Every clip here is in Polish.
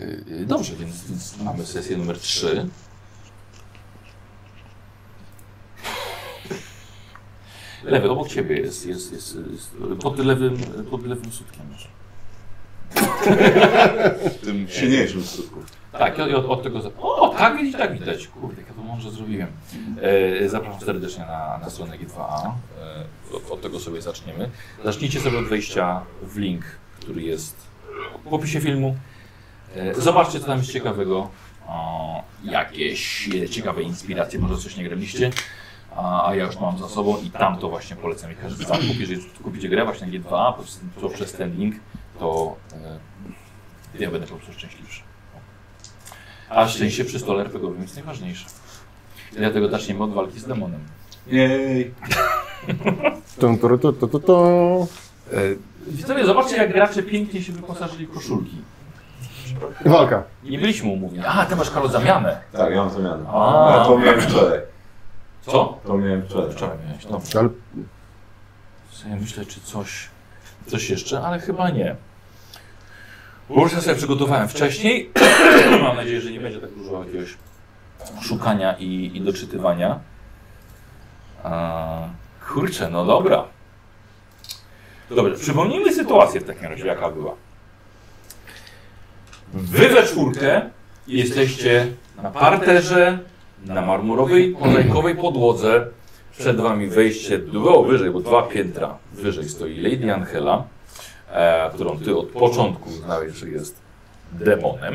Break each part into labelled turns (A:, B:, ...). A: Y, Dobrze, więc mamy sesję numer 3. Lewy, obok ciebie jest, jest, jest, jest pod, lewym, pod lewym sutkiem. masz.
B: Tym silniejszym skutku.
A: Tak, i od, od tego. Za... O, tak widać, tak widać. Kurde, jak ja to mądrze zrobiłem. E, zapraszam serdecznie na, na stronę G2A. E, od, od tego sobie zaczniemy. Zacznijcie sobie od wejścia w link, który jest w opisie filmu. E, zobaczcie, co tam jest ciekawego. O, jakieś e, ciekawe inspiracje, może coś nie graliście. A, a ja już mam za sobą i tam to właśnie polecam. I każdy zakup, jeżeli kupicie grę właśnie na G2A poprzez, poprzez ten link, to e, ja będę po prostu szczęśliwszy. A szczęście przy stole RPGowym jest najważniejsze. I Dlatego zaczniemy od walki z demonem.
B: Jej.
C: Tum, turu, tu, tu, tu, tu.
A: Widzowie, zobaczcie jak gracze pięknie się wyposażyli w koszulki.
C: Walka.
A: Nie byliśmy umówieni. A, ty masz Karol zamianę.
B: Tak, ja mam zamianę.
A: A.
B: A, to miałem wczoraj.
A: Co?
B: To miałem wczoraj.
A: Wczoraj miałeś, no. dobrze.
C: Ale
A: Sobie myślę, czy coś, coś jeszcze, ale chyba nie. Już ja sobie przygotowałem wcześniej. Mam nadzieję, że nie będzie tak dużo jakiegoś szukania i, i doczytywania. A, kurczę, no dobra. Dobrze, przypomnijmy sytuację w takim razie, jaka była. Wy we czwórkę jesteście na parterze, na marmurowej, kolejkowej podłodze. Przed wami wejście dużo wyżej, bo dwa piętra wyżej stoi Lady Angela, e, którą ty od początku znałeś, że jest demonem.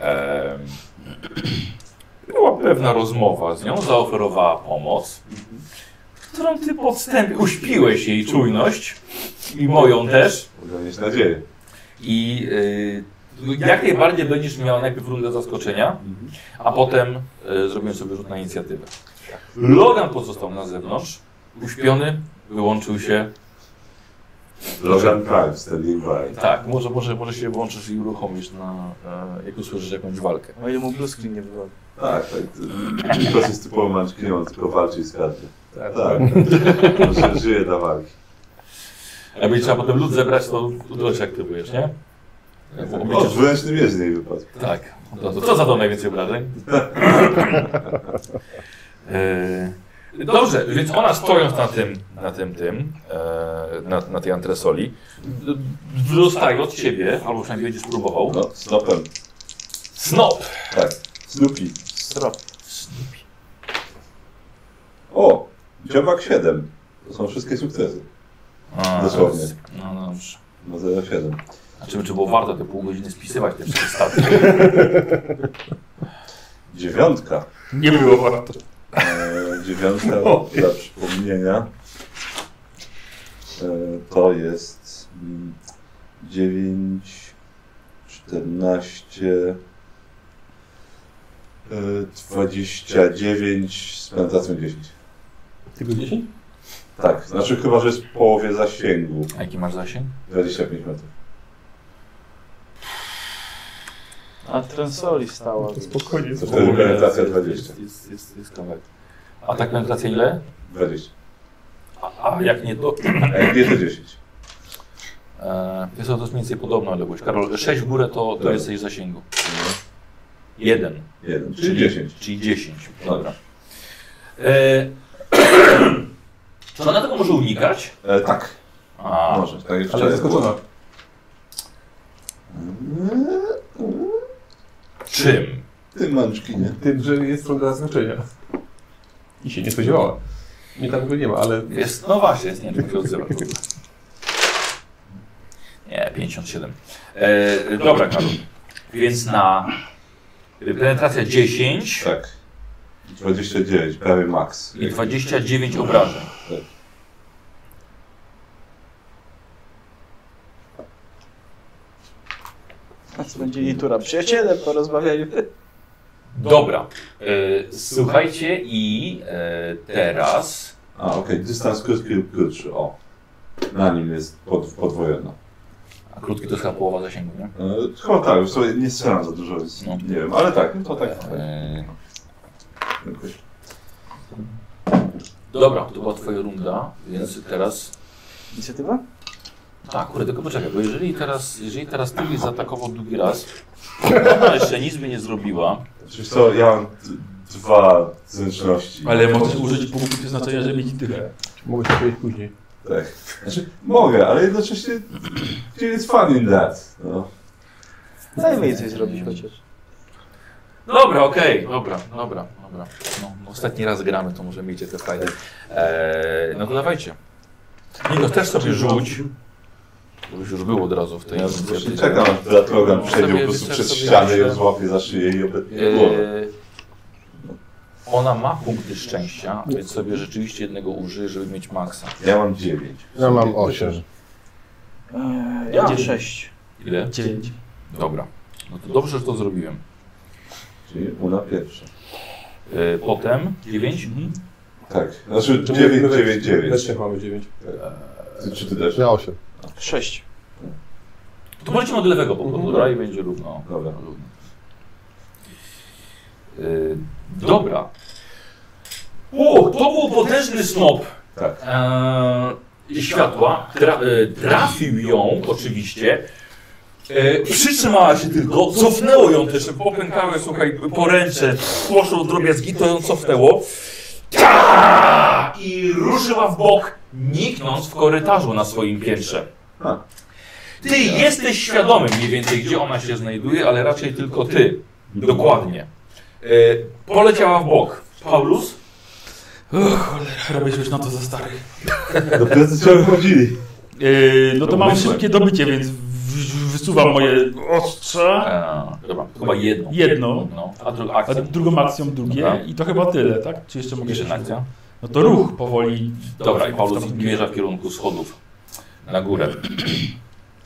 A: E, była pewna rozmowa z nią, zaoferowała pomoc, którą ty podstępnie uśpiłeś jej czujność i moją też.
B: Mogę mieć nadzieję.
A: I y, jak najbardziej będziesz miał najpierw rundę zaskoczenia, a potem y, zrobimy sobie rzut na inicjatywę. Logan pozostał na zewnątrz, uśpiony, wyłączył się.
B: Logan Prime, standing by.
A: Tak, może, może, może się włączysz i uruchomisz na, e, jak usłyszysz jakąś walkę.
D: O ile mu blue screen nie wygląda.
B: Tak, tak. to- To jest typowo manczkinią, tylko walczy i skarbie.
A: Tak.
B: Tak. Że Żyje dla walki.
A: Jakby trzeba potem lód zebrać, to lód aktywujesz, nie?
B: O, dwuręczny miecz z niej wypadł.
A: Tak. To, to, to zadał najwięcej obrażeń. E, Dobrze, więc ona stojąc na tym, na tym, tym, e, na, na tej antresoli, d- d- dostaje od ciebie, albo przynajmniej będziesz próbował,
B: No, snopem.
A: snop.
B: Tak. Snoopy.
D: Strop.
B: O! Dziobak 7. To są wszystkie sukcesy.
A: A,
B: Dosłownie.
A: No no dobrze.
B: No 07.
A: Znaczy, czy było warto te pół godziny spisywać te wszystkie staty?
B: Dziewiątka.
A: Nie było warto.
B: E, dziewiątka
C: No.
B: dla przypomnienia. E, to jest mm, 9, 14, e, 29 z penetracją 10.
C: tylko 10?
B: Tak, znaczy chyba, że jest w połowie zasięgu.
A: A jaki masz zasięg?
B: 25 metrów.
D: A trensoli stała. więc-
C: Spokojnie.
B: To wtedy penetracja 20.
A: Jest, jest, jest, jest kawałek. A tak penetracja ile?
B: 20.
A: A, a jak nie do,
B: A jak nie to 10.
A: E, Jest to jest mniej więcej podobna odległość. Karol, 6 w górę to, to
B: Tak.
A: jesteś w zasięgu. Jeden,
B: 1, czyli 10.
A: Czyli 10. Dobra. E, czy ona tego może unikać?
B: E, tak,
A: A,
B: może. Tak jak
C: Ale
B: wczoraj
C: zaskoczona.
B: było. Mm.
A: Czym?
B: Ty mączkinie.
C: Tym, że jest runda zaskoczenia. I się nie spodziewała. Nie tam go nie ma, ale
A: Jest, no właśnie, jest, nie wiem, czy się odzywa. Nie, 57. E, dobra, Karol. Więc na penetracja 10
B: Tak. 29, prawie max.
A: i 29 obrażeń.
D: A co będzie jej tura? Przyjacielem porozmawiajmy.
A: Dobra. E, słuchajcie i e, teraz...
B: A, okej, dystans krótki lub krótszy, o. Na nim jest pod, podwojona.
A: A krótki to jest chyba połowa zasięgu, nie?
B: E, chyba tak, w sobie nie strzelam za dużo, więc
A: No.
B: nie wiem, ale tak, no to tak.
A: Eee,
B: Jakoś.
A: dobra, to była twoja runda, więc teraz
D: Inicjatywa?
A: Tak, kurde, tylko poczekaj, bo jeżeli teraz, jeżeli teraz ty mnie zaatakował drugi raz, ona jeszcze nic by nie zrobiła,
B: Przecież co, ja mam d- dwa zręczności.
E: Ale możesz użyć punktu przeznaczenia, żeby mieć tyle.
C: Mogę się powiedzieć później.
B: Tak. Znaczy, mogę, ale jednocześnie gdzie jest fun in that. No.
D: Dajmy jej coś zrobić chociaż.
A: No Dobra, okej, dobra, dobra, dobra. No, no, ostatni raz gramy, to może miejcie te frajdy. Eee, no to dawajcie. Nie, no też sobie rzuć. Bo już już było od razu w tej
B: Ja
A: inicjatywie.
B: właśnie czekam, aż ten program przejdzie po
A: Sobie
B: prostu przez
A: sobie
B: ścianę i
A: myślę.
B: ją złapie za szyję i obetnie głowę.
A: Eee, ona ma punkty szczęścia, więc sobie rzeczywiście jednego użyje, żeby mieć maksa.
B: Ja mam dziewięć.
F: Ja mam 8.
D: Eee,
E: Ja.
D: ja mam 6.
A: Ile?
E: 9.
A: Dobra. No to dobrze, że to zrobiłem.
B: Czyli ona pierwsza.
A: Eee, potem 9.
B: Tak. Znaczy dziewięć,
C: My we-
B: dziewięć,
C: We
B: dziewięć.
C: trzech mamy dziewięć.
B: Ty- Czy ty też?
F: Ja 8.
D: 6.
A: To możecie od lewego po prostu, dobra? I będzie równo.
B: Dobra.
A: równo. Yy, dobra. O, to był potężny snop
B: Tak.
A: e, światła. Tra, e, trafił ją oczywiście. E, przytrzymała się tylko, cofnęło ją też, popękały, słuchaj, poręcze, poszło drobiazgi, to ją cofnęło. Ta! I ruszyła w bok, niknąc w korytarzu na swoim piętrze.
B: A.
A: Ty jesteś świadomy mniej więcej, gdzie ona się znajduje, ale raczej tylko ty. Dokładnie. E, poleciała w bok. Paulus?
E: Och, cholera, robisz już na to za stary.
B: Do pracy ciągle chodzili.
E: Yy, no to mam
A: Domysłem.
E: szybkie dobycie, więc w- wysuwam moje ostrza,
A: E, dobra, chyba jedną.
E: Jedną.
A: No, a drugą
E: a
A: akcję.
E: drugą akcją drugie
A: Dobra.
E: i to chyba tyle, tak? Czy jeszcze mogę
A: Jeszcze
E: coś-
A: akcja.
E: No to ruch powoli.
A: Dobra, i Paulus
E: Tam-
A: mierza w kierunku schodów na górę.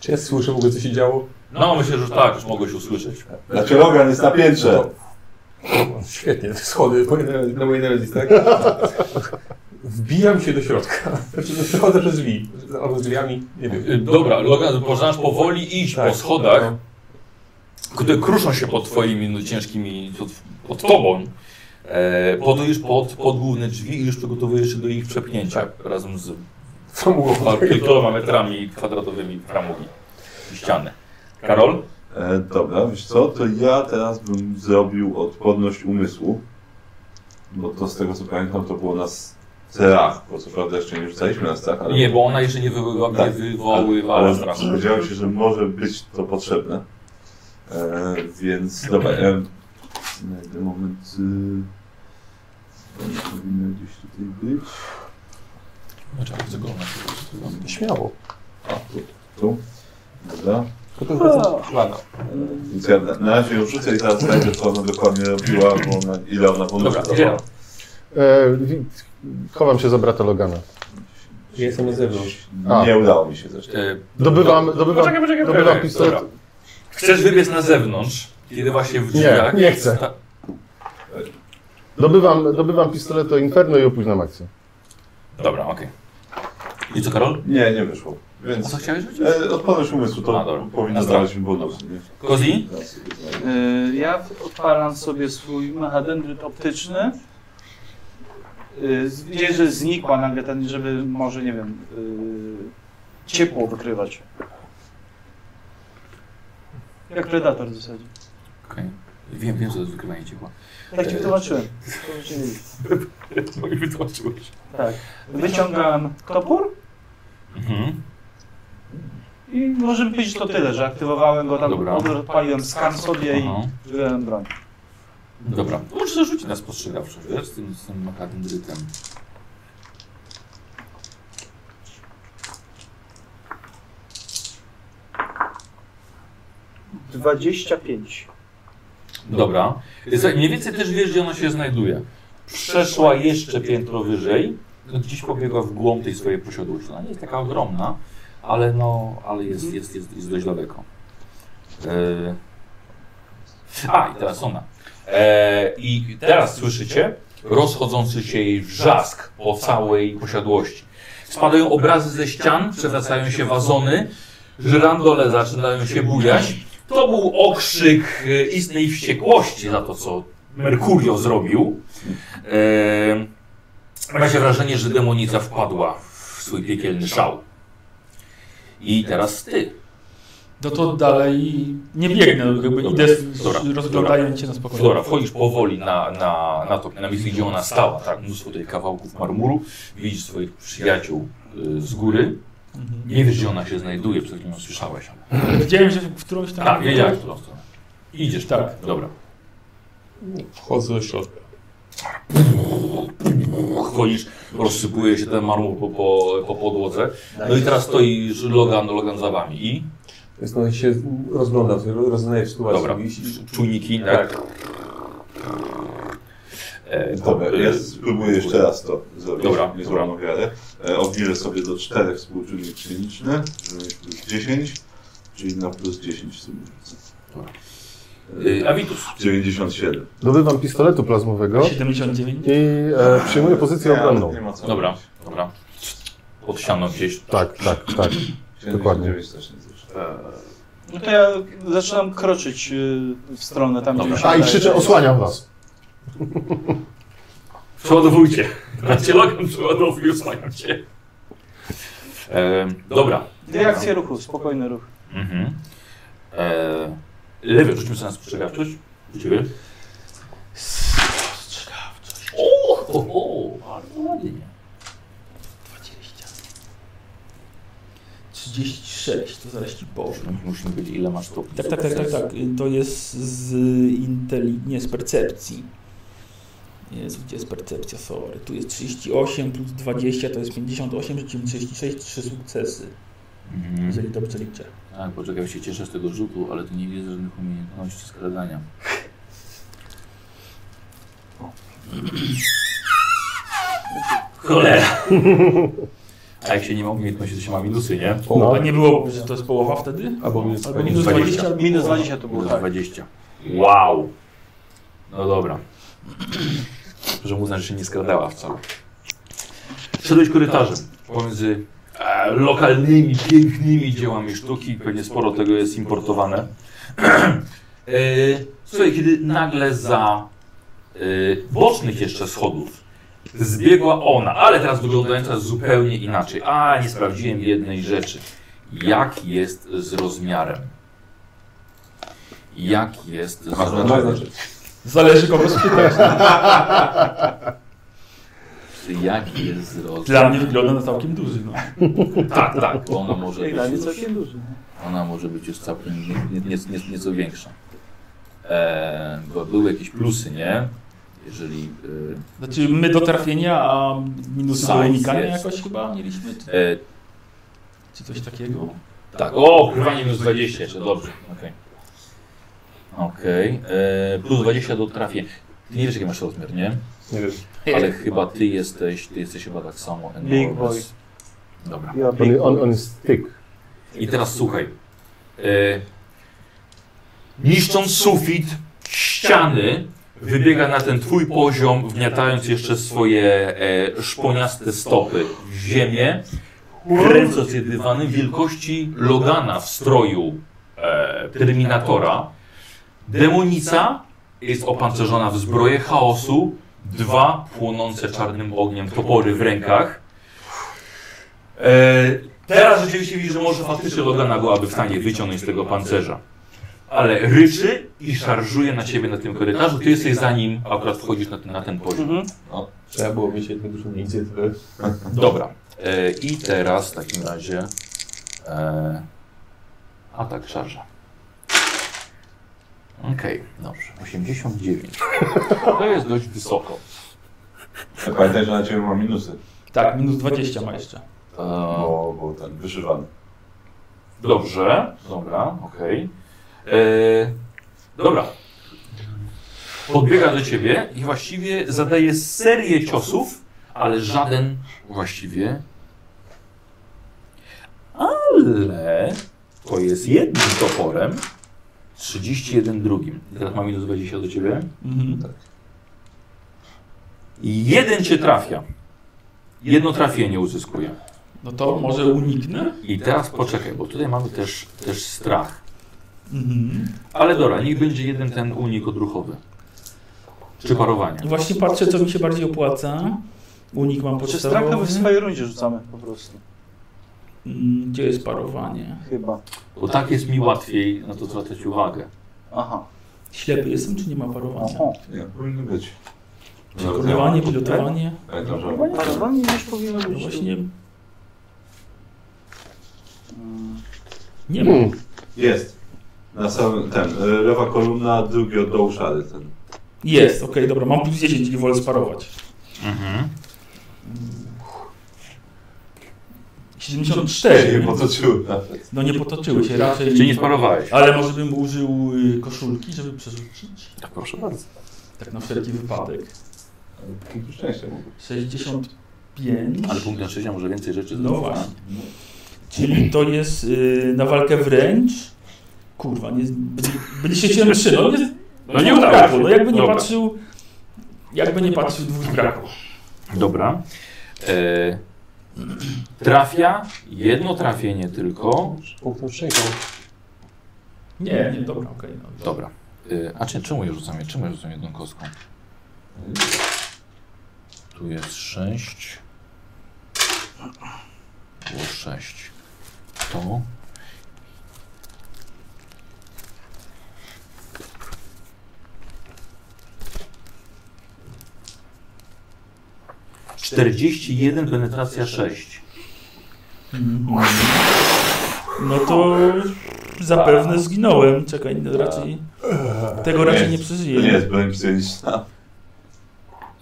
C: Czy ja słyszę w ogóle, co się działo?
A: No, myślę, że już tak, już mogłeś usłyszeć.
B: Znaczy Logan jest na piętrze.
C: Świetnie, te schody po- na- na mojej nerwizji, tak? Wbijam się do środka. Znaczy, no, Przechodzę przez drzwi. Albo z drzwiami, nie
A: Y,
C: wiem. Tak. No,
A: Dobra, Logan, zaczynasz powoli iść po schodach, które kruszą się pod twoimi no, ciężkimi, pod, pod tobą. E, podujesz pod, pod główne drzwi i już przygotowujesz się do ich przepchnięcia razem z
C: Co mogło
A: kilkoma metrami kwadratowymi framugi i ściany. Karol?
B: E, dobra, wiesz co, to ja teraz bym zrobił odporność umysłu, bo to z tego co pamiętam to było na strach, bo co prawda jeszcze nie rzucaliśmy na strach, ale,
A: Nie, bo ona jeszcze nie wywoływała, nie
B: Tak. ale
A: wywoływała strachu.
B: spodziewałem się, że może być to potrzebne, e, więc dobra, ja znajdę moment, y, one powinny gdzieś tutaj być,
A: Znaczy, co go ona się wywoływała?
C: Śmiało.
B: a tu, tu, dobra,
C: To to jest plana.
B: e, więc ja na, na razie ją rzucę i teraz znajdę co ona dokładnie robiła, bo ona, ile ona ponownie
A: Dobra, Geralt.
F: E, wi- chowam się za brata Logana.
C: Ja jestem na zewnątrz.
F: A.
B: Nie udało mi się zresztą.
A: E,
F: Dobywam, dobywam,
C: Poczekaj, poczekaj,
F: dobywam
A: poczekaj,
F: pistolet.
A: dobra. Chcesz wybiec na zewnątrz, kiedy właśnie w
F: Nie,
A: drzwiach...
F: nie chcę. Dobywam, dobywam pistolet do Inferno i opóźniam akcję.
A: Dobra, okej. I co, Karol?
B: Nie, nie wyszło.
A: A
B: Więc
A: co chciałeś być?
B: e, odporność umysłu
A: A,
B: to
A: dobra.
B: powinno
A: A, dobra.
B: znaleźć mi bonus. nie?
A: Kozi?
B: Teraz sobie znajdę.
D: Yy, ja odpalam sobie swój mechadendryt optyczny. Yy, Widzę, że znikła nagle ten, żeby może, nie wiem, yy, ciepło wykrywać. Jak predator w zasadzie.
A: Okej. Wiem, wiem, co to jest wykrywanie ciepła.
D: Tak ci wytłumaczyłem. To ludzie mieli.
A: No i wytłoczyłeś.
D: Tak. Wyciągam topór
A: Mhm.
D: i może być to tyle, że aktywowałem go tam,
A: Dobra.
D: odpaliłem skan sobie i
A: Aha.
D: wyjąłem broń.
A: Dobra. To Możesz zarzucić na spostrzegawczość, wiesz, z tym, z tym makadendrytem.
D: Dwadzieścia pięć.
A: Dobra. Słuchaj, Mniej więcej też wiesz, gdzie ona się znajduje. Przeszła jeszcze piętro wyżej. No, gdzieś pobiegła w głąb tej swojej posiadłości. Ona nie jest taka ogromna, ale no, ale jest, jest, jest, jest dość daleko. E... A, i teraz ona. E, I teraz słyszycie rozchodzący się jej wrzask po całej posiadłości. Spadają obrazy ze ścian, przewracają się wazony, żyrandole zaczynają się bujać. To był okrzyk e, istnej wściekłości za to, co Mercurio zrobił. E, ma się wrażenie, że demonica wpadła w swój piekielny szał. I teraz ty.
E: No to dalej nie biegnę, no jakby
A: Dobra.
E: idę z-
A: Dobra.
E: rozglądając się na spokojnie.
A: Flora, wchodzisz powoli na, na, na to na miejsce, gdzie ona stała, tak? Mnóstwo tych kawałków marmuru. Widzisz swoich przyjaciół y, z góry.
E: Mhm.
A: Nie wiesz, gdzie ona się znajduje, przed chwilą słyszałeś.
E: Widziałem, że w którąś tam...
A: A, wiedziałeś po prostu. Idziesz, tak.
E: Tak.
A: Dobra.
C: Wchodzę do środka.
A: Chodzisz, rozsypuje się ten marmur po, po, po podłodze. No i teraz stoi Logan, Logan za wami. I?
C: Więc no i się rozglądam, rozglądaję w sytuacji.
A: Dobra.
C: I- i-
A: Czujniki, tak? E,
B: Dobra,
A: e,
B: ja spróbuję jeszcze raz to zrobić.
A: Dobra,
B: nie złamam wiarę. E, Obniżę sobie do 4 współczynnik kliniczny, żeby mieć plus 10, czyli na plus 10 w sumie. rzucę.
A: e, Avitus.
B: E, 97.
F: Dobywam pistoletu plazmowego
E: 79.
F: i e, przyjmuję pozycję
B: Nie, ale
F: obronną.
B: nie ma co
A: Dobra,
B: robić.
A: dobra. Pod ścianą gdzieś.
F: Tak, tak, tak.
B: 79
F: Dokładnie.
B: też nie zresztą.
D: No to ja zaczynam kroczyć y, w stronę tam, gdzie
A: Dobra.
D: mi się
F: A i
D: wydaje,
F: krzyczę,
D: że-
F: osłaniam was.
A: Przeładowujcie. Bracie Logan, przeładowuj, osłaniam cię. E, dobra.
D: Reakcja ruchu, spokojny ruch.
A: Mhm. E, lewy, rzućmy sobie na spostrzegawczość. U ciebie. O, ho, ho, bardzo ładnie.
E: 20. 36, to zaraz ci powiem.
A: Musi być ile masz tu.
E: Tak, tak, tak, tak, tak. To jest z inteli... nie, z percepcji. Jest, gdzie jest percepcja, sorry. Tu jest 38 plus 20, to jest 58, rzuciłem 36, 3 sukcesy,
A: Mhm.
E: jeżeli dobrze liczę.
A: Tak, poczekaj, się cieszę z tego rzutu, ale tu nie widzę żadnych umiejętności skradania. Cholera! A jak się nie ma umiejętności, to się ma minusy, nie?
F: No.
E: A nie było, że to jest połowa wtedy?
C: Albo minus
E: Albo
C: 20.
E: minus 20, albo
D: Minus
E: połowa.
D: 20 to było,
A: Minus
D: tak.
A: 20. Wow! No dobra. Że mu znaczy, że nie skradała wcale. Szedłeś korytarzem pomiędzy e, lokalnymi, pięknymi dziełami sztuki. Pewnie sporo tego jest importowane. E, słuchaj, kiedy nagle za e, bocznych jeszcze schodów zbiegła ona, ale teraz wyglądająca zupełnie inaczej. A, nie sprawdziłem jednej rzeczy. Jak jest z rozmiarem? Jak jest z
C: Ma
A: rozmiarem?
C: znaczenie.
E: Zależy kogo spytać.
A: Jak jest z
E: Dla mnie
A: rozmiarem?
E: wygląda na całkiem duży, no.
A: Tak, tak. bo Ona może
D: Jak dla mnie
A: być już,
D: całkiem duży.
A: ona może być już całkiem nie, nie, nie, nieco większa. E, bo były jakieś plusy, nie? Jeżeli e,
E: Znaczy my do trafienia, a minusy do
A: Size
E: unikania
A: jest.
E: jakoś chyba mieliśmy, czy,
A: e,
E: czy coś takiego?
A: Tak, o, kurwa minus 20 jeszcze, dobrze, okej. Okej, e, plus 20 do trafię. Ty nie wiesz jaki masz rozmiar, nie?
C: Nie wiem.
A: Ale chyba ty jesteś, ty jesteś chyba tak samo
D: Big
A: enormous. Dobra.
D: Ja
F: On, on, on jest tyk.
A: I teraz słuchaj. E, niszcząc sufit, ściany, wybiega na ten twój poziom, wgniatając jeszcze swoje e, szponiaste stopy w ziemię, kręcąc je dywanem wielkości Logana w stroju e, Terminatora. Demonica jest opancerzona w zbroję chaosu, dwa płonące czarnym ogniem topory w rękach. E, teraz rzeczywiście widzisz, że może faktycznie Logana byłaby w stanie wyciągnąć z tego pancerza. Ale ryczy i szarżuje na ciebie na tym korytarzu. Ty jesteś za nim, a akurat wchodzisz na ten, na ten poziom.
D: Mhm.
C: Trzeba było mieć jedną dużą inicjatywę.
A: Dobra. E, I teraz w takim razie e, atak szarża. Okej, dobrze. 89. To jest dość wysoko.
B: A Pamiętaj, że na ciebie ma minusy.
E: Tak, minus 20 ma jeszcze.
A: E,
B: Bo, No, bo ten wyszywany.
A: Dobrze, dobra, okej. E, Dobra. Podbiega do ciebie i właściwie zadaje serię ciosów, ale żaden właściwie. Ale to jest jednym toporem, 31 drugim. I Teraz mam minus 20 do ciebie.
E: Mhm.
A: I jeden cię trafia. Jedno trafienie uzyskuje.
E: No to może uniknę?
A: I teraz poczekaj, bo tutaj mamy też, też strach.
E: Mhm.
A: Ale dobra, niech będzie jeden ten unik odruchowy. Czy parowanie.
E: Właśnie patrzę, co mi się bardziej opłaca. Unik mam
D: Czy strach to
E: podstawowy.
D: w swojej rundzie rzucamy po prostu?
E: Mm, Gdzie jest parowanie?
D: Chyba.
A: Bo tak jest mi łatwiej na to zwracać uwagę.
D: Aha.
E: Ślepy jestem, czy nie ma parowania?
D: Aha.
B: Nie, powinno być.
E: Parowanie, pilotowanie?
B: Pamiętam, że
D: Parowanie już powinno
E: No
D: być.
E: właśnie
D: Mm,
E: nie ma.
F: Hmm.
B: Jest. Na samym, ten, e, lewa kolumna, drugi od dołu szary ten.
E: Jest, okej, dobra, mam plus 10 i wolę sparować.
A: Mhm.
E: 74.
B: nie potoczyły nawet.
E: No nie potoczyły się raczej.
A: Czyli nie sparowałeś.
E: Ale może bym użył y, koszulki, żeby przerzucić?
A: Proszę bardzo.
E: Tak na wszelki wypadek.
B: Punktu szczęścia mógł.
E: 65.
A: Ale punkt na szczęścia może więcej rzeczy
E: No
A: zrobić,
E: właśnie. Czyli to jest y, na walkę wręcz? Kurwa, nie, byli- byliście 7-3, no nie,
A: No nie udało się.
E: No jakby nie
A: Dobra.
E: patrzył, jakby nie patrzył dwóch braków.
A: tak? Dobra. E, trafia, jedno trafienie tylko.
G: Punkt na szczęście.
E: Nie, nie, dobra, okej. no.
A: Dobra. E, a czy, czemu je rzucam? Czemu je rzucam jedną kostką? Tu jest 6. Było 6. To. Czterdzieści jeden penetracja sześć.
E: No to zapewne zginąłem. Czekaj, no raczej tego raczej nie
B: To nie
E: przeżyję.
B: jest broń psychiczna.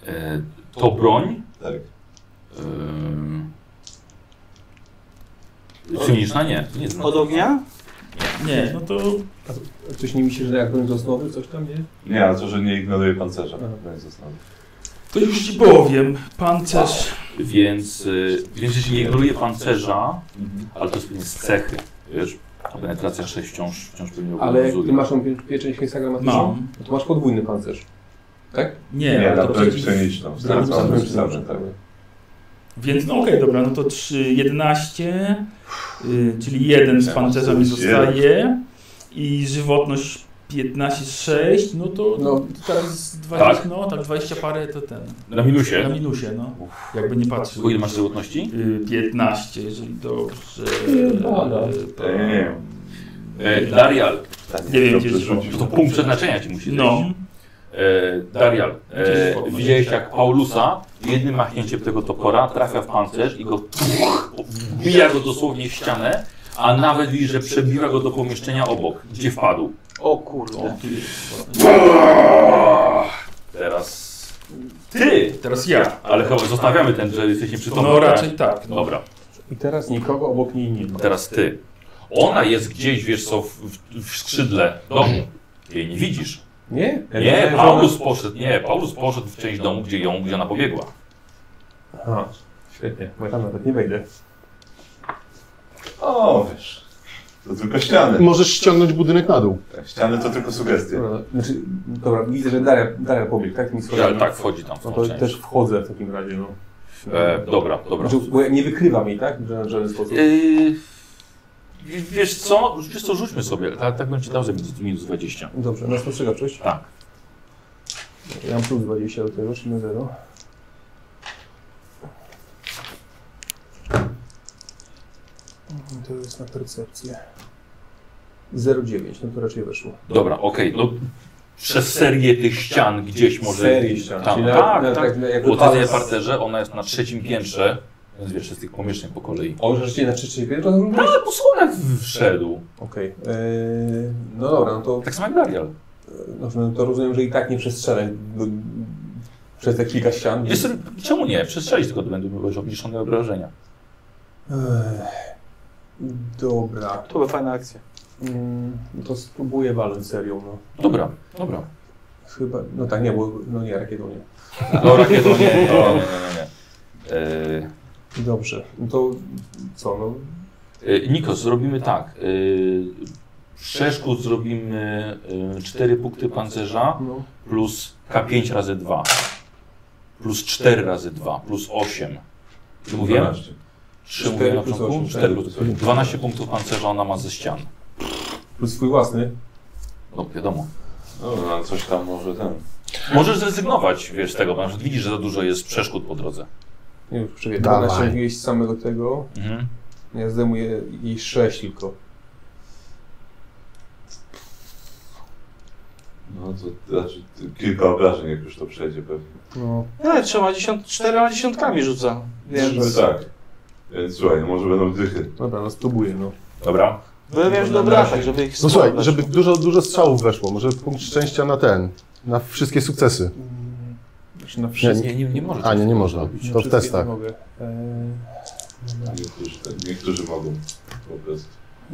A: E, to broń.
B: Tak.
A: Ym... Cyniczna? Nie. to nie jest broń.
D: Od ognia?
E: Nie, no to
G: Coś nie myślisz, że jak będą znowu coś tam, nie?
B: Nie, ale to, że nie ignoruje pancerza.
G: Aha.
B: Broń została.
E: to już ci powiem. Pancerz.
A: Więc, y, więc jeśli nie ignoruje pancerza, ale to jest pewnie z cechy, wiesz, a penetracja 6 wciąż, wciąż pewnie
G: Ale jak ty
A: obowiązuje.
G: masz tą pie- pieczęć miejsca gramatyczną,
E: Mam.
G: no to masz podwójny pancerz. Tak?
E: Nie,
B: Nie, na
E: to
B: broń
E: przeciw-
B: psychiczną.
E: Broń
B: Starczą,
E: psem,
G: Sam-
B: starczą, tak.
E: Więc no okej, dobra, no to 3, 11, y, czyli jeden z pancerzem mi zostaje i żywotność 15, 6, no to
G: No.
E: no. teraz 20, no tak 20 parę to ten,
A: Na minusie.
E: na minusie, no, jakby nie patrzył.
A: Bo ile masz żywotności?
E: Y, 15, jeżeli dobrze.
G: Jebana.
E: y, to-
B: Ja nie wiem.
A: E, Darial,
B: Tak,
E: Nie wiem,
B: dobrze
E: gdzie jest
B: rzucił.
A: to punkt przeznaczenia ci musi
E: No,
A: dać. E, Darial,
E: Gdzieś
A: e,
E: pod-
A: widziałeś jak Paulusa jednym machnięciem tego topora trafia w pancerz i go puch, wbija go dosłownie w ścianę, a nawet widzisz, że przebiła go do pomieszczenia obok, gdzie wpadł.
D: O
E: o,
D: kurde.
E: tu jest.
A: Teraz ty,
E: Teraz ja.
A: ale chyba zostawiamy ten, że jesteś nieprzytomny.
E: No
A: tak?
E: raczej tak. No.
A: Dobra.
G: I teraz nikogo obok niej nie ma.
A: Teraz ty. Ona jest gdzieś, wiesz co, w, w, w skrzydle domu. Ty jej nie widzisz.
G: Nie?
A: Nie, Paulus poszedł, nie, Paulus poszedł w część domu, gdzie ją, gdzie ona pobiegła.
G: Aha, świetnie, bo ja tam nawet nie wejdę.
B: O, wiesz. To tylko
E: Mm.
B: ściany.
F: Możesz ściągnąć budynek na dół.
B: Tak, Ściany to tylko sugestie.
G: Dobra, Znaczy, dobra, widzę, że Daria, Daria pobiegł, tak? Mi schodzi.
A: Ale tak wchodzi tam w
G: No
A: tą
G: to
A: część.
G: też wchodzę w takim razie, no.
A: E, dobra, dobra.
G: Znaczy, bo ja nie wykrywam jej, tak? W żaden, żaden sposób.
A: Yy, wiesz co, wiesz co, rzućmy sobie, tak, tak bym ci dał za minus, minus 20.
G: Dobrze, na spostrzegawczość?
A: Tak.
G: Ja mam plus 20 do tego, czyli na 0. To jest na percepcję. 0,9, no to raczej weszło.
A: Dobra, okej, no przez serię tych ścian gdzieś może...
G: Serię ścian,
A: Tam,
G: czyli na-
A: tak,
G: na-
A: tak.
G: tak, na- jak
A: Bo ta
G: wypadek-
A: jest w parterze, ona jest na trzecim piętrze, więc wiesz, z tych pomieszczeń po kolei.
G: O, że rzeczywiście na 3,5 to
A: No, ale po schodach wszedł.
G: Okej. Eee, no dobra, no to,
A: Tak samo jak Darial.
G: dobrze, no to rozumiem, że i tak nie przestrzelę do, przez te kilka ścian.
A: Jest, czemu nie? Przestrzelić tylko będą obniżone obrażenia.
G: Eee, dobra.
D: To była fajna akcja.
G: Mm, no to spróbuję walnąć serią, no.
A: Dobra, dobra.
G: Chyba, no tak, nie, bo no nie, rakietą nie.
A: No rakietą nie, nie, nie, nie. nie. E,
G: Dobrze, no to co, no
A: e, Nikos, zrobimy tak. E, przeszkód zrobimy e, 4 punkty pancerza
G: No.
A: plus K5 razy 2. Plus 4 razy 2, plus 8. Czy mówiłem?
B: 12.
A: 3 mówiłem na
G: Cztery plus
A: początku?
G: osiem,
A: 4
G: tak.
A: plus 12 punktów pancerza ona ma ze ścian.
G: Plus swój własny.
A: No wiadomo.
B: No, no, coś tam może ten.
A: Możesz zrezygnować, wiesz, z tego, bo na przykład widzisz, że za dużo jest przeszkód po drodze.
G: Nie już przebiję.
F: Dawaj.
G: 12 mówiłeś z samego tego.
A: Mhm.
G: Ja zdejmuję jej 6 tylko.
B: No to znaczy, ty- kilka obrażeń, jak już to przejdzie pewnie.
G: No,
D: No, ale trzema dziesiąt, czterema dziesiątkami rzuca. Więc...
B: Tak. Więc słuchaj, no może będą dychy.
G: dobra, no spróbuję, no.
A: Dobra.
D: Bo ja wiem, że dobra, tak, żeby ich
F: No
D: sporo
F: słuchaj,
D: weszło.
F: żeby dużo, dużo strzałów weszło, może punkt szczęścia na ten, na wszystkie sukcesy.
G: Mm, Znaczy na
F: Nie,
G: wszystkie.
F: nie,
A: Nie, nie, nie może.
F: a nie, nie można,
G: na
F: to w
G: wszystkie
F: testach.
G: nie mogę. Eee,
B: Niektórzy, niektórzy mogą po prostu.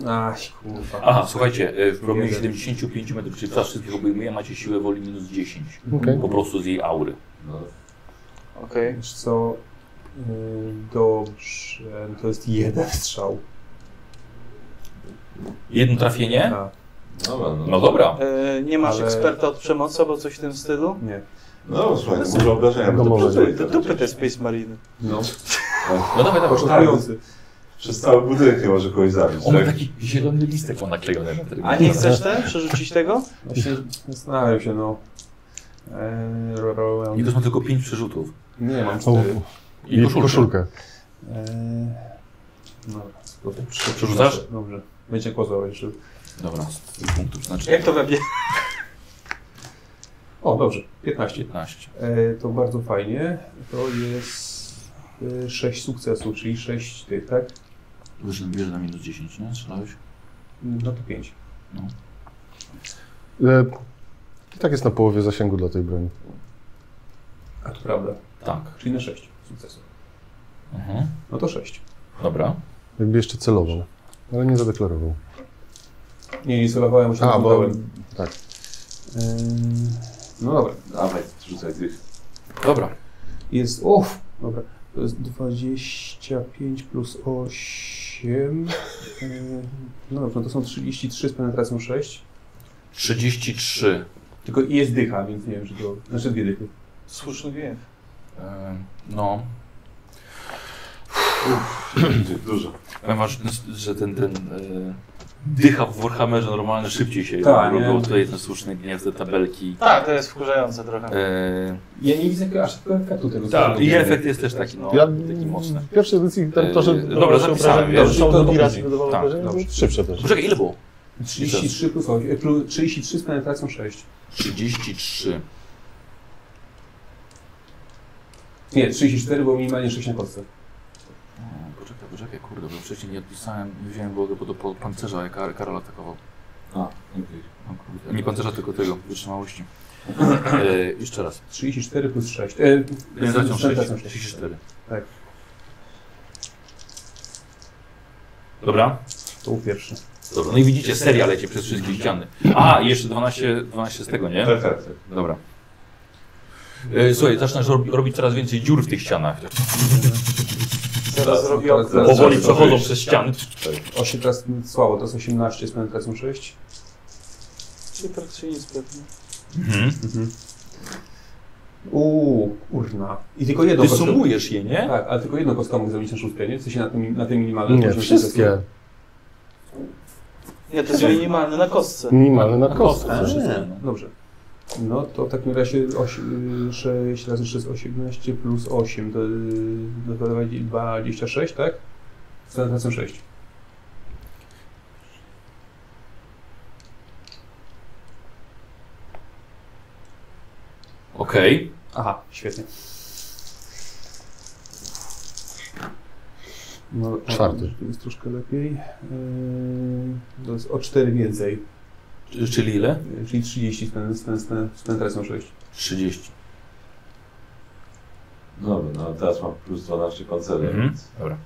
G: Aj, kurwa.
A: Aha, słuchajcie, e, w promieniu 75 metrów, czyli was wszystkich obejmuje, macie siłę woli minus 10.
F: Okej.
A: Po prostu z jej aury.
B: No.
D: Okej.
G: Wiesz co? Yy, Dobrze, no to jest jeden strzał.
A: Jedno trafienie?
G: A,
B: Dobra, no.
A: No dobra.
D: E, Nie masz
G: Ale-
D: eksperta od przemocy albo coś w tym stylu?
G: nie.
B: No słuchaj, no może obrażenia
F: No może
B: przeżyły,
D: Do
B: to
D: dupy te Space Mariny.
G: No,
A: No dawaj, dawaj.
G: początkujący.
B: Przez cały budynek nie może kogoś zabić,
A: On ma
B: tak?
A: taki zielony listek ma naklejony na
D: A
A: tego.
D: nie chcesz te? Przerzucić tego?
G: Właśnie zastanawiam się, no. Eee, ro- ro- ro-
A: I to są tylko 5 przerzutów.
G: nie, mam
F: O,
G: cztery.
A: I
F: I
A: koszulkę.
F: koszulkę.
G: Eee, dobra, no, to to przy-
A: Przerzucasz?
G: Dobrze. Będzie kłopot jeszcze.
A: Dobra, z tych punktów znaczy
D: Jak to webie?
G: O, dobrze, 15.
A: 15.
G: E, to bardzo fajnie. To jest e, 6 sukcesów, czyli 6 tych, tak?
A: Wiesz, bierze na minus 10, nie? Strzelałeś?
G: No to 5.
F: E, I tak jest na połowie zasięgu dla tej broni.
G: A to prawda.
A: Tak.
G: Czyli na 6 sukcesów.
A: Mhm.
G: No to 6.
A: Dobra.
F: Jakby jeszcze celował, ale nie zadeklarował.
G: Nie, nie celowałem, już
F: A, bo...
G: oglądałem.
F: Tak.
G: Ym, No dobra.
B: Dawaj, rzucaj dych.
A: Dobra.
G: Jest. Uff! Dobra. To jest 25 plus 8. Ym, No dobrze, no to są 33 z penetracją 6.
A: 33.
G: Tylko i jest dycha, więc nie wiem, czy to. Znaczy dwie dychy.
D: Słuszny wiem.
A: Ym, No.
B: Będzie dużo.
A: Ponieważ, że ten, ten e, dycha w Warhammerze normalnie szybciej się
G: Tak,
A: robił.
G: nie?
A: Tutaj ten słuszny gniew, te tabelki.
D: Tak, to jest wkurzające trochę.
A: E,
G: Ja nie widzę jakiego- aż takiego efektu tego.
A: tak, i
G: zrobienia.
A: efekt jest też taki, no,
F: Ja
A: taki mocny.
F: w pierwszej edycji tam to, że...
A: Yy, dobra, zapisałem,
F: obrażenia-
A: wiesz,
F: są do
G: to dobrze.
F: wydawało
A: Tak,
F: obrażenia,
G: dobrze.
F: Szybsze też.
A: Poczekaj, ile było?
G: 33 plus 8. e, plus 33 z penetracją 6.
A: 33.
G: Nie, 34 było minimalnie 6 na kostce.
A: Mm, Poczekaj, poczekaj, kurde, bo wcześniej nie odpisałem, nie wziąłem go do, do pancerza, jak Kar- Karol atakował.
B: A, okej.
A: O kurde, Nie pancerza, tylko tego, wytrzymałości. E, jeszcze raz.
G: 34 plus 6. E,
A: Penetracją
G: z
A: 6,
G: penetracją
A: 34.
G: Tak.
A: Dobra.
G: To był pierwszy.
A: Dobra, no i widzicie, seria leci przez wszystkie ściany. A, i jeszcze 12, 12 z tego, nie?
B: Tak, tak, tak.
A: Dobra. E, Słuchaj, zaczynasz rob, robić coraz więcej dziur w tych ścianach.
B: Tak,
D: Teraz robi okno.
G: teraz-
A: Powoli
B: Zaczynasz
A: przechodzą
B: robić-
A: przez ściany.
G: 8 teraz słabo, teraz 18 z penetracją 6.
D: Super czy nic pewnie.
A: Mhm.
G: Mhm. Uuu, urna. I tylko jedno
A: Ty sumujesz je, nie?
G: Tak, ale tylko jedno kostka mógł zrobić na szóstkę, nie? W sensie na tym, na tym minimalnym.
F: Nie,
G: poziomie sukcesu.
F: wszystkie.
D: Nie, to jest minimalny na kostce.
F: Minimalne na kostce.
A: kostce.
G: Dobrze. No to w takim razie 8, 6 razy 6 jest 18 plus 8 to y, to 26, tak? Z penetracją 6.
A: Okej.
G: Aha, świetnie. No,
F: Czwarty.
G: To jest troszkę lepiej. Yy, To jest o 4 więcej,
A: Czy- Czyli ile?
G: yy, czyli 30 z pen- z pen- z pen- z penetracją 6.
A: 30.
B: Dobra, no teraz mam plus 12 pancerza,
A: Mhm.
B: więc...
A: Dobra.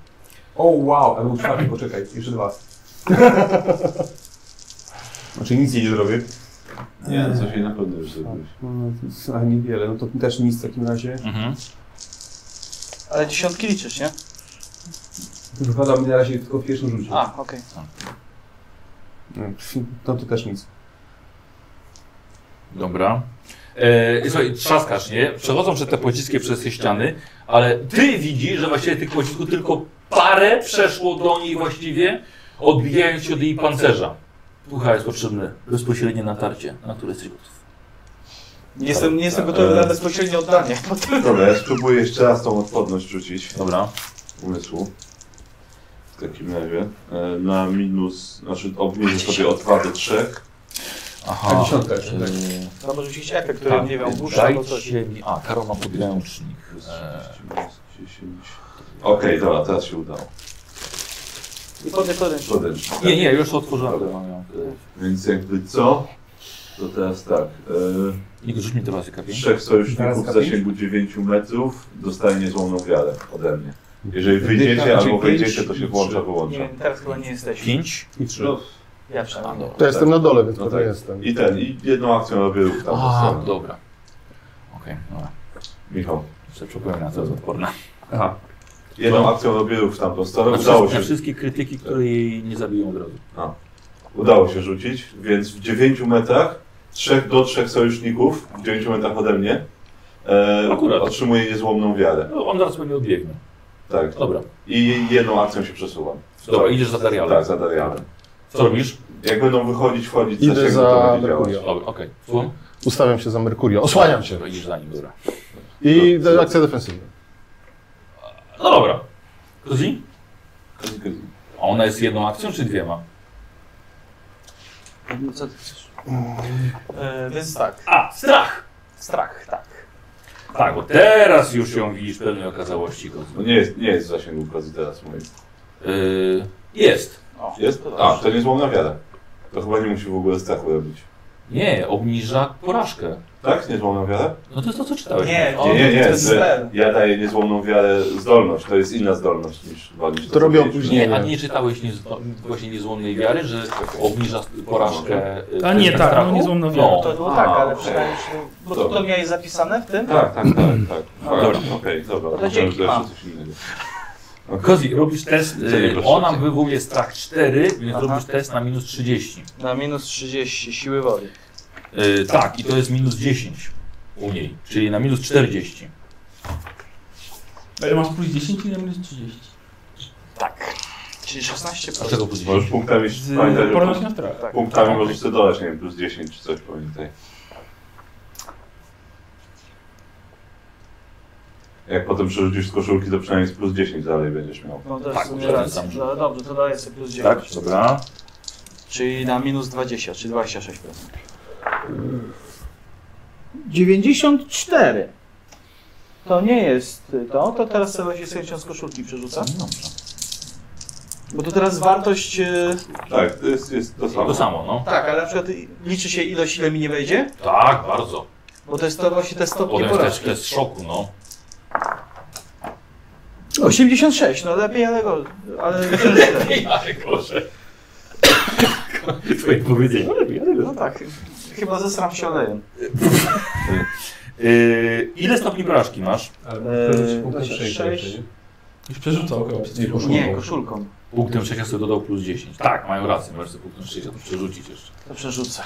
G: O wow, ale był czwarty, poczekaj, jeszcze dwa. Znaczy nic jej nie zrobię.
B: Nie, no coś jej na pewno już zrobiłeś.
G: No, to- A niewiele, no to też nic w takim razie.
A: Mhm.
D: Ale dziesiątki liczysz, nie?
G: Wypada mi na razie tylko w pierwszym rzucie.
D: A, okej.
G: No to też nic.
A: Dobra. E, słuchaj, trzaskasz, nie? Przechodzą przez te pociski przez te ściany, ale ty widzisz, że właściwie tych pocisków tylko parę przeszło do niej właściwie, odbijając się od jej pancerza. Pucha jest potrzebny bezpośrednie natarcie, na które jesteś gotów.
D: Nie jestem, nie jestem
B: Tak,
D: gotowy na
B: e-
D: bezpośrednie oddanie.
F: Tak.
B: Dobra, ja spróbuję jeszcze raz tą odporność rzucić
A: Dobra.
B: umysłu. w takim razie. E, Na minus, znaczy obniżę sobie o 2 do 3.
A: Aha.
G: dziesiątka jeszcze, tak.
A: Eee,
D: Tam może jakiś efekt, który
A: tak,
D: nie wiem, burza albo coś.
A: Dajcie mi... A, Karol ma podręcznik. Eee,
B: 10. E, Okej, dobra, teraz się udało.
D: I podnie to ręcznie.
B: Podręcznik.
A: Nie, nie, już otworzyłem. Mam
B: Więc jakby co? To teraz tak.
A: Niech rzuć mi teraz
B: E,
A: kapię.
B: trzech sojuszników w zasięgu 9 metrów dostaje niezłomną wiarę ode mnie. Jeżeli wyjdziecie albo wejdziecie, to się włącza,
D: Nie
B: wyłącza.
D: wiem, teraz chyba nie jesteśmy.
A: Pięć?
G: I trzy.
B: No,
D: Ja
A: A,
D: przynajmniej.
A: dobra.
F: To jestem na dole, więc
B: No
F: pewnie
B: tak.
F: jestem.
B: I ten, i jedną akcją robię ruch tam. po
A: A,
B: stronie.
A: dobra. Okej, dobra.
B: Michał.
A: Jeszcze przypomina, co jest odporna.
G: Aha.
B: Jedną akcją robię ruch w tamtą stronę.
A: Na
B: Udało
A: wszystkie, Znaczy, na
B: się,
A: wszystkie krytyki, które jej nie zabiją od razu.
B: udało się rzucić, więc w 9 metrach, trzech do trzech sojuszników, w 9 metrach ode mnie, e,
A: Akurat.
B: otrzymuje niezłomną wiarę.
A: No, on zaraz pewnie odbiegnie. No
B: Tak.
A: Dobra.
B: I jedną akcją się przesuwam.
A: Dobra, idziesz za Darialem.
B: Tak, za Darianem.
A: Co robisz?
B: Jak będą wychodzić, wchodzić,
F: Idę
B: zasięgu,
F: za
B: to będzie
F: Merkurio.
B: działać.
A: Dobra, okej. Słucham?
F: Ustawiam się za Merkurio, osłaniam się.
A: Dobra, Idziesz za nim, dobra.
F: I de- akcja defensywna.
A: No dobra. Kozi?
B: Kozi, kozi.
A: A ona jest jedną akcją czy dwiema?
D: No co ty chcesz? E, więc tak,
A: A, strach!
D: strach, tak.
A: Tak, bo teraz już ją widzisz pełnej okazałości. Kozi.
B: No nie jest, nie jest w zasięgu kozy teraz mojej.
A: Yy, jest.
D: O,
B: Jest?
D: to
B: A,
D: dobrze.
B: to niezłomna wiara. To chyba nie musi w ogóle strachu robić.
A: Nie, obniża porażkę.
B: Tak? Niezłomna wiara?
A: No to jest to, co czytałeś.
D: Nie,
A: O,
B: Nie, nie,
D: to
B: nie.
D: jest
B: że
D: spell.
B: Ja daję niezłomną wiarę zdolność. To jest inna zdolność niż niż
F: To robię
B: powiedzieliśmy.
F: opóźnienie.
A: Nie, a nie czytałeś nie, właśnie niezłomnej wiary, że obniża porażkę. yy,
E: A nie,
A: na
E: tak, no
A: strachu?
E: niezłomna
A: No.
E: wiara.
D: To było
B: A,
D: tak, ale
B: okej.
D: przynajmniej się... Bo to,
B: Dobra.
D: to miałeś zapisane w tym?
B: Tak, tak, tak, tak. Fakt,
A: Dobra.
B: Okej, dobra.
D: No
B: Myślałem,
D: dzięki,
B: że jeszcze
D: mam.
B: coś innego.
A: Kozi, robisz test,
B: Co nie
A: yy,
B: proszę?
A: ona wywołuje strach 4, więc
D: Aha.
A: robisz test na minus 30.
D: Na minus 30 siły woli.
A: Yy, tak, i to jest minus 10 u niej, czyli na minus 40.
E: A ja masz plus 10 i ja minus 30.
D: Tak. Czyli 16
A: A czego plus
B: Możesz
A: 10?
B: punktami
E: Z
B: pamiętaj, że
E: pornoś
B: punkt,
E: na strach.
D: Tak.
B: punktami możesz sobie dodać, nie wiem, plus 10 czy coś pamiętaj. Jak potem przerzucisz z koszulki, to przynajmniej z plus 10 dalej będziesz miał.
D: No to jest
A: Tak,
D: w sumie
A: przed
D: racja.
A: tym samym.
D: No, Dobrze, to daję sobie plus 9.
A: Tak, dobra.
D: Czyli na minus 20, czyli 26%. 94. To nie jest to, to teraz sobie się sędzią z koszulki przerzuca.
A: No,
D: Bo to teraz wartość... e,
B: Tak, to jest, jest to samo.
A: To samo, no.
D: Tak, ale na przykład liczy się ilość, ile mi nie wejdzie,
A: Tak, bardzo.
D: bo to jest No, to właśnie te stopnie
A: Potem jest też
D: porażki.
A: test szoku, no.
D: 86, no lepiej, ale, go, ale cięższe.
A: Ale gorzej. Twoje powiedzenie.
D: No tak, chyba zesram się olejem.
A: Yy, ile stopni porażki masz?
G: Ale
D: Eee,
G: eee, punkt
D: znaczy
G: sześć,
D: sześć.
G: raczej, nie?
E: Już przerzucał chyba przed
G: Nie,
E: chwilą.
G: poszło.
D: Nie, koszulką.
A: Punktem 6 sobie dodał plus 10. Tak, mają rację, możesz sobie punktem 6 to przerzucić jeszcze.
D: To przerzucę.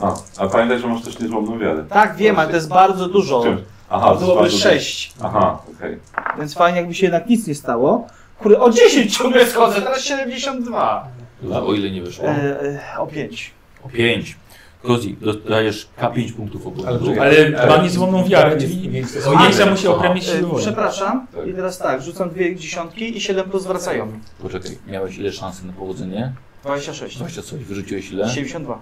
B: A, a pamiętaj, że masz też niezłomną wiarę.
D: Tak, wiem, ale to jest bardzo dużo.
B: Czym? Aha, to
D: Byłoby
B: jest bardzo-
D: 6.
B: Aha, okej.
D: Więc fajnie, jakby się jednak nic nie stało. Kurde, o 10 ciągle schodzę, teraz 72.
A: O ile nie wyszło?
D: E, e, o 5.
A: O 5. Kozi, dodajesz K5 punktów obłędu.
G: Ale-
E: Ale
G: Ale-
E: ma niezłomną wiarę, czyli
G: Nie,
E: zmniejsza mu się o premię
D: E,
E: siły woli.
D: przepraszam.
B: Tak.
D: I teraz tak, rzucam dwie dziesiątki i 7 plus wracają.
A: Poczekaj, miałeś ile szansy na powodzenie?
D: 26.
A: 20 coś, wyrzuciłeś ile?
D: 72.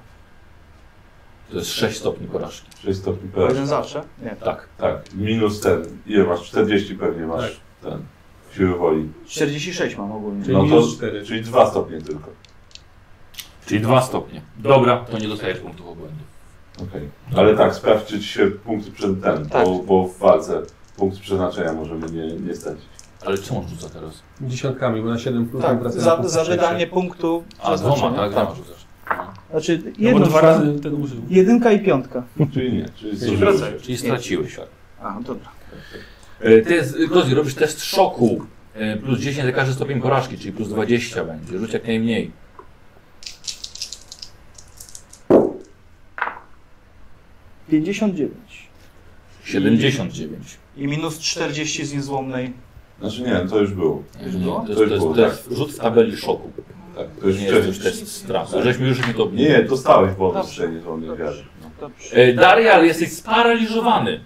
A: To jest 6 stopni porażki.
B: 6 stopni
D: To
B: PH.
D: jeden zawsze? Nie.
A: Tak.
B: Tak, minus ten. Ile masz? 40 pewnie masz ten. Siły woli.
D: 46 mam ogólnie.
G: Czyli
B: No to,
G: minus cztery.
B: czyli 2 stopnie tylko.
A: Czyli 2 stopnie. Dobra, to nie dostajesz punktów obłędu.
B: Okej. Ale tak, sprawdź, czy ci się punkt przed ten,
D: Tak.
B: bo, bo w walce punkt przeznaczenia możemy nie, nie stracić.
A: Ale czemu on rzuca teraz?
G: Dziesiątkami, bo na 7 plus
D: Tak,
G: wracają
D: za,
G: punkt
D: za
G: szczęścia.
D: wydanie punktu.
A: A dwoma,
D: przeznaczenia.
A: tak? Dwoma rzucasz.
D: Znaczy,
E: No bo
D: jedno,
E: dwa razy ten użył.
D: jedynka i piątka.
B: Czyli nie, czyli zużyłeś.
D: wracaj.
A: Czyli straciłeś. tak.
D: A, no dobra.
A: E, Test, Kozi, robisz test szoku. E, Plus 10 za każdy stopień porażki, czyli plus 20 będzie. Rzuć jak najmniej.
D: tak. 59.
A: 79.
D: I minus 40 z niezłomnej.
B: Znaczy nie, to już było.
A: Nie, nie, To
B: To już
A: jest, No. to
B: było,
A: jest test, rzut w tabeli szoku.
B: Tak, to
A: To
B: już
A: nie jest
B: wcześniej.
A: już test strachu. Żeśmy już mi to
B: Nie, nie, dostałeś bonus
D: Dobrze.
B: No, przejdzie, to nie wiary.
D: Dobrze.
A: E, Daria, ale jesteś sparaliżowany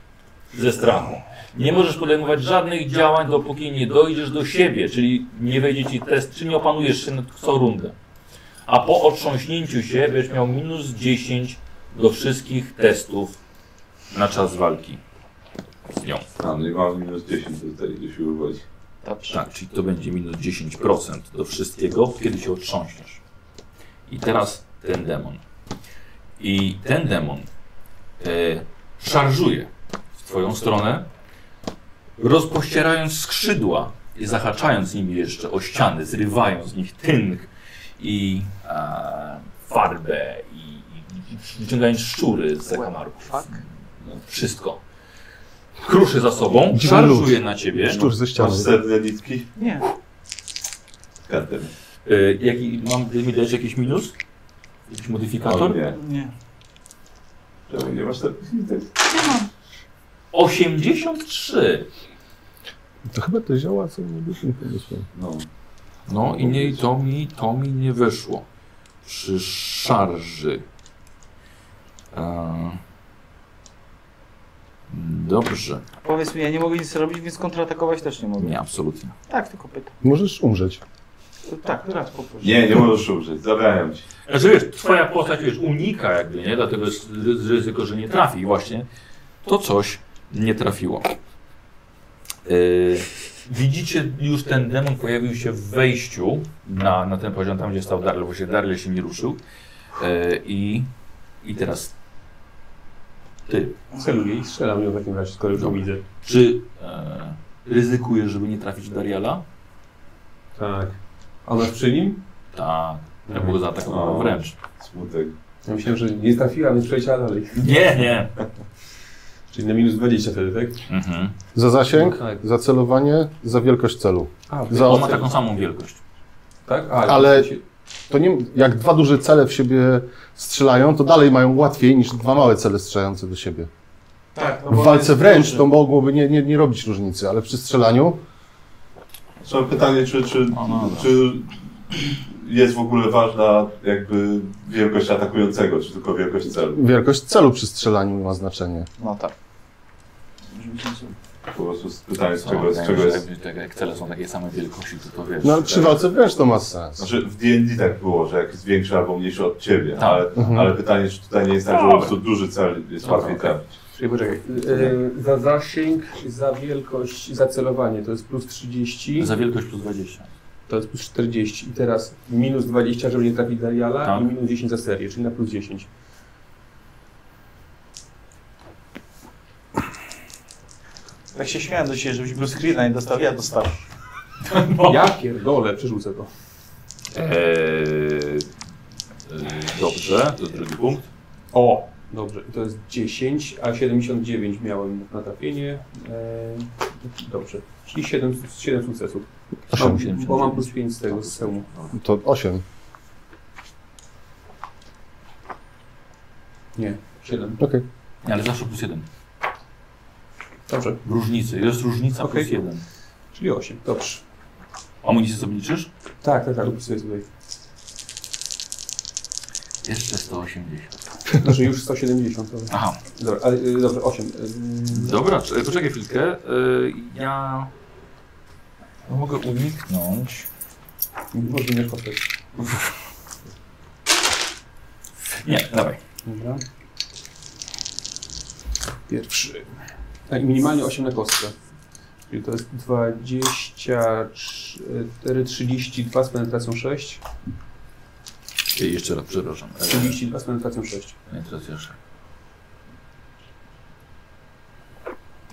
A: ze strachu. Nie możesz podejmować żadnych działań, dopóki nie dojdziesz do siebie, czyli nie wejdzie ci test, czy nie opanujesz się nad- co rundę. A po otrząśnięciu się będziesz miał minus 10 do wszystkich testów na czas walki z nią.
B: A, no i mam minus 10 do tej, do siły woli.
A: Tak, czyli to będzie minus 10% do wszystkiego, kiedy się otrząśniesz. I teraz ten demon. I ten demon e, szarżuje w twoją stronę, rozpościerając skrzydła i zahaczając nimi jeszcze o ściany, zrywając z nich tynk i e, farbę i, i, i wyciągając szczury z zakamarków. No, wszystko. Kruszy za sobą,
F: Dziwny
A: szarżuje na ciebie.
F: Szczur ze ścianą.
B: Masz srebrne nitki?
D: Nie.
B: Kartę.
A: Y, Jaki, mam mi dać jakiś minus? Jakiś
B: O
A: modyfikator?
B: nie.
D: Nie.
B: Czemu nie masz srebrnych nitek?
A: 83.
F: To chyba te zioła są niebiekim pomysłem.
B: No.
A: No i nie, to, mi, to mi nie weszło. Przy szarży. E, Dobrze.
D: Powiedz mi, ja nie mogę nic robić, więc kontratakować też nie mogę.
A: Nie, absolutnie.
D: Tak, tylko pytam.
F: Możesz umrzeć.
D: To Tak, raz poproszę.
B: Nie, nie możesz umrzeć, zabrałem ci.
A: Znaczy wiesz, twoja postać wiesz, unika jakby, nie? Dlatego jest ry- ryzyko, że nie trafi właśnie. To coś nie trafiło. Yy, widzicie, już ten demon pojawił się w wejściu na, na ten poziom, tam gdzie stał Darle, bo się Darle się nie ruszył. Yy, i, I teraz ty,
G: Celuję i strzelam ją w takim razie, skoro już ją
A: Dobra.
G: widzę.
A: czy e, ryzykujesz, żeby nie trafić Dariala?
G: Tak. A ona jest przy nim?
A: Tak, ja go zaatakował
B: O.
A: wręcz.
B: Smutek.
G: Ja myślałem, że nie trafiła, więc przeleciała dalej.
A: Nie, nie.
G: Czyli na minus 20 wtedy, tak?
A: Mhm.
F: Za zasięg,
G: Tak.
F: za celowanie, za wielkość celu.
G: A,
F: Za
A: On ma taką samą wielkość.
G: tak? A,
F: Ale-
G: Się...
F: To nie, jak dwa duże cele w siebie strzelają, to dalej mają łatwiej niż dwa małe cele strzelające do siebie.
D: Tak, no bo
F: W
D: on
F: walce
D: jest
F: wręcz
D: duży.
F: to mogłoby nie, nie, nie robić różnicy, ale przy strzelaniu
B: Czy mam pytanie, czy, czy,
A: No, no, no.
B: czy jest w ogóle ważna jakby wielkość atakującego, czy tylko wielkość celu?
F: wielkość celu przy strzelaniu ma znaczenie.
D: No tak.
B: Po prostu z- pytanie, z
A: Co,
B: czego, z
A: wydaje
B: czego
A: mi się,
B: jest.
A: że jak- Jak cele są takiej samej wielkości, to to wiesz.
F: No ale przy walce wręcz to ma sens.
B: Znaczy w D&D tak było, że jak jest większy albo mniejszy od ciebie,
A: Tak.
B: ale,
F: Mhm.
B: ale pytanie, czy tutaj nie jest tak, że po prostu duży cel jest
A: Dobra,
B: łatwiej
A: okej.
B: trafić.
G: Czyli poczekaj. Yy, za zasięg, za wielkość, za celowanie to jest plus 30,
A: Za wielkość plus 20.
G: to jest plus 40. I teraz minus 20, żeby nie trafić Dariala
A: Tak.
G: i minus 10 za serię, czyli na plus 10.
D: Tak się śmiałem do ciebie, żebyś był screena nie dostał, ja dostałem.
G: Ja pierdolę, przerzucę to.
A: Eee, dobrze, to drugi punkt.
G: O! Dobrze, i to jest 10, a 79 miałem na trafienie. Eee, dobrze, czyli 7, 7 sukcesów. Mam, bo mam plus 5 z tego, z hełmu.
F: To 8.
G: Nie, 7.
F: Okej.
A: Ale zawsze plus jeden.
G: Dobrze,
A: Różnicy, jest różnica
G: Okej.
A: plus jeden.
G: czyli 8. Dobrze.
A: Amunicję sobie liczysz?
G: Tak, tak, tak, opisuję tutaj.
A: Jeszcze 180.
G: Znaczy już 170. to-
A: Aha,
G: Dobra, Y, ale y, dobrze, 8.
A: dobra, czy- poczekaj chwilkę. Eee, ja... ja No mogę uniknąć.
G: Może nie kostek.
A: Nie, dawaj.
G: Dobra. Pierwszy. Tak, minimalnie 8 na kostkę. Czyli to jest 24, 32 z penetracją 6.
A: Ej, E, jeszcze raz, przepraszam. Eee,
G: 32 z penetracją 6.
A: nie, teraz jeszcze.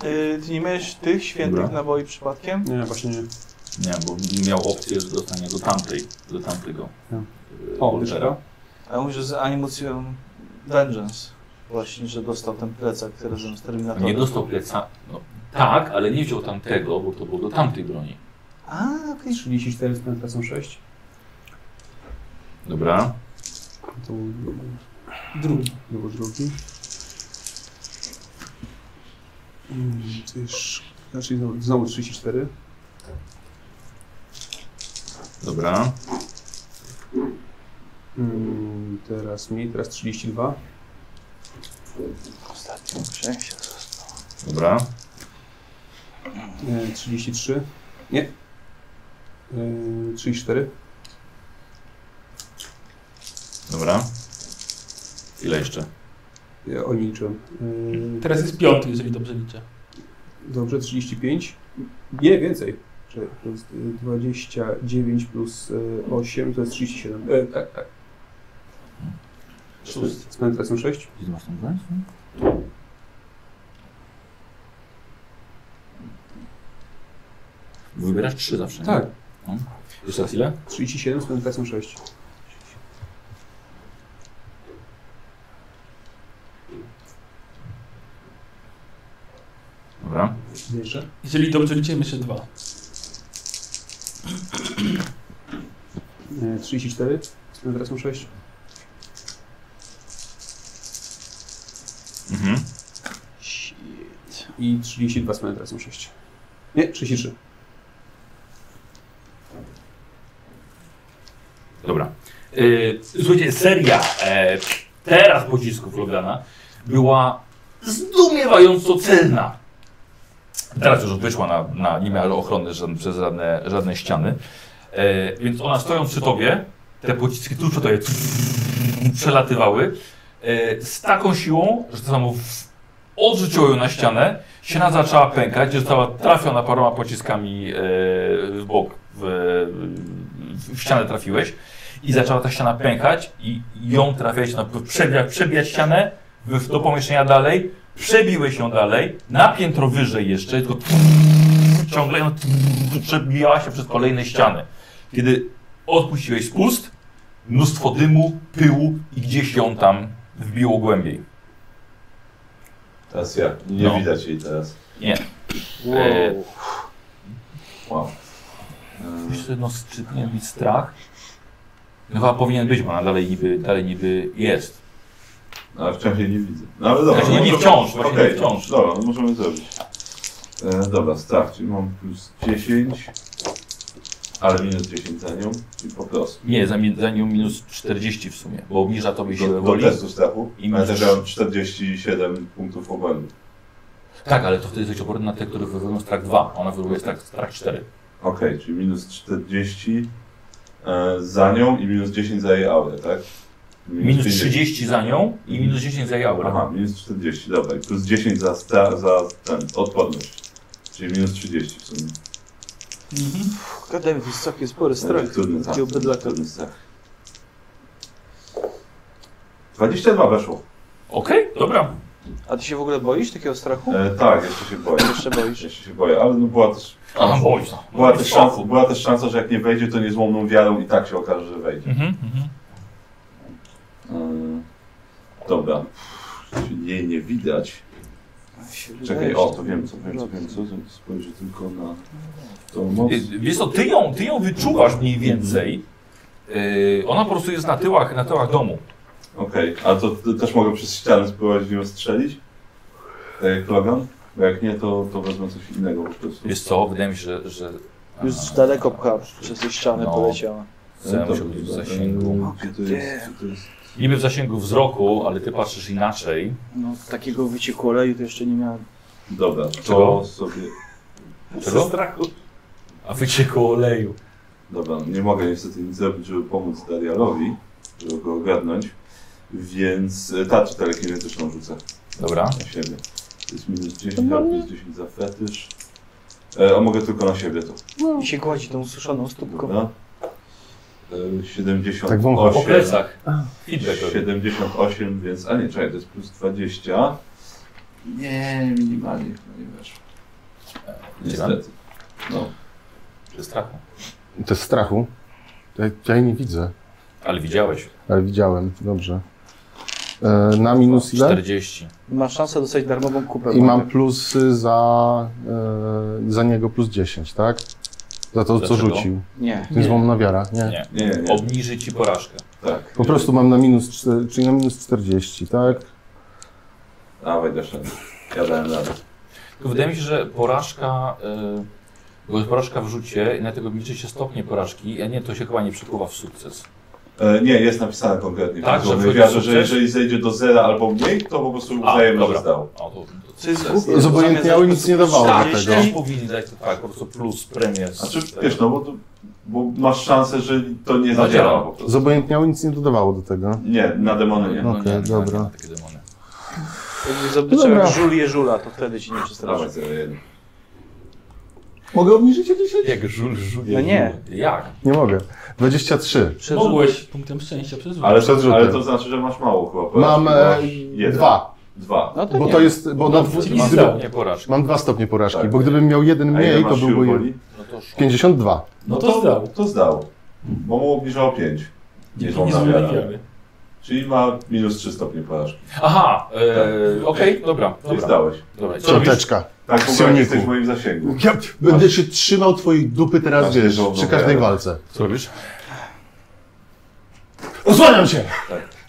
D: Yy, ty nie miałeś tych świętych
A: Dobra.
D: naboi przypadkiem?
G: Nie, właśnie nie.
A: Nie, bo miał opcję, że dostanie do tamtej, do tamtego.
G: Ja.
A: eee,
G: O,
A: Woltera.
G: wyszła.
D: A mówisz, że z animacją Vengeance. Właśnie, że dostał ten plecak razem z Terminatorem.
A: Nie dostał pleca. No, tak, ale nie wziął tamtego, bo to było do tamtej broni.
D: A, okej.
G: 34 z penetracją 6.
A: Dobra.
G: To był drugi. To był drugi. Mm, to jest- Znaczy znowu- znowu 34.
A: Dobra.
G: Mm, teraz mniej, teraz 32.
D: Ostatnio muszę się
A: Dobra.
G: E, 33. Nie. E, 34.
A: Dobra. Ile jeszcze?
G: Ja o nie liczyłem. E,
E: Teraz jest piąty, jeżeli dobrze liczę.
G: dobrze, 35. Nie, więcej. Czekaj, To jest e, 29 plus e, 8 to jest 37. E, tak, tak.
A: Szósty.
G: Z penetracją 6.
A: Gdzie masz tą broń? Wybierasz trzy zawsze. nie? No.
G: Tak.
A: Jeszcze raz ile?
G: 37 z penetracją 6.
A: Dobra.
G: Jeszcze?
E: Jeżeli dobrze liczymy, jeszcze dwa.
G: E, 34 z penetracją 6.
A: Mhm.
G: I 32 z penetracją 6. Nie, 33.
A: Dobra. Yy, słuchajcie, seria e, teraz pocisków Logana była zdumiewająco celna. Teraz już wyszła na, na nie miała ochrony żadne, przez żadne, żadne ściany. E, więc ona stojąc przy tobie, te pociski tuż przy tobie przelatywały e, z taką siłą, że to samo w- odrzuciło ją na ścianę, ściana zaczęła pękać, gdzie została trafiona paroma pociskami e, w bok, w, w, w ścianę trafiłeś i zaczęła ta ściana pękać i ją trafiałeś na przebijać, przebijać ścianę w, do pomieszczenia dalej, przebiłeś ją dalej, na piętro wyżej jeszcze, tylko ciągle ją przebijała się przez kolejne ściany. Kiedy odpuściłeś spust, mnóstwo dymu, pyłu i gdzieś ją tam wbiło głębiej.
B: Teraz ja. Nie
A: No.
B: widać jej teraz.
A: Wow. E,
B: Wow.
A: jeszcze no, czy powinien być strach? No chyba powinien być, bo ona dalej niby, dalej niby jest.
B: No, Ale wciąż jej nie widzę. No ale dobra.
A: Znaczy, nie
B: możemy-
A: wciąż, właśnie nie
B: Okej,
A: wciąż.
B: Dobra, no możemy zrobić. E, dobra, start, czyli mam plus 10, ale minus 10 za nią i po prostu.
A: Nie, za, mi- za nią minus 40 w sumie, bo obniża tobie siłę
B: Do, do
A: woli.
B: testu strachu.
A: I
B: I
A: masz-
B: masz... też miałem 47 punktów obłędu.
A: Tak, ale to wtedy jesteś oporny na te, które wywołują strach 2. Ona wywołuje strach, strach 4.
B: Okej, czyli minus 40 e, za nią i minus 10 za jej aurę, tak?
A: Minus
B: 50.
A: 30 za nią i minus 10 za jej aurę.
B: Aha, minus 40, dobra. I plus 10 za, sta, za ten, odporność. Czyli minus 30 w sumie.
D: Gadaj, to jest całkiem spory strach.
B: Będzie Trudny, tak.
D: Gdzie obydlaka.
B: Trudny strach. 22 weszło.
A: Okej, dobra.
D: A ty się w ogóle boisz takiego strachu?
B: E, tak, jeszcze się boję.
D: Jeszcze boisz.
B: Jeszcze się boję, ale no była też,
A: A, boisz. no.
B: była,
A: Boisz
B: też
A: szoku.
B: szansa, była też szansa, że jak nie wejdzie, to niezłomną wiarą i tak się okaże, że wejdzie.
A: Mhm, mhm.
B: Mm, dobra. Jej nie widać.
D: Się
B: Czekaj,
D: wydaje,
B: o,
D: że-
B: to wiem co, wiem co, wiem co. Spojrzę tylko na tą moc.
A: Y, Wiesz co, ty ją, ty ją wyczuwasz mniej więcej. Y, ona po prostu jest na tyłach, na tyłach domu.
B: Okej, a to, to też mogę przez ścianę spróbować w nią strzelić? Tak jak Logan? Bo jak nie, to, to wezmę coś innego po prostu.
A: Wiesz co, wydaje mi się, że... że
D: Już daleko pcha przez te ściany
A: No.
D: poleciała.
A: Chcę
B: E, Dobra,
A: się być w
B: dobra. E,
A: zasięgu.
B: Gdzie to jest? Gdzie to jest?
A: Niby w zasięgu wzroku, ale ty patrzysz inaczej.
D: No, takiego wycieku oleju to jeszcze nie miałem.
B: Dobra,
A: Czego?
B: to sobie...
A: Czego? A wyciekło oleju.
B: Dobra, nie mogę niestety nic zrobić, żeby pomóc Darialowi, żeby go ogarnąć. Więc e, tarczę telekinetyczną rzucę
A: Dobra.
B: na siebie. To jest minus 10, ale plus 10 za fetysz. E, a mogę tylko na siebie to.
D: I się gładzi tą suszoną stópką.
B: Dobra. E, 78.
F: Tak wąchasz.
A: Po plecach. Feedback robię.
B: 78, więc. A nie, czekaj, to jest plus 20. Nie, minimalnie chyba nie weszło. Niestety. No.
A: Ze strachu.
F: To jest strachu. Ja, ja jej nie widzę,
A: Ale widziałeś.
F: ale widziałem. Dobrze. E, na minus ile?
A: 40.
D: Masz szansę dostać darmową kupę.
F: I mam plus y, za, e, za niego plus 10, tak? Za to, co
A: Dlaczego?
F: rzucił.
D: Nie.
F: To jest złomna wiara, nie?
A: Nie.
B: Nie, nie, nie.
A: Obniży ci porażkę.
B: Tak.
F: Po prostu mam na minus, czter- czyli na minus 40, tak?
B: Dawaj, doszedłem. Ja dałem radę.
A: Tylko wydaje mi się, że porażka, y, bo jest porażka w rzucie i na tego liczy się stopnie porażki, a nie, to się chyba nie przekuwa w sukces.
B: E, nie, jest napisane konkretnie.
A: Tak,
B: Tak, że
A: że
B: wywiadu,
A: wchodzi
B: że jeżeli zejdzie do zera albo mniej, to po prostu uznajemy, że
A: dobra.
B: zdał.
A: O, to,
D: Co jest
A: to,
D: głupie,
F: Zobojętniały nic nie dawało
A: tak,
F: do tego.
A: jeśli powinni dać to tak, po prostu plus, premię. z-
B: Znaczy, wiesz, no bo, to, bo masz szansę, że to nie
A: Zadziała.
B: zadziała po prostu.
F: Zobojętniały nic nie dodawało do tego.
B: Nie, na demony
A: Nie,
B: nie.
A: no
F: Okej,
A: nie, nie,
F: dobra.
A: nie ma takie demony.
D: Jakbyś zobaczył
F: Dobra.
D: jak żul je żula, to wtedy ci nie przestraszy.
B: Dawaj, zero, jeden.
F: Mogę obniżyć o 10?
A: Jak żul, żul.
D: No nie.
A: Jak?
F: Nie mogę. 23.
E: Mogłeś punktem szczęścia przez rzut.
B: ale,
F: Przed
B: to,
F: rzutem.
B: ale to znaczy, że masz mało chłopa.
F: Mam e,
B: jeden.
F: dwa,
B: Dwa.
D: No to
F: bo
D: nie.
F: to jest, bo na,
E: Czyli
F: mam,
E: zdał.
A: Nie porażki.
F: mam dwa stopnie porażki,
B: Tak.
F: bo gdybym miał jeden
B: A ile
F: mniej, to
B: masz sił
F: byłby
B: woli?
F: 52.
E: No to zdał.
B: To zdał. Bo mu obniżało 5.
E: Dzięki
B: żona
E: niezłej
B: wiara.
E: wiary.
B: Czyli ma minus 3 stopnie porażki.
A: Aha, e, okej, dobra,
B: Czyli
A: dobra.
B: zdałeś.
A: dobra. Co robisz?
F: Cioteczka.
B: Tak w ogóle
F: Psioniku.
B: nie jesteś w moim zasięgu.
F: Ja będę się trzymał twojej dupy teraz,
B: Każdy
F: wiesz,
B: żołnierz.
F: przy każdej walce.
A: Co robisz?
F: Osłaniam cię!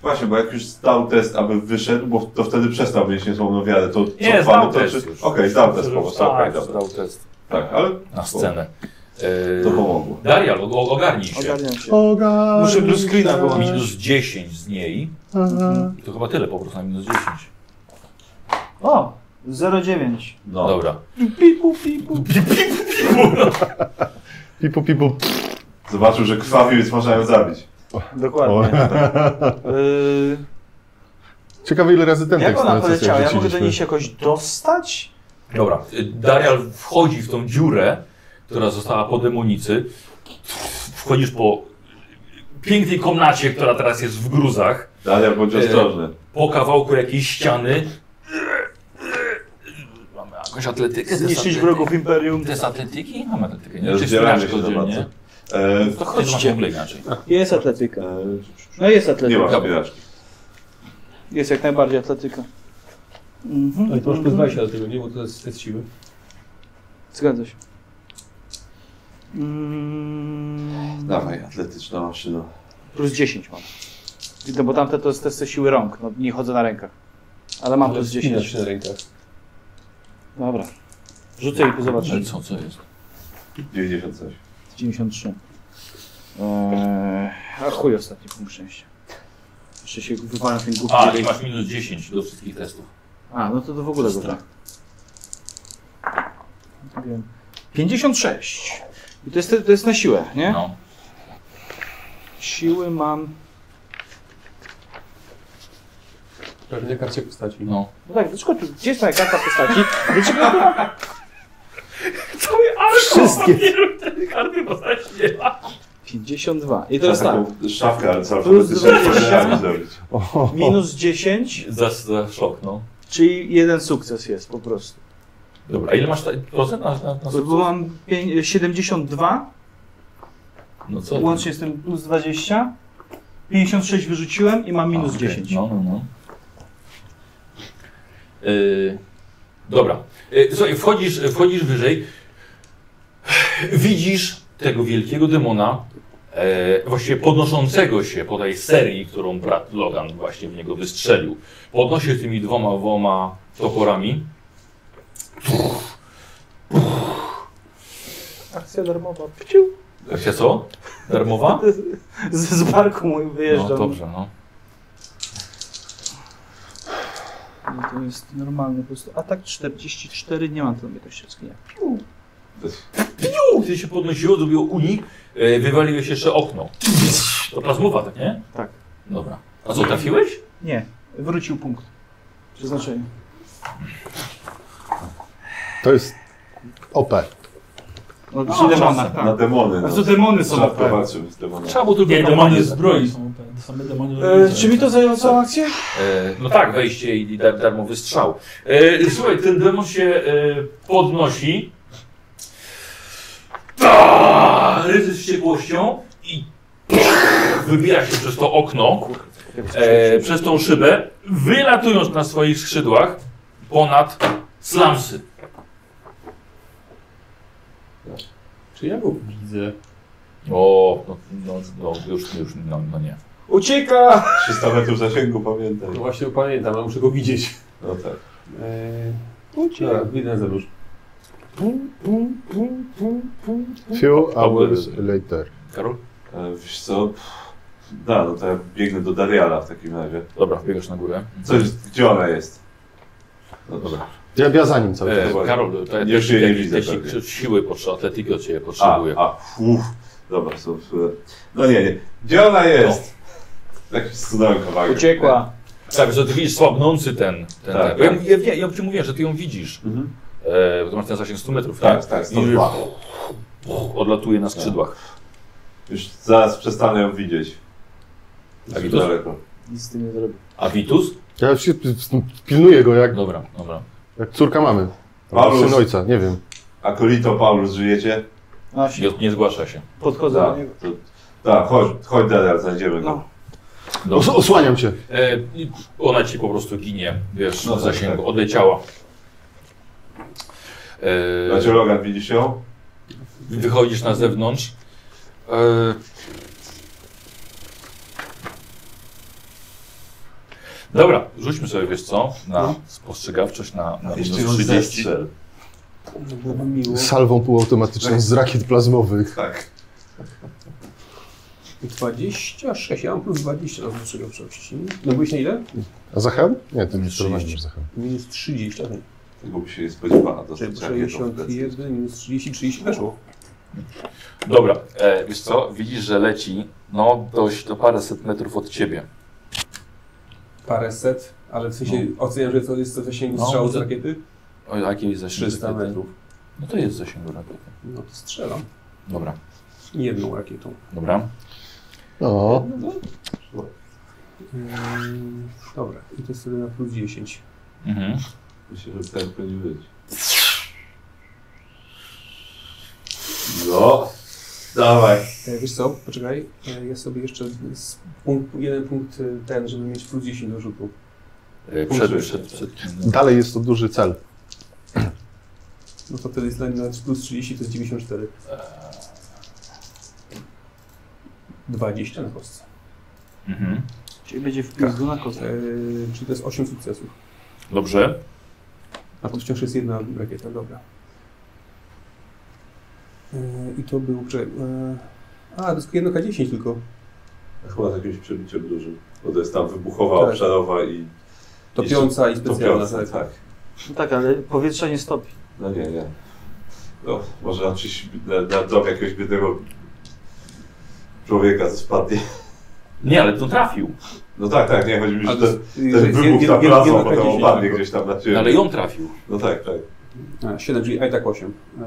B: Właśnie, bo jak już zdał test, aby wyszedł, bo to wtedy przestał mieć niesłowną wiarę, to
A: Nie,
B: zdał
A: zdał test już.
B: Okej, zdał test po prostu, okej,
A: Tak,
B: dobra.
A: zdał test
B: Tak, ale
A: na scenę.
B: to
A: E,
B: pomogło.
A: Darial, o- o- ogarnij się.
D: Ogarniam się.
F: Ogarnij
D: Muszę blue screena
F: się.
D: wyłączyć.
A: Minus 10 z niej.
F: Aha.
A: To chyba tyle po prostu na minus 10.
D: O, 0,9.
B: No.
A: Dobra.
D: Pipu, pipu.
F: Pipu, pipu.
B: Zobaczył, że krwawił, więc można ją zabić.
D: Dokładnie. Y,
F: Ciekawe ile razy ten
D: jak
F: tekst
D: ona
F: na sesję
D: poleciała? Ja mogę do
F: wrzuciliśmy.
D: niej się jakoś dostać?
A: Dobra. E, Darial wchodzi w tą dziurę, która została po demonicy. Wchodzisz po pięknej komnacie, która teraz jest w gruzach.
B: Dalej, bądź
A: E,
B: ostrożny.
A: Po kawałku jakiejś ściany. Mamy jakąś atletykę.
D: Zniszczyć
A: atletyki-
D: wrogów Imperium?
A: Test atletyki? Mamy atletykę.
B: Nie
A: Nie, czy
B: rozdzielamy
A: wspinaczkę
B: się za
A: oddzielnie.
B: E,
A: To chodźcie. Tak, To inaczej.
D: Jest atletyka.
B: e,
D: No jest
B: nie ma
D: atletyka.
B: zbieraczki.
D: Jest jak najbardziej atletyka. Mhm.
G: Ale to masz plus
D: mhm.
G: 20 do tego, nie? Bo to jest test siły.
D: Zgadza się. Mm,
B: Dawaj, atletyczna maszyna.
D: Plus 10 mam. No bo tamte to jest testy siły rąk, no nie chodzę na rękach. Ale mam
G: Ale
D: plus
G: wspinasz
D: 10.
G: się na rękach.
D: Dobra. Rzucę i tu zobaczę.
A: Ale co, co jest?
B: 90 coś.
D: 93. Eee, a chuj ostatni punkt szczęścia. Jeszcze się wypalam ten głupi.
A: A, i masz minus 10 do wszystkich testów.
D: a, no to to w ogóle dobra. Wiem. 56. I to jest, to jest na siłę, nie?
A: No.
D: Siły mam
G: Prawie na karcie postaci.
A: no.
D: No tak, dlaczego tu, gdzie jest moja karta postaci? Dlaczego ja tu mam
F: Wszystkie.
A: Karty postaci nie ma.
D: 52. I teraz tak,
B: Szafkę alfabetyczną
D: Plus dwadzieścia.
B: zrobić.
A: tak.
D: minus 10,
A: Za, za szok, no.
D: czyli jeden sukces jest po prostu.
A: Dobra, a ile masz ta- procent na, na, na
D: No, Bo mam pię- 72,
A: No co? ty?
D: łącznie z tym plus 20, 56 wyrzuciłem i mam minus
A: A, okej.
D: 10.
A: No, no, no. Yy, dobra. Yy, słuchaj, wchodzisz, wchodzisz wyżej. Widzisz tego wielkiego demona, e, właściwie podnoszącego się po tej serii, którą brat Logan właśnie w niego wystrzelił. Podnosi się tymi dwoma, dwoma toporami.
D: Akcja darmowa, pciu.
A: Jak się co? Darmowa?
D: Z, z barku mój wyjeżdżam.
A: No dobrze, no.
D: No to jest normalny po prostu. Atak 44, nie mam tam jakoś rozknienia.
A: Piu! Ty się podnosiło, zrobiło unik, e, wywaliłeś jeszcze okno. To plazmowa, tak nie?
D: Tak.
A: Dobra. A co, trafiłeś?
D: Nie, wrócił punkt. Przeznaczenie.
F: To jest OP.
D: No, przy demonach,
B: Na
D: tak.
B: demony.
D: A
B: No.
D: to demony są
B: Szafka
D: tak.
B: walczymy z demonami.
A: Trzeba było tylko
E: Nie,
A: demonie
E: demony zbroi
A: zbroić.
E: są OP. To same demony
D: E,
E: robią
D: czy mi to zajęło całą akcję?
A: E, no tak, wejście i dar, darmowy strzał. E, słuchaj, ten demon się e, podnosi. Ta! Ryzy z ciepłością i wybiera się przez to okno, e, przez tą szybę, wylatując na swoich skrzydłach ponad slamsy.
G: Czy ja go widzę?
A: O, no, no, no już, już, no, no nie.
D: Ucieka!
B: 300 metrów zasięgu, pamiętaj.
G: No właśnie pamiętam, ale muszę go widzieć.
B: No tak.
G: Eee, Dobra, widzę za dużo.
F: Few hours later.
A: Karol?
B: E, Wiesz co? Pff, Da, no to ja biegnę do Dariala w takim razie.
A: Dobra, biegasz na górę.
B: Co jest, gdzie ona jest? No dobra.
F: Ja, ja za nim cały czas.
A: E, Karol, to ja
B: Już jej nie widzę
A: te,
B: pewnie.
A: te siły potrzebuję, atletyki od ciebie
B: A,
A: potrzebuję.
B: a, uff. Dobra, są No nie, nie. Gdzie ona jest? Tak się zsunąłem kawałek.
D: No. Uciekła.
A: Tak, że ty widzisz słabnący ten. ten,
B: Tak,
A: ten. Bo ja,
B: tak.
A: ja, ja, ja ci mówiłem, że ty ją widzisz.
B: Mhm.
A: E, bo to masz ten zasięg 100 metrów, tak?
B: Tak, tak, stąd
A: I
B: dwa.
A: puch, odlatuje na skrzydłach.
B: Już zaraz przestanę ją widzieć.
A: A
B: Tak
A: Vitus?
B: daleko.
D: Nic z tym nie zrobię.
A: A Vitus?
F: Ja się p- p- pilnuję go jak,
A: Dobra, dobra.
F: jak córka mamy.
B: Paulus.
F: Albo syn ojca, nie wiem.
B: Akolito Paulus, żyjecie?
D: No,
A: Nie, nie zgłasza się.
D: podchodzę do
B: Tak,
D: niego.
B: to- tak, chodź, chodź Darial, znajdziemy go.
D: No.
A: Dobra.
F: Os osłaniam cię.
A: E, i ona ci po prostu ginie, wiesz, no
B: No tak,
A: zasięgu,
B: tak.
A: odleciała.
D: No.
B: Znaczy
A: E,
B: Logan, widzisz ją?
A: wychodzisz na zewnątrz. E, dobra, rzućmy sobie, wiesz co, na spostrzegawczość na, na minus
B: No. Jeszcze ją
A: 30.
B: zestrzel.
G: To byłoby miło.
F: Salwą półautomatyczną z rakiet plazmowych.
B: Tak.
G: 26, ja mam plus 20 do spostrzegawczości. No byłeś na ile?
F: A Zachem? Nie, to nie
A: 30.
F: przerwałem Zachem.
G: Minus 30, tak.
B: Tego by się nie spodziewała.
G: Czyli
B: Dostać rakietą w plecy.
G: 61, minus 30, 30 weszło.
A: Dobra, e, wiesz co, widzisz, że leci, no dość do paręset metrów od ciebie.
G: Parę set, ale w sensie oceniam, że to jest No. to zasięgu
A: No,
G: strzału z
A: to-
G: rakiety.
A: O, jaki jest zasięg
G: 300
A: rakiety?
G: metrów.
A: No to jest zasięg rakiety.
G: No to strzelam.
A: Dobra,
G: Jedną rakietą.
A: dobra.
F: No,
G: Ym, Mm, Dobra, i to jest sobie na plus 10.
A: Mhm.
B: Myślę, że tak powinien być. No, dawaj.
G: E, Wiesz co, poczekaj, e, ja sobie jeszcze z punkt, jeden punkt e, ten, żeby mieć plus 10 do rzutu.
A: E, Przed, przed, przed, przed,
F: dalej jest to duży cel.
G: No to wtedy jest na- na plus 30 to jest 94. 20 na kostce.
A: mhm.
D: Czyli będzie w pizdu na
G: E,
D: kostkę.
G: czyli to jest 8 sukcesów.
A: Dobrze.
G: A to wciąż jest jedna rakieta, dobra. E, I to był... Prze... E, a, to jest 1K10 tylko.
B: Chyba z jakimś przebiciem dużym. Bo to jest tam wybuchowa,
G: Tak.
B: obszarowa i
G: Topiąca i specjalna.
B: topiąca. Tak.
D: No tak, ale powietrza nie stopi.
B: No nie, nie. No, może raczej na, na dom jakiegoś biednego człowieka spadnie.
A: Nie, ale to trafił.
B: No tak, tak, nie, chodzi mi, że
G: Ale to
B: ten,
G: jest-
B: ten
G: jest
B: wybuch,
G: jed-
B: ta
G: jed-
B: plazma
G: jedna
B: potem
G: K10
B: opadnie
G: tylko.
B: gdzieś tam na
A: Ale
B: ciebie.
A: ją trafił.
B: No tak, tak.
G: A, 7, czyli a i tak 8. E,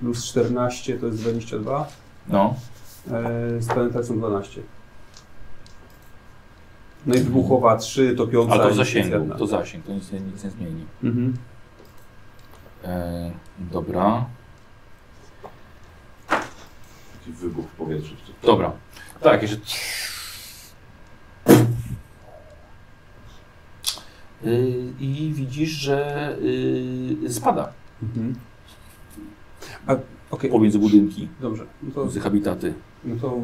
G: plus 14 to jest 22.
A: No.
G: E, z penetracją 12. No i wybuchowa 3, topiąca
A: A to w
G: i
A: zasięgu.
G: specjalna.
A: To zasięg, to nic, nie- nic nie zmieni.
G: Mhm.
A: E, dobra.
B: Taki wybuch w powietrzu.
A: Dobra. Tak, jeszcze. Y, I widzisz, że y, spada
G: Mhm. A, okej,
A: pomiędzy budynki,
G: dobrze. No to,
A: pomiędzy habitaty.
G: no to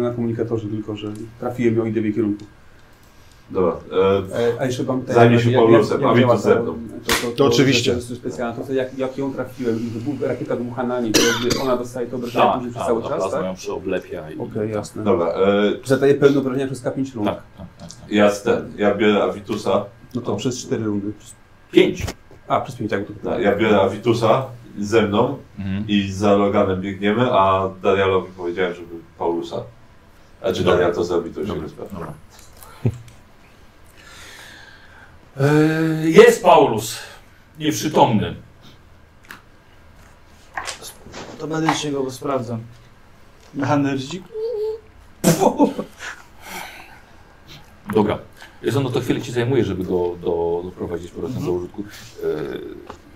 G: na komunikatorze tylko, że trafiłem ją i idę w jej kierunku.
B: Dobra, e,
G: E, a jeszcze mam...
B: Zajmie się Paulusem, a
G: działa
B: Vitus ze
G: to-
B: mną.
G: To, to, to,
F: oczywiście.
G: To jest specjalna, to, to jak, jak ją trafiłem i wybuch, rakieta dmucha na niej, to jakby ona dostaje to obrażenie później przez
A: ta,
G: cały
A: ta
G: czas,
A: plazma
G: tak?
A: ją przeoblepia. I...
G: Okej, jasne.
B: dobra. E,
G: Zadaje pełne obrażenia przez K5 rund.
A: Tak, tak, tak, tak.
B: ja, z ten, ja biorę Avitusa,
G: No to przez 4 rundy.
A: Pięć.
G: A, przez 5 tak.
B: na- ja biorę Avitusa ze mną
A: Mhm.
B: i za Loganem biegniemy, a Darialowi powiedziałem, żeby Paulusa. A czy
A: Dobra.
B: Darial to zrobi, to już
A: Dobra,
B: nie sprawdzę.
A: dobra. E, Jest Paulus. Nieprzytomny.
D: To medycznie go sprawdzam. Na nerdzik?
A: Dobra. Jest on, no to chwilę ci zajmuje, żeby go do, doprowadzić po prostu do użytku. E,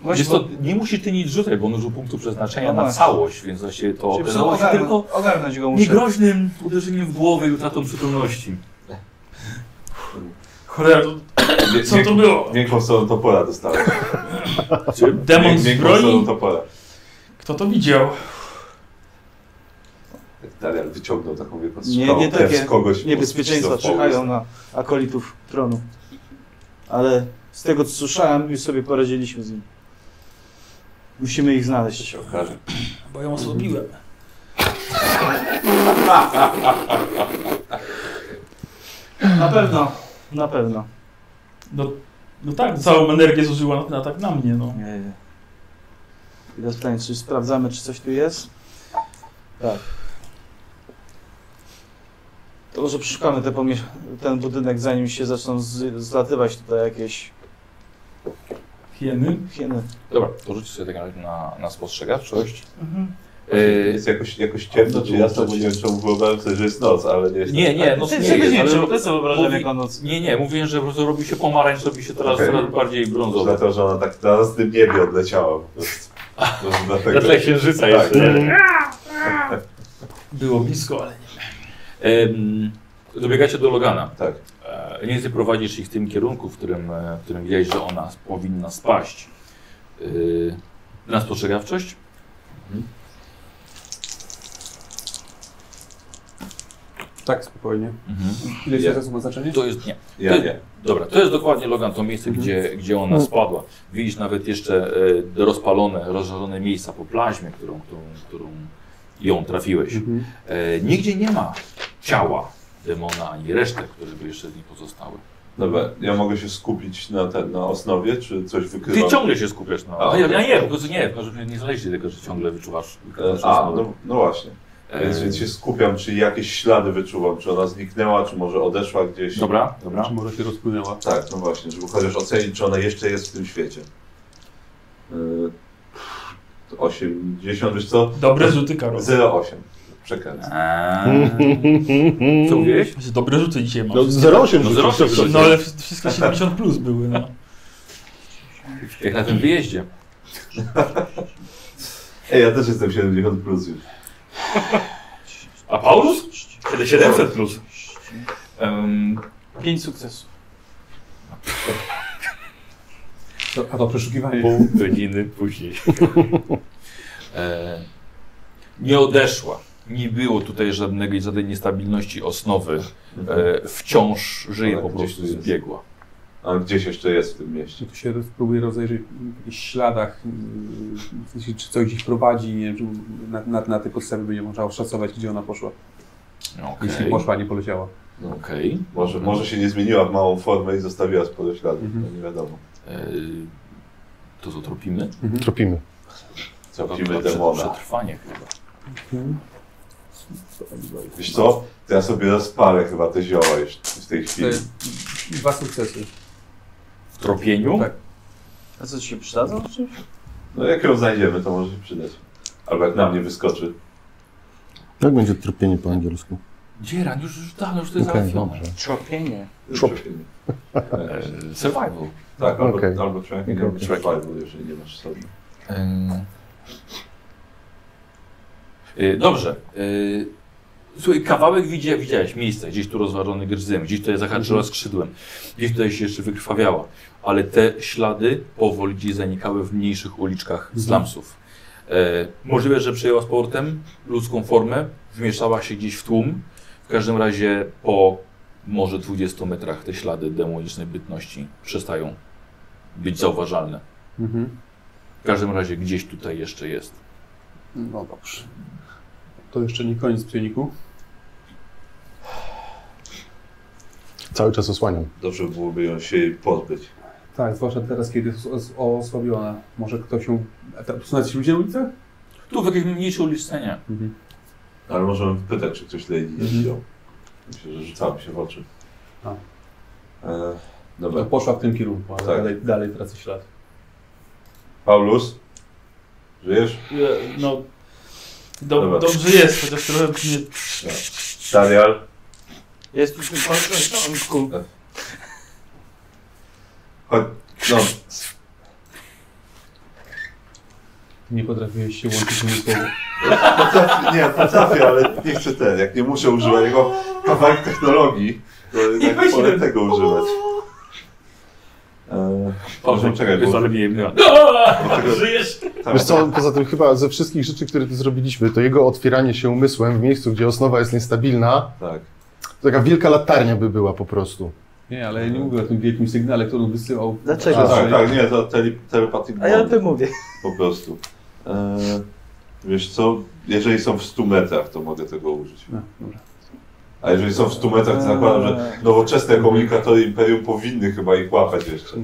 D: Właśnie,
A: jest to, nie musisz ty nic rzucać, bo on użył punktu przeznaczenia
D: No
A: na
D: właśnie.
A: całość, więc właściwie to
D: bo- no, żeby
A: okazało się
D: ogarnąć-
A: tylko
D: ogarnąć go muszę.
A: niegroźnym uderzeniem w głowę i utratą przytomności. Cholera,
B: Mie-
A: co to było?
B: Miękką stroną topora dostałem.
A: Czy demon z
B: Miękką stroną
A: broni?
B: topora.
A: Kto to widział?
B: Darial wyciągnął taką wielką
D: Nie,
B: strzałą.
D: nie
B: krew
D: takie
B: z kogoś
D: Niebezpieczeństwa
B: wcisnął w
D: czekają na akolitów tronu. Ale z tego co słyszałem, już sobie poradziliśmy z nim. Musimy ich
B: To
D: znaleźć.
B: się okaże.
E: Bo ją osłabiłem.
D: Na pewno, na pewno.
E: No, no tak, całą energię zużyła na ten atak na mnie, no.
D: Nie, nie. I teraz pytanie, czy sprawdzamy, czy coś tu jest? Tak. To może przeszukamy te pomie- ten budynek, zanim się zaczną z- zlatywać tutaj jakieś
E: Hieny.
D: hieny.
A: Dobra, to rzuć sobie tak razie na, na spostrzegawczość.
D: Mhm.
A: Yy,
B: Jest jakoś, jakoś ciemno czy jasno, bo nie wiem czemu wyobrażam sobie, że jest noc, ale nie tak- jest
A: nie, nie, no
D: Ty,
A: nie,
D: czegoś
A: jest,
D: nie
A: ale-
D: wiem, czy to sobie wyobrażam
A: mówi-
D: jako noc.
A: nie, nie, mówiłem, że po prostu robi się pomarańcz, robi się teraz
B: Okej.
A: coraz bardziej
B: Może
A: brązowy.
B: Dlatego, że ona tak na tym niebie odleciała po prostu. Może dlatego.
A: Dla księżyca
B: Tak.
E: Było blisko, ale nie.
A: Em, Dobiegacie do Logana.
B: Tak.
A: E, Nie ty prowadzisz ich w tym kierunku, w którym, e, w którym widziałeś, że ona s- powinna spaść. Yy, na spostrzegawczość?
G: Tak, spokojnie.
A: Mhm.
G: Ile się czasu ma znaczenie?
A: To jest nie.
B: Ja nie.
A: Dobra, to jest dokładnie Logan, to miejsce, gdzie, gdzie ona spadła. Widzisz nawet jeszcze e, rozpalone, rozżarzone miejsca po plaźmie, którą, którą, którą ją trafiłeś.
G: Mhm.
A: E, nigdzie nie ma ciała demona ani resztek, które by jeszcze z niej pozostały.
B: Dobra, ja mogę się skupić na, ten, na osnowie, czy coś wykrywam?
A: Ty ciągle się skupiasz na.
B: A.
A: A, ja, ja nie, po prostu nie, w każdym razie nie zależy tego, że ciągle wyczuwasz.
B: E,
A: wyczuwasz
B: A,
A: rozmowę.
B: no, no właśnie. Więc,
A: E,
B: więc się skupiam, czy jakieś ślady wyczuwam, czy ona zniknęła, czy może odeszła gdzieś.
A: Dobra, dobra.
G: Czy może się rozpłynęła?
B: Tak, no właśnie, żeby chociaż ocenić, czy ona jeszcze jest w tym świecie. Yy, 80, wiesz co?
E: Dobre rzuty, Karol.
B: 08. Przekręcę.
A: Eee, co mówiłeś?
E: Że Dobre rzuty dzisiaj masz.
F: No 0,8
A: No,
F: rzucił.
A: 08 rzucił.
E: No ale w- wszystkie 70 plus były, no.
A: Jak na tym wyjeździe.
B: Ej, ja też jestem 70 plus już.
A: A Paulus? 700 plus.
D: Pięć sukcesów.
G: To, a to przeszukiwanie.
A: pół godziny później. e, nie odeszła. Nie było tutaj żadnego, żadnej niestabilności osnowy. E, wciąż żyje
B: Ale
A: po
B: gdzieś tu
A: prostu
B: jest.
A: zbiegła.
B: A gdzieś jeszcze jest w tym mieście.
G: Czy tu się roz- próbuje rozejrzeć w jakichś śladach, yy, w sensie, czy coś ich prowadzi, nie wiem, czy na, na, na tej podstawie będzie można oszacować, gdzie ona poszła.
A: Okej.
G: Jeśli poszła, a nie poleciała.
A: Okej.
B: Może, może się nie zmieniła w małą formę i zostawiła sporo śladów,
G: Mhm.
B: no nie wiadomo.
A: E, to co tropimy?
F: Tropimy.
B: Trafimy
A: Prze-
B: demona.
A: Przetrwanie chyba.
B: Wiesz co? To ja sobie rozpalę chyba te zioła już w tej
G: To
B: chwili.
G: jest dwa sukcesy.
A: W tropieniu?
G: Tak.
D: A co ci się przydadzą? czy?
B: No jak ją znajdziemy, to może się przydać. Albo jak na mnie wyskoczy.
F: Jak będzie tropienie po angielsku?
A: Dzieran, już, już dawno, już to jest
F: Okej,
A: okay,
F: dobrze.
D: Czopienie.
F: Szop.
B: E,
A: E, survival.
B: Tak, albo,
F: Okej.
B: albo człowiek nie
F: Okej.
B: robi survival, jeżeli nie masz sobie.
A: E, e, dobrze. E, słuchaj, kawałek widzia, widziałeś miejsce, gdzieś tu rozważony gryzem, gdzieś tutaj zahaczyła skrzydłem, gdzieś tutaj się jeszcze wykrwawiała, ale te ślady powoli gdzieś zanikały w mniejszych uliczkach slumsów. E, możliwe, że przejęła sportem ludzką formę, wmieszała się gdzieś w tłum. W każdym razie po może 20 metrach te ślady demonicznej bytności przestają być zauważalne.
G: Mhm.
A: W każdym razie gdzieś tutaj jeszcze jest.
G: No dobrze. To jeszcze nie koniec psioniku.
F: Cały czas osłaniam.
B: Dobrze byłoby ją się pozbyć.
G: Tak, zwłaszcza teraz, kiedy jest os- osłabiona. Może ktoś ją... a ta- Są jacyś ludzie na ulicy?
A: Tu w jakiejś mniejszej ulicy nie.
G: Mhm.
B: No, Ale możemy pytać, czy ktoś lady
G: Mhm.
B: jeździł. Myślę, że rzucałem się w oczy.
G: A.
B: E,
G: To
B: dobra.
G: poszła w tym kierunku, ale
B: Tak.
G: dalej, dalej tracę ślad.
B: Paulus? Żyjesz?
E: E, No.
B: Dobra.
E: Do, dobrze jest, chociaż trochę mnie
B: Daniel?
D: Jest tu w tym porządku.
B: Chodź. No,
G: Nie potrafiłeś się łączyć z innymi słowy.
B: potrafię, nie, potrafię, ale nie chcę ten. Jak nie muszę używać jego kawałek technologii, to jednak wolę tego używać. E, Paulus, czekaj, bo,
A: mnie.
B: bo tego,
E: żyjesz.
B: tak,
F: Wiesz co, poza tym chyba ze wszystkich rzeczy, które tu zrobiliśmy, to jego otwieranie się umysłem w miejscu, gdzie osnowa jest niestabilna,
B: tak.
F: to taka wielka latarnia by była po prostu.
G: Nie, ale ja nie mówię o tym wielkim sygnale, który on wysyłał.
D: Dlaczego?
F: A,
B: Tak, tak, nie, to tele, telepathic
D: A ja o
B: bond.
D: tym mówię.
B: Po prostu. E, wiesz co, jeżeli są w 100 metrach, to mogę tego użyć.
G: No, dobra.
B: A jeżeli są w 100 metrach, to zakładam, że nowoczesne komunikatory Imperium powinny chyba ich łapać jeszcze.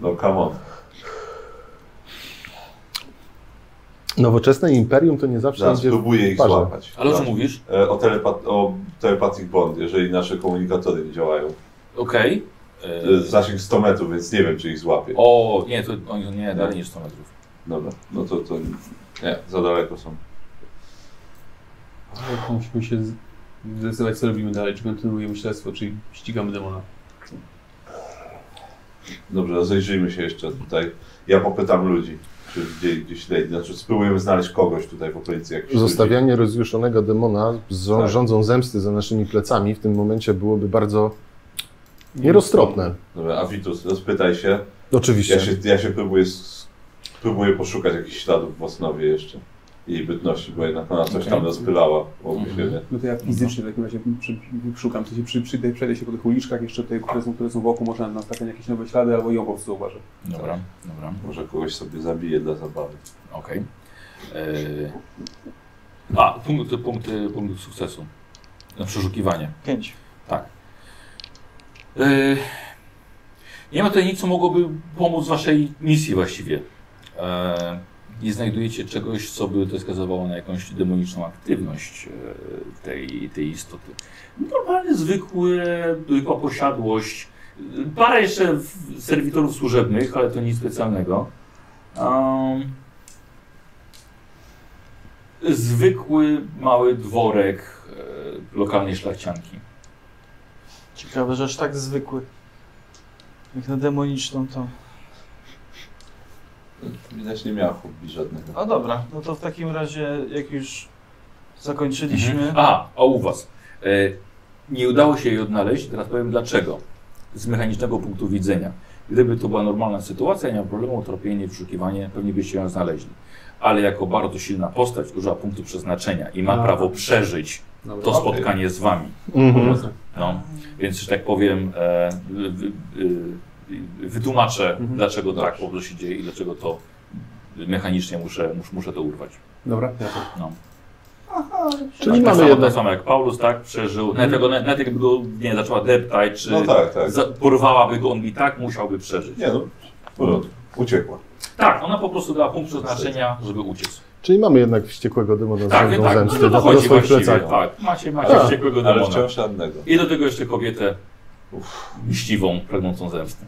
B: No come on.
F: Nowoczesne imperium to nie zawsze
B: Zaraz
F: idzie w
B: próbuję ich
F: parze.
B: złapać.
A: Ale o czym
B: Zaraz.
A: mówisz?
B: E, O, telepat o telepathic bond, jeżeli nasze komunikatory nie działają.
A: Okej.
B: E,
A: E,
B: Zasięg 100 metrów, więc nie wiem, czy ich złapię.
A: O, nie, to oni są nie, dalej niż 100 metrów.
B: Dobra, no to, to nie, za daleko są.
G: Musimy się z- zdecydować, co robimy dalej. Czy kontynuujemy śledztwo, czy ścigamy demona.
B: Dobrze, rozejrzyjmy się jeszcze tutaj. Ja popytam ludzi, czy widzieli gdzieś śledzi. Znaczy spróbujemy znaleźć kogoś tutaj w okolicy. jakichś ludzi.
F: Zostawianie rozjuszonego demona z
B: Tak.
F: rządzą zemsty za naszymi plecami w tym momencie byłoby bardzo nieroztropne.
B: Dobra, Avitus, rozpytaj się. Ja
F: Oczywiście.
B: się, ja się próbuję, s- próbuję poszukać jakichś śladów w Osnowie jeszcze. I bytności, bo jednak ona coś tam
A: Okej.
B: rozpylała wokół siebie.
G: No to ja fizycznie w takim razie przy, szukam, to się przy, przy, przejdę się po tych uliczkach jeszcze, tutaj, które, są, które są wokół, może nam trafią jakieś nowe ślady, albo ją po prostu zauważę.
A: Dobra, dobra,
B: Może kogoś sobie zabije dla zabawy.
A: okej. E, A, punkty, punkty, punkty sukcesu. Na przeszukiwanie.
D: Pięć.
A: E, Nie ma tutaj nic, co mogłoby pomóc waszej misji właściwie. E, Nie znajdujecie czegoś, co by to wskazywało na jakąś demoniczną aktywność e, tej, tej istoty. Normalnie zwykłe, zwykła posiadłość. E, Parę jeszcze w- serwitorów służebnych, ale to nic specjalnego. Um, Em, zwykły mały dworek e, lokalnej szlachcianki.
D: Ciekawe, że aż tak zwykły. Jak na demoniczną to...
B: Widać nie miała hobby żadnego.
D: No dobra, no to w takim razie jak już zakończyliśmy...
A: Mhm.
B: Mhm.
A: A, a u was. E, nie udało się jej odnaleźć, teraz powiem dlaczego. Z mechanicznego punktu widzenia. Gdyby to była normalna sytuacja, nie ma problemu, tropienie, wyszukiwanie, pewnie byście ją znaleźli. Ale jako bardzo silna postać użyła punktu przeznaczenia i ma
G: A.
A: prawo przeżyć
G: Tak. Dobra.
A: to spotkanie z wami.
F: Mhm.
A: No, więc, że tak powiem, e, wy, wy, y, wytłumaczę,
G: Mhm.
A: dlaczego tak po prostu się dzieje i dlaczego to mechanicznie muszę, mus- muszę to urwać.
G: Dobra.
A: No.
F: Czyli
A: tak
F: mamy
A: samo,
F: jedno.
A: tak samo jak Paulus, tak? Przeżył. Nawet, jak go, nawet jakby go nie zaczęła deptać, czy
B: No tak, tak.
A: za, porwałaby go, on i tak musiałby przeżyć.
B: Nie no, w porządku. Uciekła.
A: Tak, ona po prostu dała punkt przeznaczenia, żeby uciec.
F: Czyli mamy jednak wściekłego demona
A: Tak,
F: z rządzą
A: tak,
F: zemsty
A: no to
F: do, do
A: chodzi
F: swoich
A: właściwie.
F: plecach.
A: Tak, macie, macie
F: A,
A: wściekłego
B: Ale
A: demona.
B: wciąż żadnego.
A: I do tego jeszcze kobietę mściwą, pragnącą zemsty.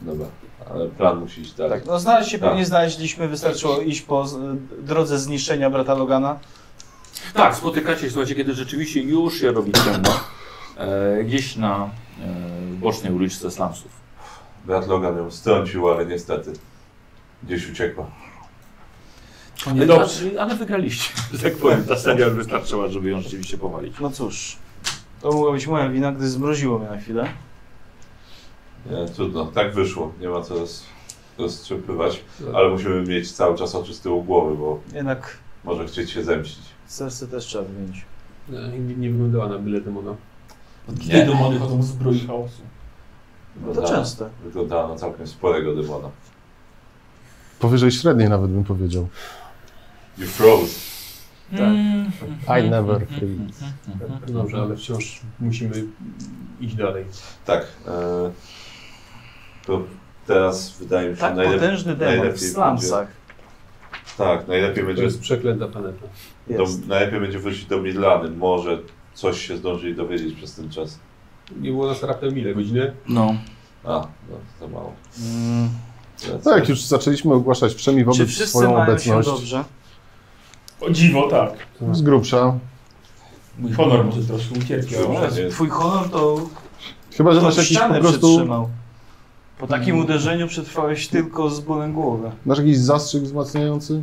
B: Dobra, ale plan musi iść dalej.
D: No znaleźć się
B: Tak.
D: pewnie znaleźliśmy, wystarczyło iść po z- drodze zniszczenia brata Logana.
A: Tak, spotykacie się, słuchajcie, kiedy rzeczywiście już się robi ciemno, e, gdzieś na e, bocznej uliczce slumsów.
B: Brat Logan ją strącił, ale niestety gdzieś uciekła.
A: Ale, ale, ale wygraliście, że tak powiem. Ta seria wystarczyła, żeby ją rzeczywiście powalić.
D: No cóż, to mogła być moja wina, gdy zmroziło mnie na chwilę.
B: Nie, trudno, tak wyszło. Nie ma co roz, roztrzepywać, ale musimy mieć cały czas oczy z tyłu głowy, bo
D: Jednak
B: może chcieć się zemścić.
D: serce też trzeba wymienić.
G: E, Nie, nie wyglądała na byle demona.
E: Dwie demony chodzą w zbroi chaosu.
D: No
B: Tak.
D: to częste.
B: Wyglądała na całkiem sporego demona.
F: Powyżej średniej nawet bym powiedział.
B: You froze.
D: Hmm.
F: I never freeze.
G: No dobrze, ale wciąż musimy iść dalej.
B: Tak. E, to teraz wydaje mi się
D: Tak
B: najlep-
D: potężny demon w
B: najlepiej
D: slumsach
B: będzie- Tak, najlepiej
G: To
B: będzie,
G: jest przeklęta planeta.
B: do,
D: jest.
B: najlepiej będzie wrócić do Midlany. Może coś się zdążyli dowiedzieć przez ten czas.
G: Nie było nas raptem ile? Godzinę?
A: No.
B: A, no, za mało.
D: Mm.
B: Lecę.
F: Tak, jak już zaczęliśmy ogłaszać przemi
D: Czy
F: wobec
D: wszyscy
F: swoją
D: mają się
F: obecność.
D: dobrze?
E: O dziwo, tak.
F: Z grubsza.
E: Mój honor może troszkę ucierpiał.
B: Dobrze, nie-
D: Twój honor to,
F: Chyba, że
D: to
F: masz jakiś
D: No, ścianę
F: po prostu... Mm.
D: przytrzymał. Po takim uderzeniu przetrwałeś tylko z bólem głowy.
F: Masz jakiś zastrzyk wzmacniający?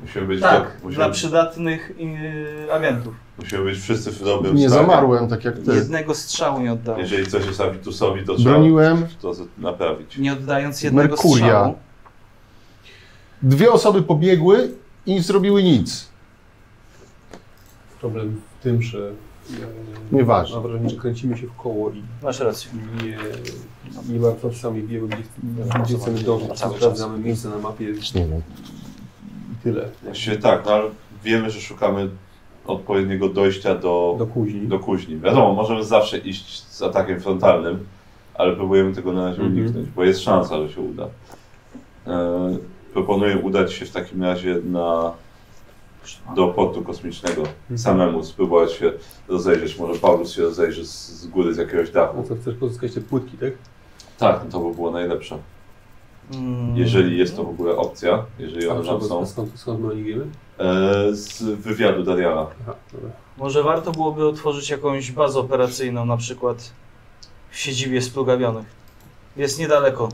B: Musimy być,
D: Tak,
B: do, musimy,
D: dla przydatnych yy, agentów.
B: musimy być wszyscy w dobrym
F: Nie
B: stanie.
F: zamarłem, tak jak ty.
D: Jednego strzału nie oddałeś.
B: Jeżeli coś jest Avitusowi, to trzeba
F: Broniłem
B: to z- naprawić.
D: Nie oddając jednego
F: Merkuria.
D: strzału.
F: Dwie osoby pobiegły i nie zrobiły nic.
G: Problem w tym, że... e,
F: Nieważne.
G: Mam wrażenie, że kręcimy się w koło i
D: Masz rację.
G: nie, nie bardzo sami wiemy, gdzie, gdzie chcemy dążyć. Sprawdzamy miejsce na mapie i
F: Nie wiem.
G: tyle.
B: Właściwie tak, no ale wiemy, że szukamy odpowiedniego dojścia do,
G: do kuźni.
B: do kuźni. Wiadomo, możemy zawsze iść z atakiem frontalnym, ale próbujemy tego na razie
G: Mhm.
B: uniknąć, bo jest szansa, że się uda. E, proponuję udać się w takim razie na, do portu kosmicznego samemu, spróbować się rozejrzeć. Może Paulus się rozejrzy z, z góry z jakiegoś
G: No
B: dachu.
G: co, chcesz pozyskać te płytki, tak?
B: Tak, to by było najlepsze.
D: Mm.
B: Jeżeli jest to w ogóle opcja, jeżeli one tam są.
G: A skąd, skąd my o nich wiemy?
B: E, z wywiadu Dariala.
G: Aha, dobra.
D: Może warto byłoby otworzyć jakąś bazę operacyjną, na przykład w siedzibie splugawionych. Jest niedaleko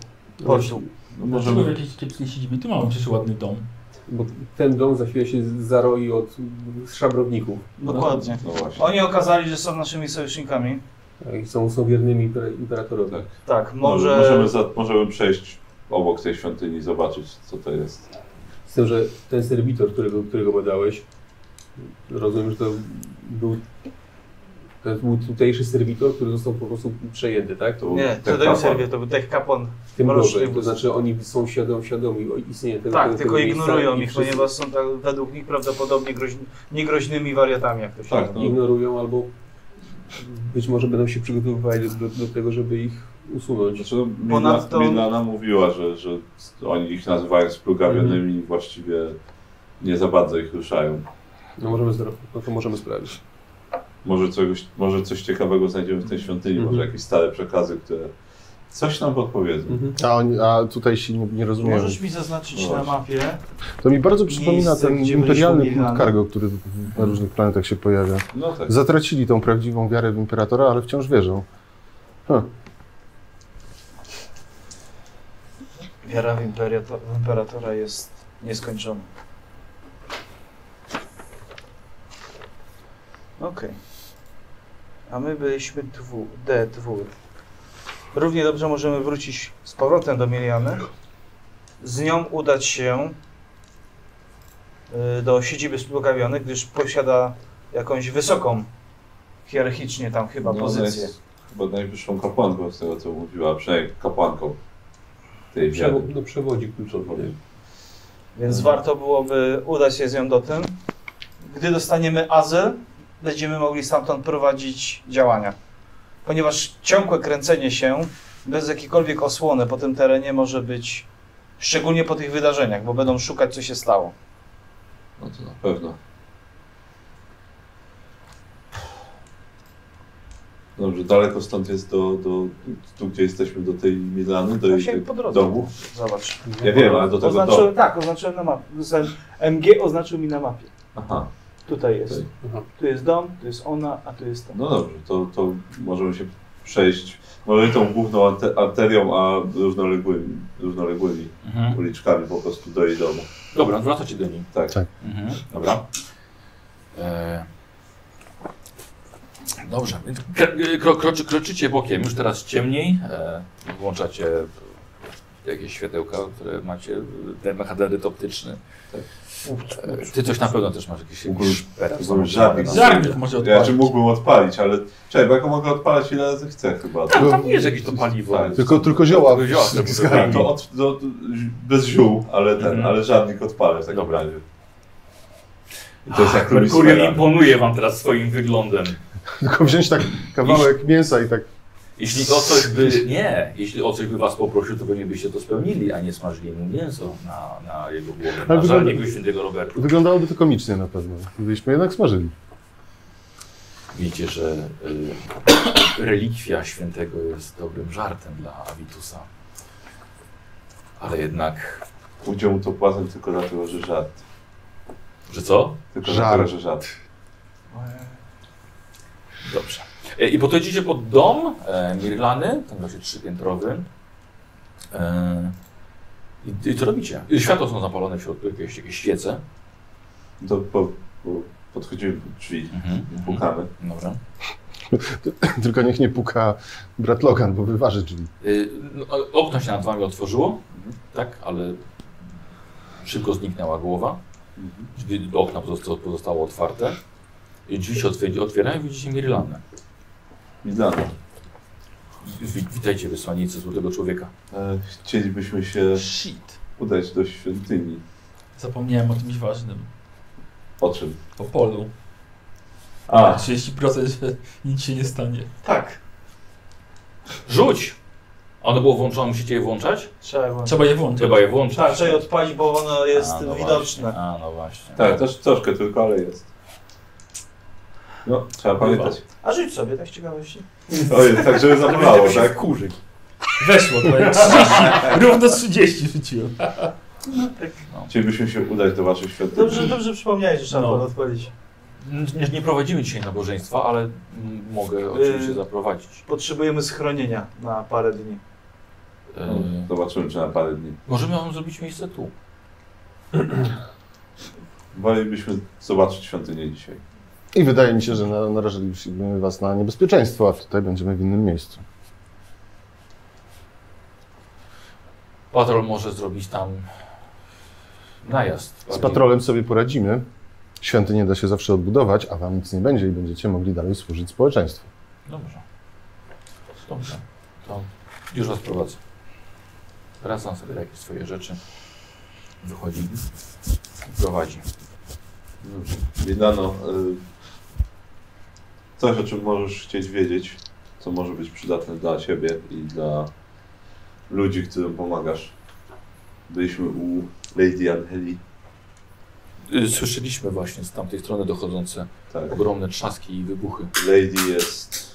D: portu.
B: No,
E: Możemy w
B: możemy...
E: jakiejś kiepskiej siedzibie. Tu mamy przecież ładny dom.
G: Bo ten dom za chwilę się zaroi od szabrowników.
D: Dokładnie.
B: No właśnie.
D: Oni okazali, że są naszymi sojusznikami.
G: Tak, I są, są wiernymi imper- imperatorowi.
B: Tak.
D: Tak,
B: Może...
D: może...
B: Możemy, za, możemy przejść obok tej świątyni i zobaczyć, co to jest.
G: Z tym, że ten serwitor, którego, którego badałeś, rozumiem, że to był, to był tutejszy serwitor, który został po prostu przejęty, tak?
B: To
D: Nie,
B: ten
D: to ten
B: kapłan.
D: serwie, to był tech kapon.
G: W tym
D: Mroczny
G: rowerze, to
D: wóz.
G: znaczy oni są świadomi, świadomi o istnieniu tego
D: Tak,
G: tego,
D: tylko
G: tego miejsca
D: ignorują
G: i
D: ich,
G: wszyscy
D: ponieważ są tak, według nich prawdopodobnie groźni, niegroźnymi wariatami, jak to się
B: Tak,
D: mówi.
B: no.
G: Ignorują albo być może będą się przygotowywali do, do, do tego, żeby ich usunąć.
B: Znaczy, no,
D: Ponadto-
B: Ponadto... Milana mówiła, że, że oni ich nazywają splugawionymi
D: Mhm.
B: i właściwie nie za bardzo ich ruszają.
G: No możemy zrobić, no to możemy sprawdzić.
B: Może, czegoś, może coś ciekawego znajdziemy w tej świątyni,
G: Mhm.
B: może jakieś stare przekazy, które coś nam podpowiedzą.
F: A, oni, a tutaj się nie, nie rozumiem.
D: Możesz mi zaznaczyć
B: No
D: na mapie.
F: To mi bardzo przypomina
D: miejsce,
F: ten
D: gdzie
F: imperialny
D: byliśmy
F: punkt
D: Milano.
F: cargo, który w- na różnych planetach się pojawia.
B: No tak.
F: Zatracili tą prawdziwą wiarę w imperatora, ale wciąż wierzą.
D: Wiara w imperatora, w imperatora jest nieskończona. Okej. A my byliśmy dwu, D, dwór. Równie dobrze możemy wrócić z powrotem do Miliany. Z nią udać się y, do siedziby spługawionych, gdyż posiada jakąś wysoką hierarchicznie tam chyba
B: No,
D: pozycję.
B: Ona jest chyba najwyższą kapłanką z tego, co mówiła, a przynajmniej kapłanką tej wiary.
G: Przewo- no przewodzi kluczowo.
D: Więc warto byłoby udać się z nią do tym. Gdy dostaniemy azyl, będziemy mogli stamtąd prowadzić działania. Ponieważ ciągłe kręcenie się bez jakiejkolwiek osłony po tym terenie może być, szczególnie po tych wydarzeniach, bo będą szukać, co się stało.
B: No to na pewno. Dobrze, daleko stąd jest do, do tu, gdzie jesteśmy, do tej Milany, do jej
D: Właśnie po
B: tych
D: drodze.
B: domu.
D: Zobacz.
B: Ja wiem, ale do tego domu.
D: Oznaczyłem, tak, oznaczyłem na mapie. Zostałem- MG oznaczył mi na mapie.
B: Aha,
D: Tutaj jest.
B: Tutaj.
G: Aha.
D: Tu jest dom, tu jest ona, a tu jest to.
B: no dobrze, to, to możemy się przejść, może tą główną arte- arterią, a równoległymi, równoległymi
A: Mhm.
B: uliczkami po prostu do jej domu.
A: Dobra, wracacie do niej.
B: Tak.
F: Tak.
A: Mhm. Dobra. E... Dobrze, więc kro- kro, kroczy, kroczycie bokiem, już teraz ciemniej. E... Włączacie jakieś światełka, które macie, ten mechadaryt optyczny. E... Ty coś na pewno też masz jakieś,
B: Mógłbym-
A: jakieś szperek
B: mógłbym
A: samochodowy.
B: żabić.
E: Zarnik może odpalić.
B: No. Ja czy mógłbym odpalić, ale czekaj, bo ja go mogę odpalać ile razy chcę chyba.
A: Tak, tam jest jakieś to paliwo.
B: Tak.
F: Tylko, tylko zioła.
A: Tylko zioła sobie
F: zgarnij.
B: To od, do, bez ziół, ale ten,
A: Mhm.
B: ale żadnych odpalę w takim
A: Dobra. Ah,
B: razie. I to jest jak lubisz
A: Merkurio imponuje wam teraz swoim wyglądem.
F: Tylko wziąć tak kawałek mięsa i tak.
A: Jeśli o coś by. Nie, jeśli o coś by was poprosił, to pewnie byście to spełnili, a nie smażyli mu mięso na, na jego głowę.
F: Ale
A: Na
F: wygląda-
A: żalniku świętego Roberta.
F: Wyglądałoby to komicznie na pewno. Gdybyśmy jednak smażyli.
A: Wiecie, że y, relikwia świętego jest dobrym żartem dla Avitusa. Ale jednak.
B: Udział mu to płacę tylko dlatego, że żart.
A: Że co?
B: Tylko
F: Żart.
B: dlatego, że żart.
A: Dobrze. E, I podchodzicie pod dom e, Mirlany, ten właśnie trzypiętrowy. E, i, I co robicie? Światła są zapalone w środku, jakieś, jakieś świece.
B: To po, po, podchodzimy do drzwi,
A: Mhm.
B: pukamy.
A: Dobra.
F: Tylko niech nie puka brat Logan, bo wyważy drzwi.
A: Y, no, ale Okno się nad wami otworzyło, tak, ale szybko zniknęła głowa. Drzwi do okna pozosta- pozostało otwarte. I drzwi się otwier- otwierają i widzicie Mirlanę.
B: Milano,
A: Wi- Witajcie, wysłannicy Złotego Człowieka.
B: e, chcielibyśmy się
E: Shit.
B: udać do świątyni.
E: Zapomniałem o czymś ważnym.
B: O czym?
E: O polu.
B: A,
E: 30%, że nic się nie stanie.
D: Tak,
A: Rzuć! Ono było włączone, musicie je włączać?
D: trzeba je włączyć.
E: Trzeba je włączyć.
A: Trzeba je włączyć.
B: Tak,
D: Trzeba, trzeba je odpalić, bo ono jest
A: A, no
D: widoczne.
A: Właśnie. A, no właśnie.
B: tak, też troszkę tylko, ale jest. No, trzeba pamiętać.
D: A rzuć sobie, tak z ciekawości.
B: Oj, tak, żeby zabolało, tak?
C: Kurzyk.
E: Weszło, twoje 30, równo 30 rzuciłem.
B: Chcielibyśmy się udać do waszych świątyni.
D: Dobrze, dobrze przypomniałeś, że trzeba
E: No.
D: było odpalić.
A: Nie, nie prowadzimy dzisiaj nabożeństwa, ale mm,
B: Y,
A: mogę oczywiście zaprowadzić.
D: Potrzebujemy schronienia na parę dni.
A: E,
B: Zobaczymy, czy na parę dni.
A: możemy wam zrobić miejsce tu.
B: Wolelibyśmy zobaczyć świątynię dzisiaj.
F: I wydaje mi się, że na- narażyliśmy was na niebezpieczeństwo, a tutaj będziemy w innym miejscu.
A: Patrol może zrobić tam najazd.
F: Z
A: Bardziej-
F: patrolem sobie poradzimy. Świątynię da się zawsze odbudować, a wam nic nie będzie i będziecie mogli dalej służyć społeczeństwu.
A: Dobrze. Dobrze. To już was prowadzę. Wracam sobie jakieś swoje rzeczy. Wychodzi. Prowadzi.
B: Biedano, y, coś o czym możesz chcieć wiedzieć, co może być przydatne dla ciebie i dla ludzi, którym pomagasz. Byliśmy u Lady Angeli.
A: Y, Słyszeliśmy właśnie z tamtej strony dochodzące
B: Tak.
A: ogromne trzaski i wybuchy.
B: Lady jest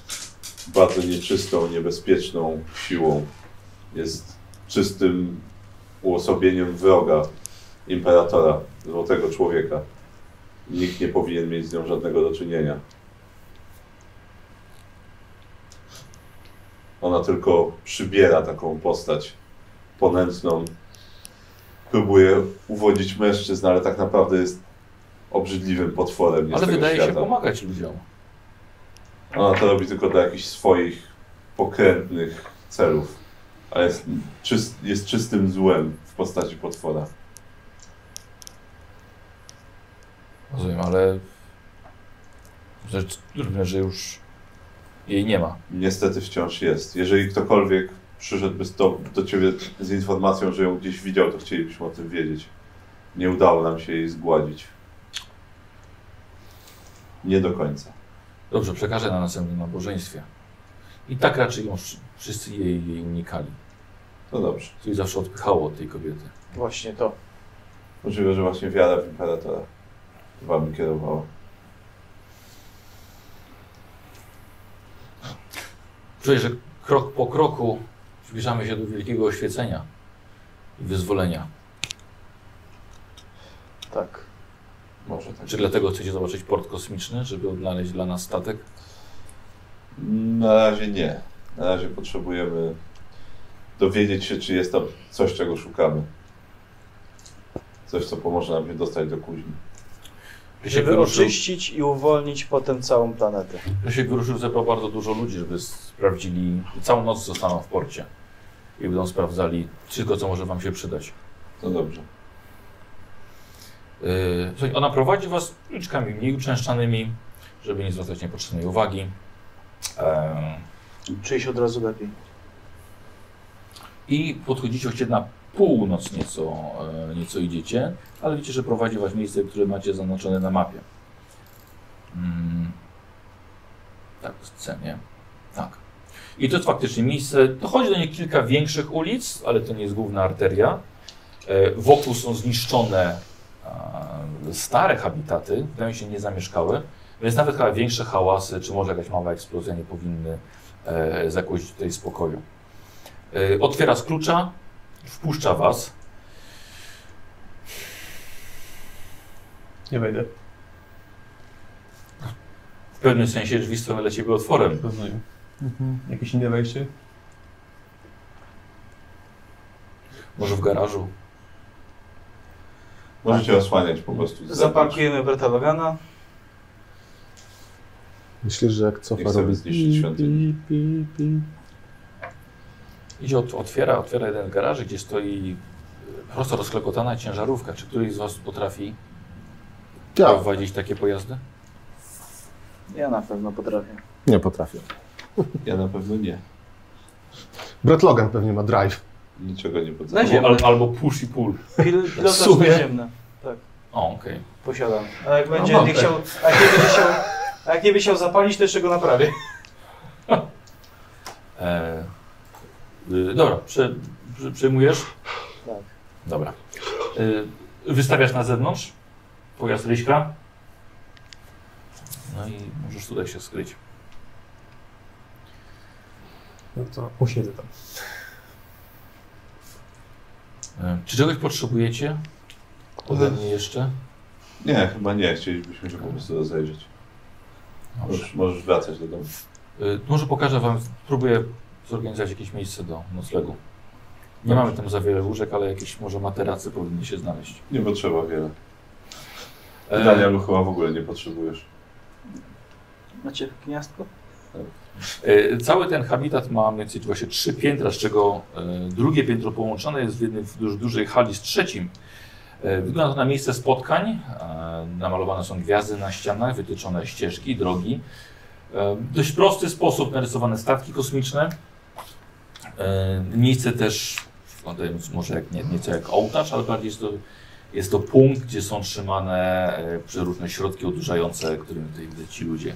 B: bardzo nieczystą, niebezpieczną siłą. Jest czystym uosobieniem wroga imperatora, złotego człowieka. Nikt nie powinien mieć z nią żadnego do czynienia. Ona tylko przybiera taką postać ponętną. Próbuje uwodzić mężczyzn, ale tak naprawdę jest obrzydliwym potworem. nie z
A: Ale
B: tego
A: wydaje się
B: świata.
A: pomagać ludziom.
B: Ona to robi tylko dla jakichś swoich pokrętnych celów, ale jest, czyst, jest czystym złem w postaci potwora.
A: Rozumiem, ale. Rzecz, rozumiem, że już jej nie ma.
B: Niestety wciąż jest. Jeżeli ktokolwiek przyszedłby z to, do ciebie z informacją, że ją gdzieś widział, to chcielibyśmy o tym wiedzieć. Nie udało nam się jej zgładzić. Nie do końca.
A: Dobrze, przekażę na następnym nabożeństwie. I tak raczej ją wsz- wszyscy jej, jej unikali.
B: To dobrze.
A: Coś zawsze odpychało od tej kobiety.
D: Właśnie to.
B: Możliwe, że właśnie wiara w imperatora wami kierowała.
A: Czuję, że krok po kroku zbliżamy się do wielkiego oświecenia i wyzwolenia.
D: Tak.
B: Może tak.
A: Czy dlatego chcecie zobaczyć port kosmiczny, żeby odnaleźć dla nas statek?
B: Na razie nie. Na razie potrzebujemy dowiedzieć się, czy jest tam coś, czego szukamy. Coś, co pomoże nam się dostać do kuźni.
A: Rysiek
D: Żeby
A: wyruszył,
D: oczyścić i uwolnić potem całą planetę.
A: Rysiek wyruszył, zebrał bardzo dużo ludzi, żeby sprawdzili. Całą noc zostaną w porcie i będą sprawdzali wszystko, co może wam się przydać.
B: No dobrze.
A: Yy, słuchaj, ona prowadzi was uliczkami mniej uczęszczanymi, żeby nie zwracać niepotrzebnej uwagi. Em,
D: Czyli się od razu lepiej.
A: I podchodzicie choć na północ nieco, e, nieco idziecie, ale widzicie, że prowadzi was miejsce, które macie zaznaczone na mapie. Mm. Tak, w scenie. Tak. I to jest faktycznie miejsce, dochodzi do niej kilka większych ulic, ale to nie jest główna arteria. E, Wokół są zniszczone e, stare habitaty, wydają się niezamieszkałe, więc nawet chyba większe hałasy, czy może jakaś mała eksplozja nie powinny e, zakłócić tutaj spokoju. Y, Otwiera z klucza, wpuszcza was.
C: Nie wejdę.
A: W pewnym sensie drzwi są dla ciebie otworem.
C: Rozumiem. Jakieś inne wejście?
A: Może w garażu.
B: Możecie osłaniać po prostu. z zewnątrz.
D: Zaparkujemy Berta Logana.
F: Myślę, że jak cofa
B: Nie chcemy
F: robi...
B: zniszczyć świątyni.
F: pi, pi, pi.
A: Idzie, ot- otwiera, otwiera jeden garaż, gdzie stoi e, prosto rozklekotana ciężarówka. Czy któryś z was potrafi
F: Ja
A: prowadzić takie pojazdy?
D: Ja na pewno potrafię.
F: nie potrafię.
B: Ja na pewno nie.
F: Brett Logan pewnie ma drive.
B: Niczego nie potrafię.
D: Weź-
A: Albo, al, albo push i pull.
D: Pil pilota
F: sumie.
D: naziemne
A: O, okej.
D: posiadam. A jak będzie
F: mam
D: nie
F: też.
D: chciał, a jak nie będzie chciał, a A jak nie by chciał zapalić, to jeszcze go naprawię.
A: E, y, dobra, prze, prze, przejmujesz?
D: Tak.
A: Dobra. E, wystawiasz na zewnątrz pojazd Ryśka. No i możesz tutaj się skryć.
H: No to usiedzę tam.
A: E, czy czegoś potrzebujecie? Ode mnie jeszcze?
B: Nie, chyba nie. Chcielibyśmy się po prostu rozejrzeć. Możesz, możesz wracać do domu.
A: Y, Może pokażę Wam, spróbuję zorganizować jakieś miejsce do noclegu. Nie mamy tam za wiele łóżek, ale jakieś może materacy powinny się znaleźć.
B: Nie potrzeba wiele.
A: E,
B: Danielu chyba w ogóle nie potrzebujesz.
D: Macie gniazdko?
A: E, Cały ten habitat ma mniej więcej właśnie trzy piętra, z czego e, drugie piętro połączone jest w jednej w duż, dużej hali z trzecim. E, Wygląda to na miejsce spotkań. E, Namalowane są gwiazdy na ścianach, wytyczone ścieżki, drogi. E, w Dość prosty sposób narysowane statki kosmiczne. E, Miejsce też, wyglądając może jak, nie, nieco jak ołtarz, ale bardziej jest to, jest to punkt, gdzie są trzymane e, przeróżne środki odurzające, którymi tutaj ci ludzie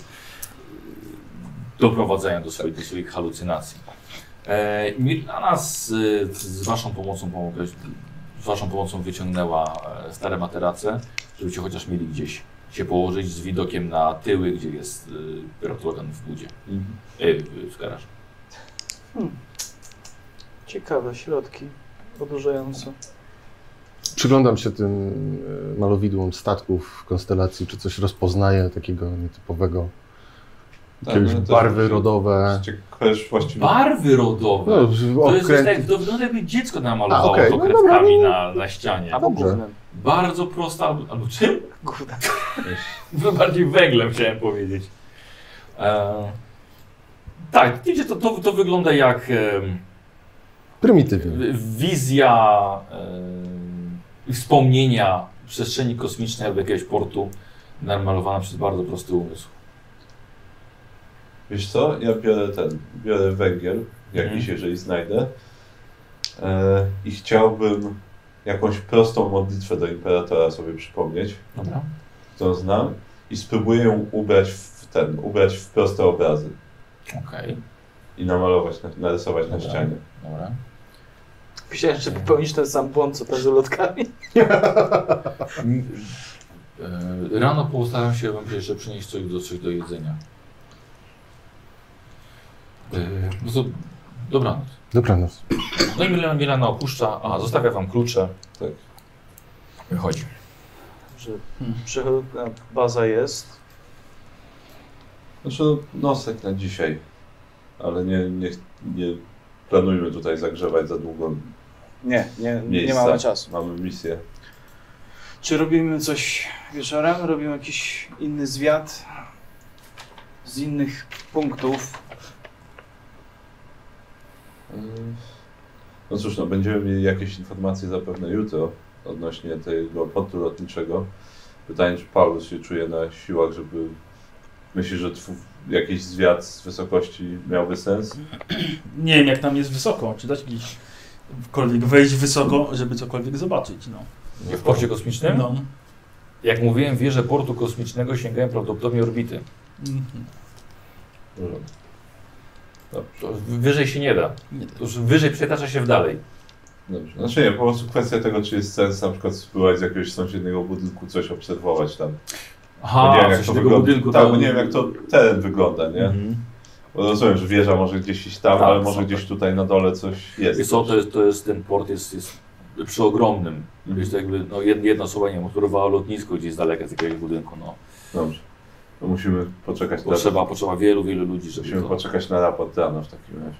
A: doprowadzenia do swoich, do swoich halucynacji. E, mi- na nas e, z waszą pomocą pomogłeś, z waszą pomocą wyciągnęła e, stare materace, żebyście chociaż mieli gdzieś się położyć z widokiem na tyły, gdzie jest e, rotogan w budzie,
F: Mhm.
A: e, w- w garażu.
D: Ciekawe, środki odurzające.
F: Przyglądam się tym e, malowidłom statków, konstelacji, czy coś rozpoznaję takiego nietypowego.
B: Tak,
F: Jakieś
B: no to-
F: barwy rodowe.
B: Ciekawiesz właściwie.
A: Barwy rodowe!
F: No,
A: to jest
F: okręt...
A: tak, to wygląda jakby dziecko namalowało
F: A, okej,
A: to
F: no dobra,
A: kredkami
F: no-
A: na, na ścianie.
D: Albo
F: dobrze.
D: gównem.
A: Bardzo prosta, albo- albo czym?
D: Gównem.
A: No Bardziej węglem chciałem powiedzieć. E, tak, widzicie, to, to, to wygląda jak em,
F: Prymitywny.
A: wizja e, wspomnienia przestrzeni kosmicznej albo jakiegoś portu namalowana przez bardzo prosty umysł.
B: Wiesz co? Ja biorę ten. Biorę węgiel, jakiś,
A: Mhm.
B: jeżeli znajdę. E, I chciałbym jakąś prostą modlitwę do imperatora sobie przypomnieć,
A: Dobra.
B: którą znam, i spróbuję ją ubrać w ten, ubrać w proste obrazy
A: Okej,
B: i namalować, na- narysować na
A: Dobra.
B: ścianie.
A: dobra.
D: Myślałem, że popełnisz ten sam błąd, co ta z ulotkami.
A: E, rano postaram się Wam jeszcze przynieść coś do, coś do jedzenia. E, no to dobranoc.
F: Dobranoc.
A: No i Milena, Milena opuszcza, a zostawia Wam klucze.
B: Tak.
A: Wychodzi.
D: Że przechodna baza jest.
B: Znaczy, nosek na dzisiaj, ale nie, nie, nie planujmy tutaj zagrzewać za długo
D: Nie, nie,
B: miejsca.
D: nie mamy czasu.
B: Mamy misję.
D: Czy robimy coś wieczorem? Robimy jakiś inny zwiat z innych punktów.
B: No cóż, no, będziemy mieli jakieś informacje zapewne jutro odnośnie tego portu lotniczego. Pytanie, czy Paulus się czuje na siłach, żeby... Myśli, że tw- jakiś zwiat z wysokości miałby sens?
E: Nie wiem, jak tam jest wysoko, czy dać gdzieś cokolwiek wejść wysoko, żeby cokolwiek zobaczyć, no.
A: W porcie kosmicznym?
E: No.
A: Jak mówiłem, wieże portu kosmicznego sięgają prawdopodobnie orbity.
E: Mhm.
A: To wyżej się nie da.
E: Nie
A: To już wyżej przetacza się w dalej.
B: Dobrze. Znaczy nie, po prostu kwestia tego, czy jest sens na przykład spływać z jakiegoś sąsiedniego budynku, coś obserwować tam. Bo
A: Aha,
B: nie wiem,
A: coś tego budynku.
B: Tak,
A: to-
B: bo nie wiem, jak to teren wygląda, nie?
A: Mhm.
B: Bo rozumiem, że wieża może gdzieś iść tam,
A: Tak,
B: ale może
A: super.
B: gdzieś tutaj na dole coś jest.
A: Wiesz co, to jest, to jest, ten port jest, jest przeogromnym.
B: Mhm.
A: Jest to jakby, no jed- jedna osoba, nie wiem, operowała lotnisko gdzieś z daleka z jakiegoś budynku, no.
B: Dobrze. To musimy poczekać na
A: Potrzeba, potrzeba wielu, wielu ludzi, żeby
B: Tak. Musimy
A: to...
B: poczekać na raport rano w takim razie.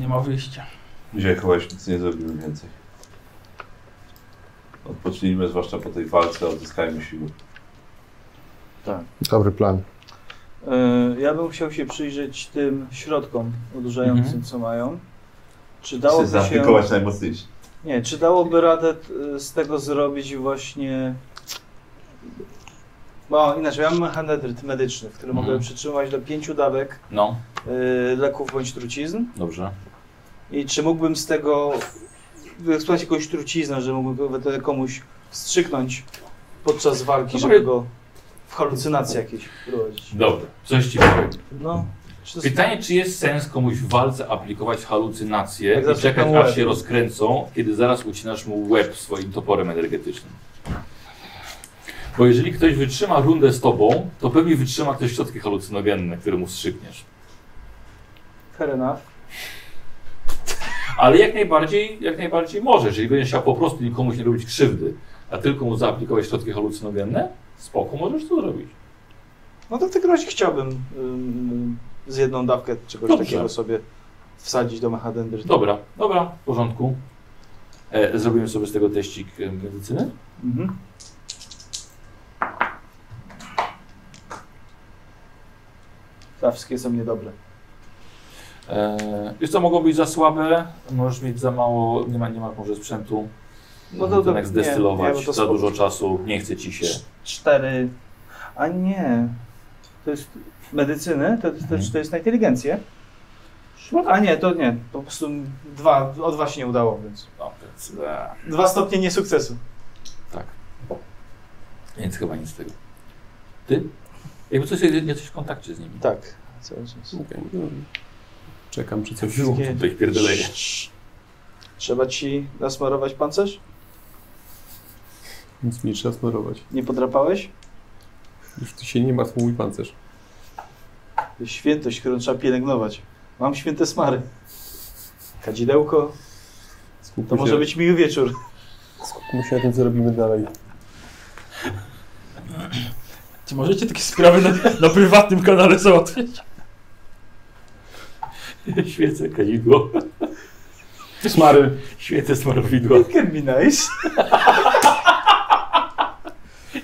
E: Nie ma wyjścia.
B: Dzisiaj chyba już nic nie zrobimy więcej. Odpocznijmy, zwłaszcza po tej walce, odzyskajmy siły.
F: Dobry plan.
D: E, Ja bym chciał się przyjrzeć tym środkom odurzającym,
A: Mhm.
D: co mają. Czy
B: Chcę
D: dałoby się...
B: zaapikować najmocniejsze.
D: Nie, czy dałoby radę t- z tego zrobić właśnie... No, inaczej, ja mam mechanetryt medyczny, który
A: Mhm.
D: mogę przytrzymać do pięciu dawek
A: No,
D: y, leków bądź trucizn.
A: dobrze.
D: I czy mógłbym z tego wyeksploatować jakąś truciznę, że mógłbym go- komuś wstrzyknąć podczas walki,
A: No
D: żeby go w halucynacje jakieś prowadzić.
A: Dobra, coś ci powiem.
D: No, czy to jest...
A: Pytanie, czy jest sens komuś w walce aplikować halucynacje
D: Jak
A: i
D: zawsze
A: czekać,
D: ten łeb.
A: aż się rozkręcą, kiedy zaraz ucinasz mu łeb swoim toporem energetycznym. Bo jeżeli ktoś wytrzyma rundę z tobą, to pewnie wytrzyma też środki halucynogenne, które mu strzykniesz.
D: Fair enough.
A: Ale jak najbardziej, jak najbardziej możesz. Jeżeli będziesz chciał po prostu nikomu nie robić krzywdy, a tylko mu zaaplikować środki halucynogenne, spoko, możesz to zrobić.
D: No to w takim razie chciałbym ym, z jedną dawkę czegoś
A: Dobrze.
D: takiego sobie wsadzić do mechadendrytu.
A: Dobra, dobra, w porządku. E, zrobimy sobie z tego teścik e, medycyny.
D: Mhm. Tak, wszystkie są niedobre.
A: E, wiesz co, mogą być za słabe, możesz mieć za mało, nie ma, nie ma może sprzętu. No to, jak zdestylować,
D: nie, bo to
A: za
D: spoko.
A: dużo czasu, nie chce ci się.
D: Cz- Cztery. A nie. To jest medycyny? To, to,
A: Mhm.
D: to jest na inteligencję? A nie, to nie. Po prostu dwa, o dwa się nie udało, więc.
A: No, więc, e,
D: Dwa stopnie niesukcesu.
A: tak. Więc chyba nic z tego. Ty? Jakby coś, jesteś w kontakcie z nimi.
D: Tak. Cały czas.
G: Okej, no. Czekam, czy coś
D: Wszystkie-
A: To ich pierdolenie.
D: Trzeba ci nasmarować pancerz?
G: Nic mi trzeba smarować.
D: Nie podrapałeś?
G: Już ty się nie martw, mój pancerz.
D: To jest świętość, którą trzeba pielęgnować. Mam święte smary. Kadzidełko,
G: Skupmy
D: to może
G: się,
D: być miły wieczór.
G: Skupmy się na tym, co robimy dalej.
E: Czy możecie takie sprawy na, na prywatnym kanale załatwić?
A: Świecę kadzidło.
C: Smary.
A: Świecę smarowidło.
D: Can be nice.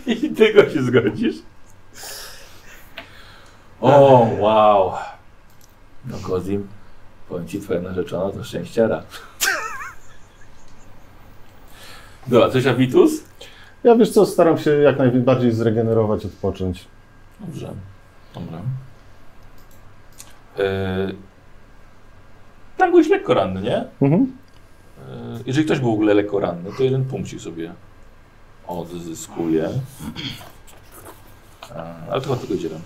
A: I tego się zgodzisz? O, wow. No Kozim, powiem ci, twoja narzeczona to szczęściara. Dobra, coś Abitus?
F: Ja wiesz co, staram się jak najbardziej zregenerować, odpocząć.
A: Dobrze, dobra. Yy, tam byłeś lekko ranny, nie?
F: Mhm.
A: Yy, jeżeli ktoś był w ogóle lekko ranny, to jeden punkcik sobie odzyskuje. Yy, ale to chyba tylko dzielam.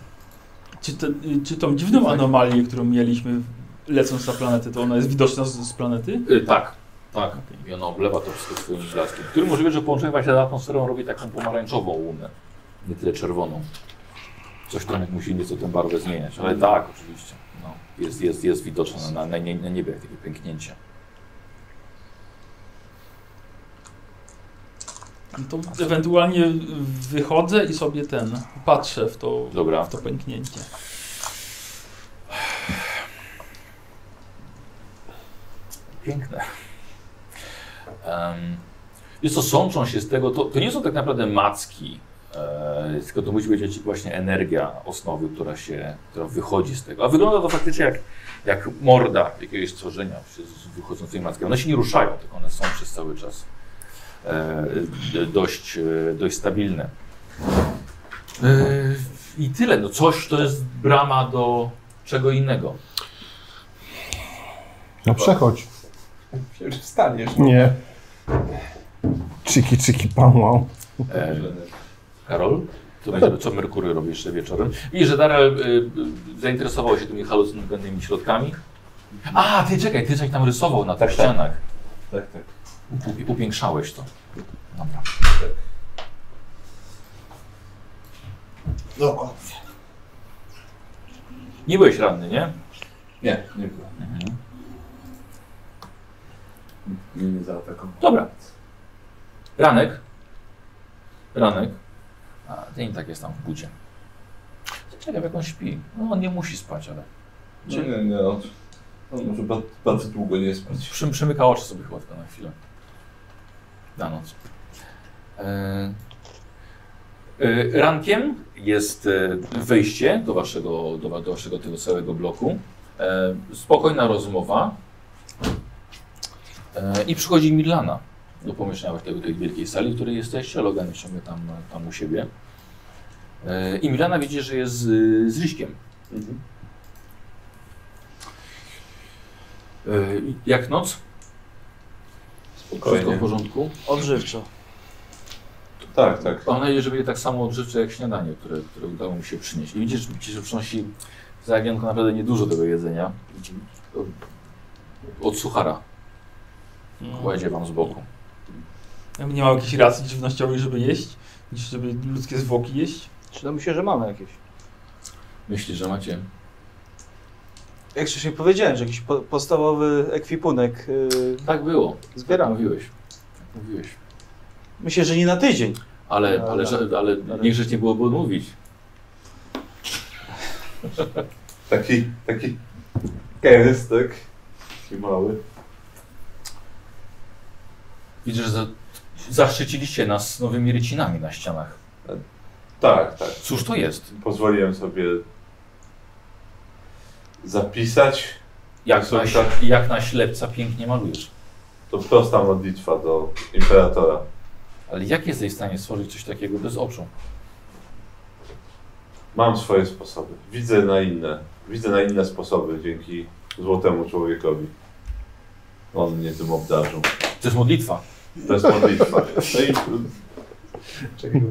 E: Czy, te, czy tą dziwną anomalię, którą mieliśmy lecąc na planetę, to ona jest widoczna z, z planety?
A: Y, tak, tak. I ona oblewa to wszystko swoim blaskiem, który możliwe, że połączenie właśnie z atmosferą robi taką pomarańczową łunę, nie tyle czerwoną. Coś tam jak musi nieco tę barwę zmieniać, ale tak, oczywiście. No, jest, jest, jest widoczne na, na, nie- na niebie takie pęknięcie.
E: No to ewentualnie wychodzę i sobie ten, patrzę w to,
A: Dobra.
E: w to pęknięcie.
A: Piękne. Um, jest to sączą się z tego, to, to nie są tak naprawdę macki, e, tylko to musi być jakaś właśnie energia osnowy, która się, która wychodzi z tego. A wygląda to faktycznie jak, jak morda jakiegoś stworzenia się z z wychodzącymi mackami. One się nie ruszają, tylko one są przez cały czas e, d- dość, e, dość stabilne. E, I tyle. No coś to jest brama do czego innego.
F: No przechodź.
G: Myślałem, że wstaniesz.
F: Nie. Czyki, czyki, pamłał.
A: E, Karol, co,
B: No.
A: będzie, co Merkury robi jeszcze wieczorem? I że Darel y, y, zainteresował się tymi halucynogennymi środkami. A, ty czekaj, ty coś tam rysował na tych
B: Tak, tak.
A: ścianach.
B: Tak, tak.
A: Upi- upiększałeś to. Dobra. Nie byłeś ranny, nie? Mhm.
B: Nie, nie było. Mnie nie zaatakował.
A: Dobra. Ranek. Ranek. A ten i tak jest tam w budzie. Ciekawe jak on śpi. No on nie musi spać, ale
B: Nie, No nie, nie. On, on może ba- bardzo długo nie spać.
A: Przy, przymyka oczy sobie chyba tylko na chwilę. Na noc. E, e, rankiem jest e, wejście do waszego, do, wa- do waszego tego całego bloku. E, spokojna rozmowa. E, I przychodzi Milana do pomieszczenia tego, tej wielkiej sali, w której jesteście. Logan jest ciągle tam, tam u siebie. E, I Milana widzi, że jest z, z Ryśkiem. E, jak noc? Wszystko w
B: Spokojnie.
A: porządku?
D: Odżywczo.
B: Tak, tak.
A: Mam nadzieję, że będzie tak samo odżywcze jak śniadanie, które, które udało mu się przynieść. I widzisz, widzisz że przynosi zagienko naprawdę niedużo tego jedzenia. Od suchara kładzie wam z boku.
E: Ja bym Nie ma jakiejś racji żywnościowej, żeby jeść, niż żeby ludzkie zwłoki jeść.
D: Czy myślę, że mamy jakieś?
A: Myślisz, że macie
D: Jak wcześniej powiedziałem, że jakiś po, podstawowy ekwipunek yy,
A: Tak było. Tak
D: zbieramy.
A: mówiłeś. Tak mówiłeś.
D: Myślę, że nie na tydzień.
A: Ale,
D: No,
A: ale,
D: tak.
A: ale, ale
D: Ale-
A: niegrzecznie byłoby odmówić.
B: Taki, taki kęstek. Taki mały.
A: Widzę, że za, zaszczyciliście nas nowymi rycinami na ścianach.
B: Tak, tak.
A: Cóż to jest?
B: Pozwoliłem sobie zapisać.
A: Jak
B: Są
A: na,
B: tak-
A: jak na ślepca pięknie malujesz.
B: To prosta modlitwa do imperatora.
A: Ale jak jesteś w stanie stworzyć coś takiego bez oczu?
B: Mam swoje sposoby. Widzę na inne. Widzę na inne sposoby dzięki złotemu człowiekowi. On mnie tym obdarzył.
A: To jest modlitwa.
B: To jest modlitwa.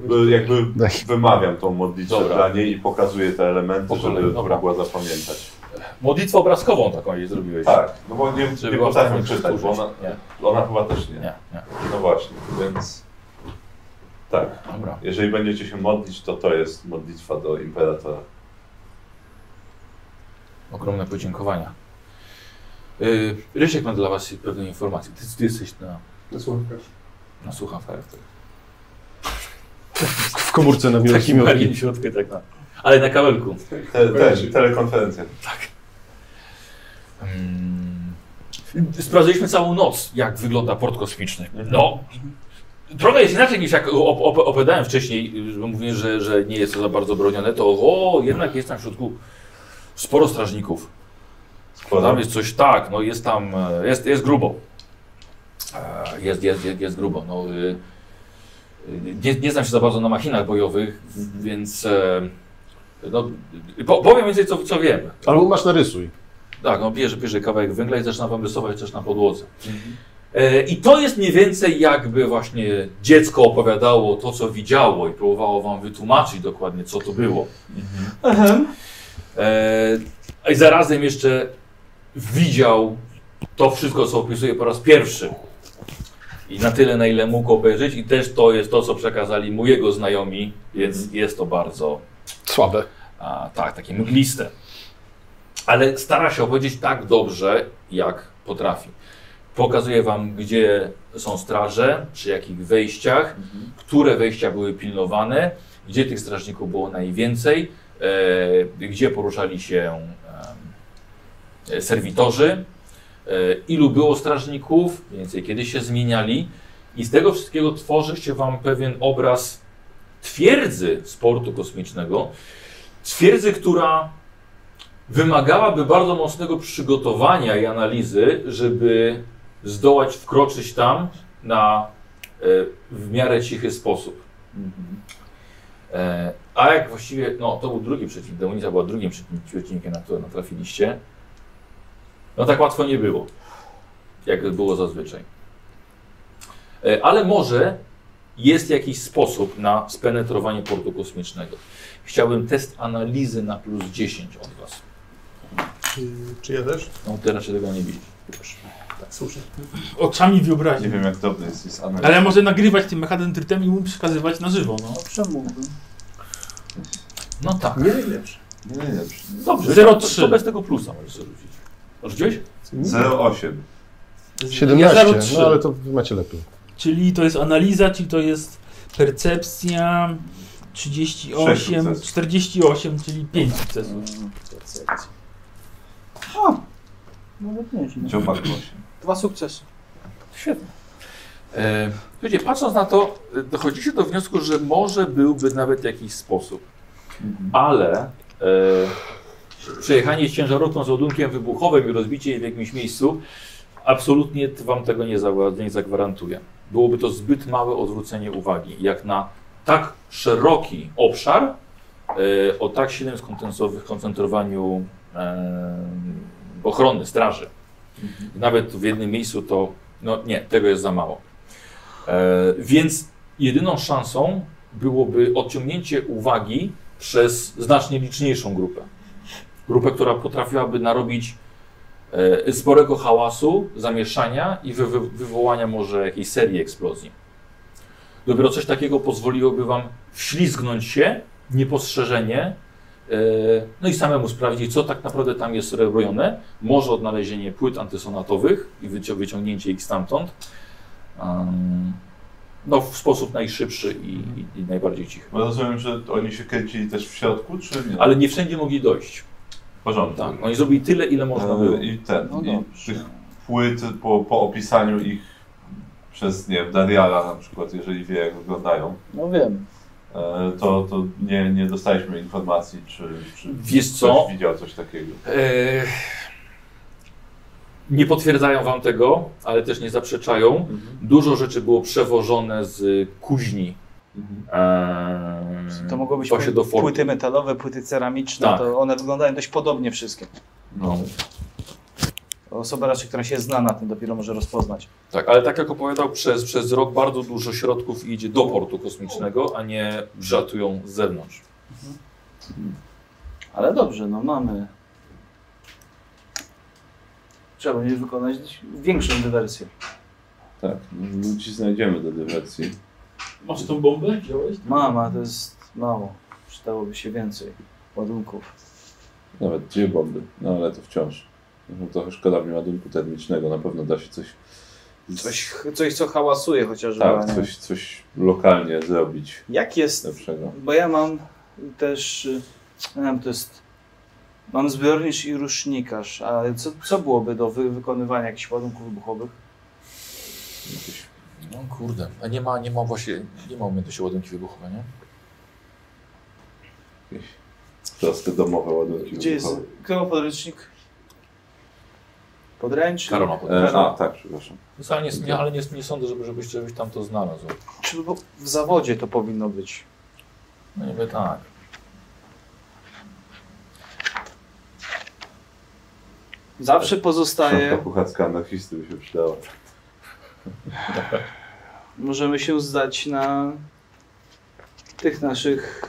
B: No i y, jakby
F: Daj.
B: wymawiam tą modlitwę
A: Dobra.
B: dla niej i pokazuję te elementy,
A: Po kolei,
B: żeby
A: dobra.
B: mogła zapamiętać.
A: Modlitwę obrazkową taką jej zrobiłeś.
B: Tak, no bo nie,
A: Żeby
B: nie
A: była w stanie
B: potrafię czytać, bo
A: powtórzyć.
B: ona,
A: Nie,
B: ona chyba też nie.
A: nie, nie.
B: No właśnie, więc tak.
A: Dobra.
B: Jeżeli będziecie się modlić, to to jest modlitwa do imperatora.
A: Ogromne podziękowania. Yy, Rysiek ma dla Was pewne informacje. Ty, ty jesteś na,
G: Na słuchawkach.
A: na słuchawkach.
F: W komórce na miłości
A: Takim
F: miotki.
A: małym środku, tak na. Ale na kabelku.
B: Te, też, telekonferencja.
A: Mm. Sprawdzaliśmy całą noc, jak wygląda port kosmiczny. No, trochę jest inaczej niż jak op- op- opowiadałem wcześniej, że mówiłem, że, że nie jest to za bardzo bronione, to o, jednak jest tam w środku sporo strażników. Tam
B: Składam.
A: jest coś tak, no jest tam, e, jest, jest grubo. E, Jest, jest, jest, jest grubo. No, y, y, nie, nie znam się za bardzo na machinach bojowych, więc e, no, po, powiem więcej, co, co wiem.
F: Albo masz narysuj.
A: Tak, on bierze, bierze kawałek węgla i zaczyna wam rysować coś na podłodze. E, I to jest mniej więcej jakby właśnie dziecko opowiadało to, co widziało i próbowało wam wytłumaczyć dokładnie, co to było. E, a I zarazem jeszcze widział to wszystko, co opisuje po raz pierwszy. I na tyle, na ile mógł obejrzeć i też to jest to, co przekazali mu jego znajomi, więc jest to bardzo
F: Słabe.
A: a, tak, takie mgliste. Ale stara się opowiedzieć tak dobrze, jak potrafi. Pokazuje wam, gdzie są straże, przy jakich wejściach, które wejścia były pilnowane, gdzie tych strażników było najwięcej, e, gdzie poruszali się e, serwitorzy, e, ilu było strażników, mniej więcej kiedy się zmieniali. I z tego wszystkiego tworzy się wam pewien obraz twierdzy sportu kosmicznego, twierdzy, która wymagałaby bardzo mocnego przygotowania i analizy, żeby zdołać wkroczyć tam na e, w miarę cichy sposób. E, a jak właściwie, no to był drugi przeciwnik, demonica była drugim przeci- przeciwnikiem, na który natrafiliście, no tak łatwo nie było, jak było zazwyczaj. E, ale może jest jakiś sposób na spenetrowanie portu kosmicznego. Chciałbym test analizy na plus 10 od Was.
H: Czy ja też?
A: No ty raczej tego nie widzisz.
H: Tak, słyszę.
E: Oczami
B: Nie
E: wyobraźni.
B: wiem, jak dobry jest jest analiz.
E: Ale może nagrywać tym mechadentrytem i mu przekazywać na żywo, no.
D: Czemu?
A: No tak.
H: Nie najlepsze.
B: Nie najlepszy.
A: Dobrze,
E: Zero
A: to,
E: trzy.
A: to bez tego plusa możesz sobie rzucić. Rzuciłeś?
B: 0,8.
F: 17,
E: Ja 03.
F: no ale to wy macie lepiej.
E: Czyli to jest analiza, czyli to jest percepcja
B: Sześć
E: 38,
B: sukcesów.
E: 48, czyli 5 sukcesów.
D: Nawet nie źle.
B: Dziopak 8.
D: Dwa sukcesy.
A: Świetnie. E, słuchajcie, patrząc na to, e, dochodzicie do wniosku, że może byłby nawet jakiś sposób, ale e, przejechanie ciężarówką z ładunkiem wybuchowym i rozbicie jej w jakimś miejscu absolutnie t- wam tego nie, zawa- nie zagwarantuje. Byłoby to zbyt małe odwrócenie uwagi, jak na tak szeroki obszar e, o tak silnym skontensow- koncentrowaniu e, ochrony, straży. Nawet w jednym miejscu to no nie, tego jest za mało. E, więc jedyną szansą byłoby odciągnięcie uwagi przez znacznie liczniejszą grupę. Grupę, która potrafiłaby narobić e, sporego hałasu, zamieszania i wywo- wywołania może jakiejś serii eksplozji. Dopiero coś takiego pozwoliłoby wam wślizgnąć się niepostrzeżenie, e, no i samemu sprawdzić, co tak naprawdę tam jest robione. Może odnalezienie płyt antysonatowych i wycią- wyciągnięcie ich stamtąd. Em, no, w sposób najszybszy i, i, i najbardziej cichy.
B: Bo rozumiem, że oni się kręcili też w środku, czy nie?
A: Ale nie wszędzie mogli dojść.
B: w porządku.
A: Tak, oni zrobili tyle, ile można
B: E,
A: było.
B: I ten,
D: No
B: i
D: dobrze.
B: tych płyt po, po opisaniu ich przez, nie wiem, Dariala na przykład, jeżeli wie jak wyglądają,
D: No wiem.
B: e, to, to nie, nie dostaliśmy informacji, czy, czy
A: Wiesz
B: ktoś
A: co?
B: widział coś takiego.
A: E, nie potwierdzają wam tego, ale też nie zaprzeczają. Dużo rzeczy było przewożone z kuźni. E,
D: Mm. To mogą być
A: właśnie do fortu.
D: płyty metalowe, płyty ceramiczne,
A: Tak.
D: to one wyglądają dość podobnie wszystkie.
A: No.
D: Osoba raczej, która się zna na tym, dopiero może rozpoznać.
A: Tak, ale tak jak opowiadał, przez, przez rok bardzo dużo środków idzie do portu kosmicznego, a nie brzatują z zewnątrz.
D: Ale dobrze, no mamy. Trzeba będzie wykonać większą dywersję.
B: Tak, ludzi znajdziemy do dywersji.
E: Masz tą bombę? Wziąłeś?
D: Mama, to jest mało. Przydałoby się więcej ładunków.
B: Nawet dwie bomby, no ale to wciąż. No, Trochę szkoda w ładunku termicznego, na pewno da się coś... z-
D: Coś, coś co hałasuje chociażby. a nie-
B: tak, coś, coś lokalnie zrobić
D: Jak jest
B: lepszego.
D: Bo ja mam też, y, nie wiem, to jest, mam zbiornicz i rusznikarz, a co, co byłoby do wy, wykonywania jakichś ładunków wybuchowych?
A: No kurde, a nie ma, nie ma właśnie, nie ma umiejętności ładunki wybuchowe, nie?
B: Jakieś proste domowe ładunki.
D: Gdzie jest,
B: wybuchowe.
D: kto ma podręcznik? Podręcznik?
A: Karol ma
B: E,
A: podejrzenie.
B: a, tak, przepraszam.
A: No, Ale, nie, nie, ale nie, nie sądzę, żeby, żebyś, żebyś tam to znalazł.
D: Czy bo w zawodzie to powinno być?
A: No niby tak.
D: Zawsze
B: Szafka
D: pozostaje,
B: kucharska anarchisty by się przydała.
D: możemy się zdać na tych naszych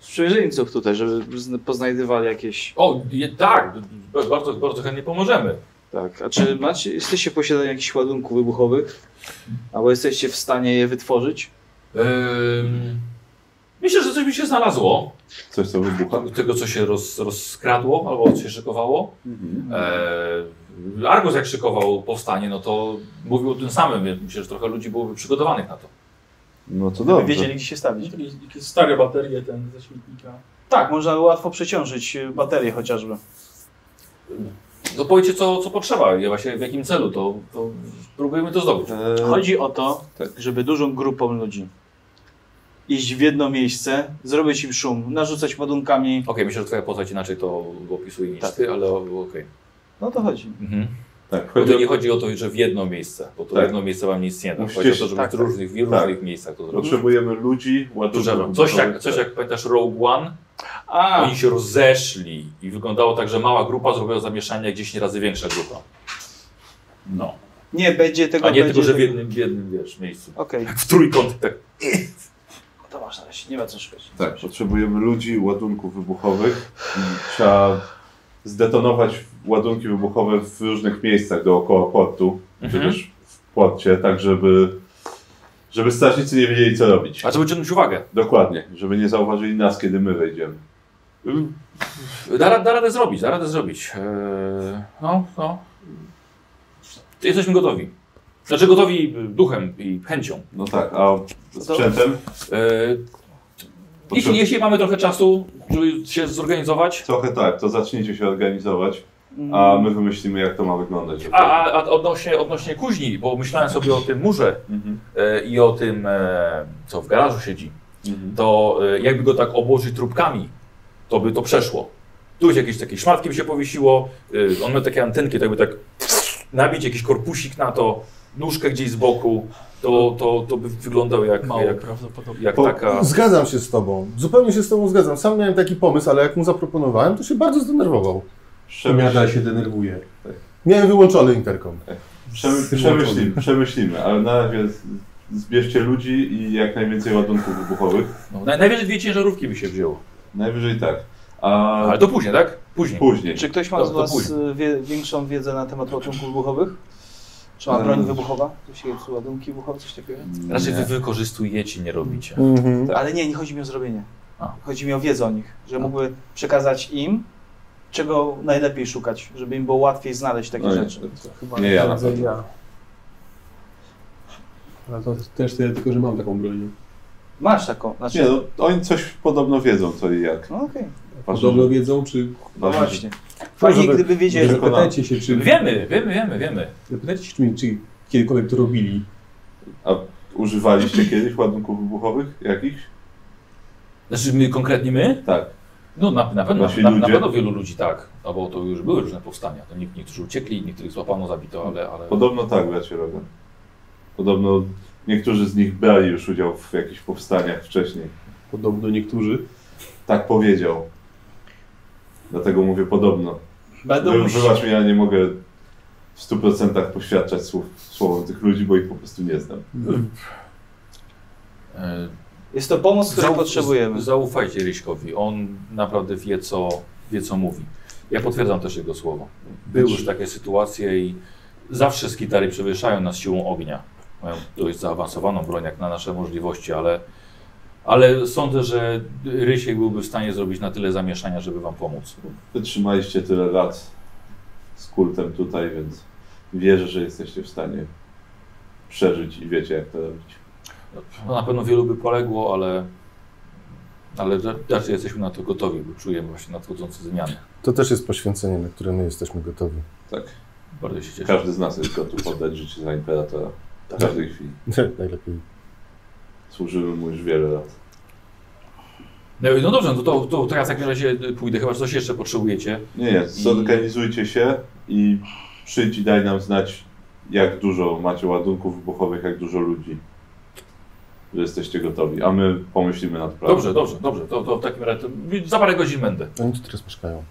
D: y, sprzymierzeńców tutaj, żeby zna- poznajdywali jakieś
A: O, je, tak, b- b- bardzo, bardzo chętnie pomożemy.
D: Tak, a czy macie, jesteście w posiadaniu jakichś ładunków wybuchowych? Albo jesteście w stanie je wytworzyć?
A: Ym, myślę, że coś by się znalazło.
B: Coś, co wybucha.
A: Tego, co się roz, rozskradło albo co się szykowało.
B: Mhm.
A: E, Argus jak szykował powstanie, no to mówił o tym samym. więc Myślę, że trochę ludzi byłoby przygotowanych na to.
B: No to
D: Dobrze.
B: dobrze.
D: Wiedzieli, gdzie się stawić.
E: Stare baterie ten ze śmietnika.
D: Tak, można łatwo przeciążyć y, baterię chociażby.
A: To powiecie, No co, co potrzeba, ja właśnie w jakim celu, to, to próbujemy to zdobyć.
B: E,
D: Chodzi o to,
B: Tak.
D: żeby dużą grupą ludzi iść w jedno miejsce, zrobić im szum, narzucać ładunkami.
A: Okej, myślę, że twoja postać inaczej to opisuje niż
D: Tak.
A: ty, ale o- okej. Okay.
D: No to chodzi.
A: Mhm.
B: tak,
A: Bo
B: chodzi
A: to nie
B: o...
A: chodzi o to, że w jedno miejsce, bo to
B: Tak.
A: jedno miejsce wam nic nie da.
B: Musicie
A: Chodzi o
B: się-
A: to, żeby
B: tak,
A: w różnych, w
B: tak.
A: różnych miejscach to zrobić.
B: Potrzebujemy ludzi, ładunków.
A: Coś jak, coś jak pamiętasz Rogue One,
D: A,
A: oni się rozeszli i wyglądało tak, że mała grupa zrobiła zamieszanie, jak 10 razy większa grupa. No.
D: nie będzie tego.
A: A nie
D: będzie tak-
A: tylko, że w
D: tego.
A: jednym, w jednym wiesz, miejscu.
D: Okej, No
A: W trójkąt tak.
D: to masz na razie, nie ma co szukać.
B: Tak, potrzebujemy ludzi, ładunków wybuchowych. I trzeba zdetonować ładunki wybuchowe w różnych miejscach dookoła portu, czy
A: Mhm.
B: też w porcie, tak żeby, żeby strażnicy nie wiedzieli, co robić.
A: A co wyciągnąć uwagę?
B: Dokładnie, żeby nie zauważyli nas, kiedy my wejdziemy.
A: Yy, Da, ra- da radę zrobić, da radę zrobić. Eee, no, no. Jesteśmy gotowi. Znaczy gotowi duchem i chęcią.
B: No tak, a sprzętem
A: Eee, jeśli,
B: Potrzeb-
A: jeśli mamy trochę czasu, żeby się zorganizować,
B: trochę tak, to zacznijcie się organizować, a my wymyślimy, jak to ma wyglądać.
A: A, a, a odnośnie, odnośnie kuźni, bo myślałem sobie o tym murze
B: Mhm.
A: e, i o tym, e, co w garażu siedzi,
B: Mhm.
A: to e, jakby go tak obłożyć trubkami, to by to przeszło. Tu jest jakieś takie szmatki by się powiesiło, e, on miał takie antenki, to jakby tak nabić jakiś korpusik na to, nóżkę gdzieś z boku, to, to, to by wyglądał jak,
E: Mało
A: jak,
E: prawdopodobnie.
A: jak
F: Po-
A: taka...
F: Zgadzam się z tobą. Zupełnie się z tobą zgadzam. Sam miałem taki pomysł, ale jak mu zaproponowałem, to się bardzo zdenerwował.
B: Przemyśl,
C: się denerwuje.
F: Miałem wyłączony interkom.
B: przemy, przemyślimy, przemyślimy, ale na razie Zbierzcie ludzi i jak najwięcej ładunków wybuchowych.
A: No, naj, najwyżej dwie ciężarówki by się wzięło.
B: Najwyżej tak. A
A: Ale to później, tak? Później.
B: później.
D: Czy ktoś ma
A: No, To-
D: z
A: to
D: Was
A: później.
D: y, wie, większą wiedzę na temat ładunków wybuchowych? Czy ma
B: Ale-
D: broń wybuchowa? Tu się jest ładunki wybuchowe, coś takiego?
A: Raczej Znaczy, wy wykorzystujecie, nie robicie.
F: Mhm.
D: Ale nie, nie chodzi mi o zrobienie.
A: A.
D: Chodzi mi o wiedzę o nich, że mógłby przekazać im, czego najlepiej szukać, żeby im było łatwiej znaleźć takie
B: No nie,
D: rzeczy.
G: Chyba
B: Nie ja na
G: prędzej
B: pewno.
G: ja. Ale to też tyle, tylko że mam taką broń.
D: Masz taką, znaczy...
B: nie, no, oni coś podobno wiedzą, co i jak.
D: No okej,
G: Podobno wiedzą, czy...
D: no
B: Ważne,
D: właśnie. Fajnie,
G: żeby-
D: gdyby wiedzieli.
B: żeby-
G: Zapytajcie się, czy...
A: Wiemy, wiemy, wiemy, wiemy.
G: Zapytajcie się, czy, czy kiedykolwiek to robili.
B: że Używaliście kiedyś ładunków wybuchowych jakichś?
A: Znaczy my, konkretnie my?
B: Tak.
A: No na, na, pewno,
B: Nasi
A: na, na
B: ludzie?
A: pewno wielu ludzi tak, no bo to już były różne powstania. To nie, niektórzy uciekli, niektórych złapano, zabito, ale... ale...
B: Podobno tak, bracie Rogan. Podobno niektórzy z nich brali już udział w jakichś powstaniach wcześniej.
G: Podobno niektórzy.
B: Tak powiedział. Dlatego mówię podobno.
A: Będą
B: Wy- Wybacz mi, ja nie mogę w 100% poświadczać słów, słowom tych ludzi, bo ich po prostu nie znam.
A: E,
D: Jest to pomoc, której
A: zau-
D: potrzebujemy.
A: z- Zaufajcie Ryśkowi, on naprawdę wie co, wie co mówi. Ja potwierdzam też jego słowo. Były już takie sytuacje i zawsze skitary przewyższają nas siłą ognia. Mają dość zaawansowaną broń jak na nasze możliwości, ale, ale sądzę, że Rysiek byłby w stanie zrobić na tyle zamieszania, żeby wam pomóc.
B: Wytrzymaliście tyle lat z kultem tutaj, więc wierzę, że jesteście w stanie przeżyć i wiecie, jak to robić.
A: No, na pewno wielu by poległo, ale, ale ra- raczej jesteśmy na to gotowi, bo czujemy właśnie nadchodzące zmiany.
F: To też jest poświęcenie, na które my jesteśmy gotowi.
B: Tak.
A: Bardzo się cieszę.
B: Każdy z nas jest gotów oddać życie za imperatora. W każdej chwili.
F: Najlepiej.
B: Służymy mu już wiele lat.
A: No, no dobrze, no to, to teraz w takim razie pójdę, chyba że coś jeszcze potrzebujecie.
B: Nie, nie, zorganizujcie się i przyjdź i daj nam znać, jak dużo macie ładunków wybuchowych, jak dużo ludzi. Że jesteście gotowi, a my pomyślimy nad planem.
A: Dobrze, dobrze, dobrze, to, to w takim razie to za parę godzin będę.
F: Oni No tu teraz mieszkają.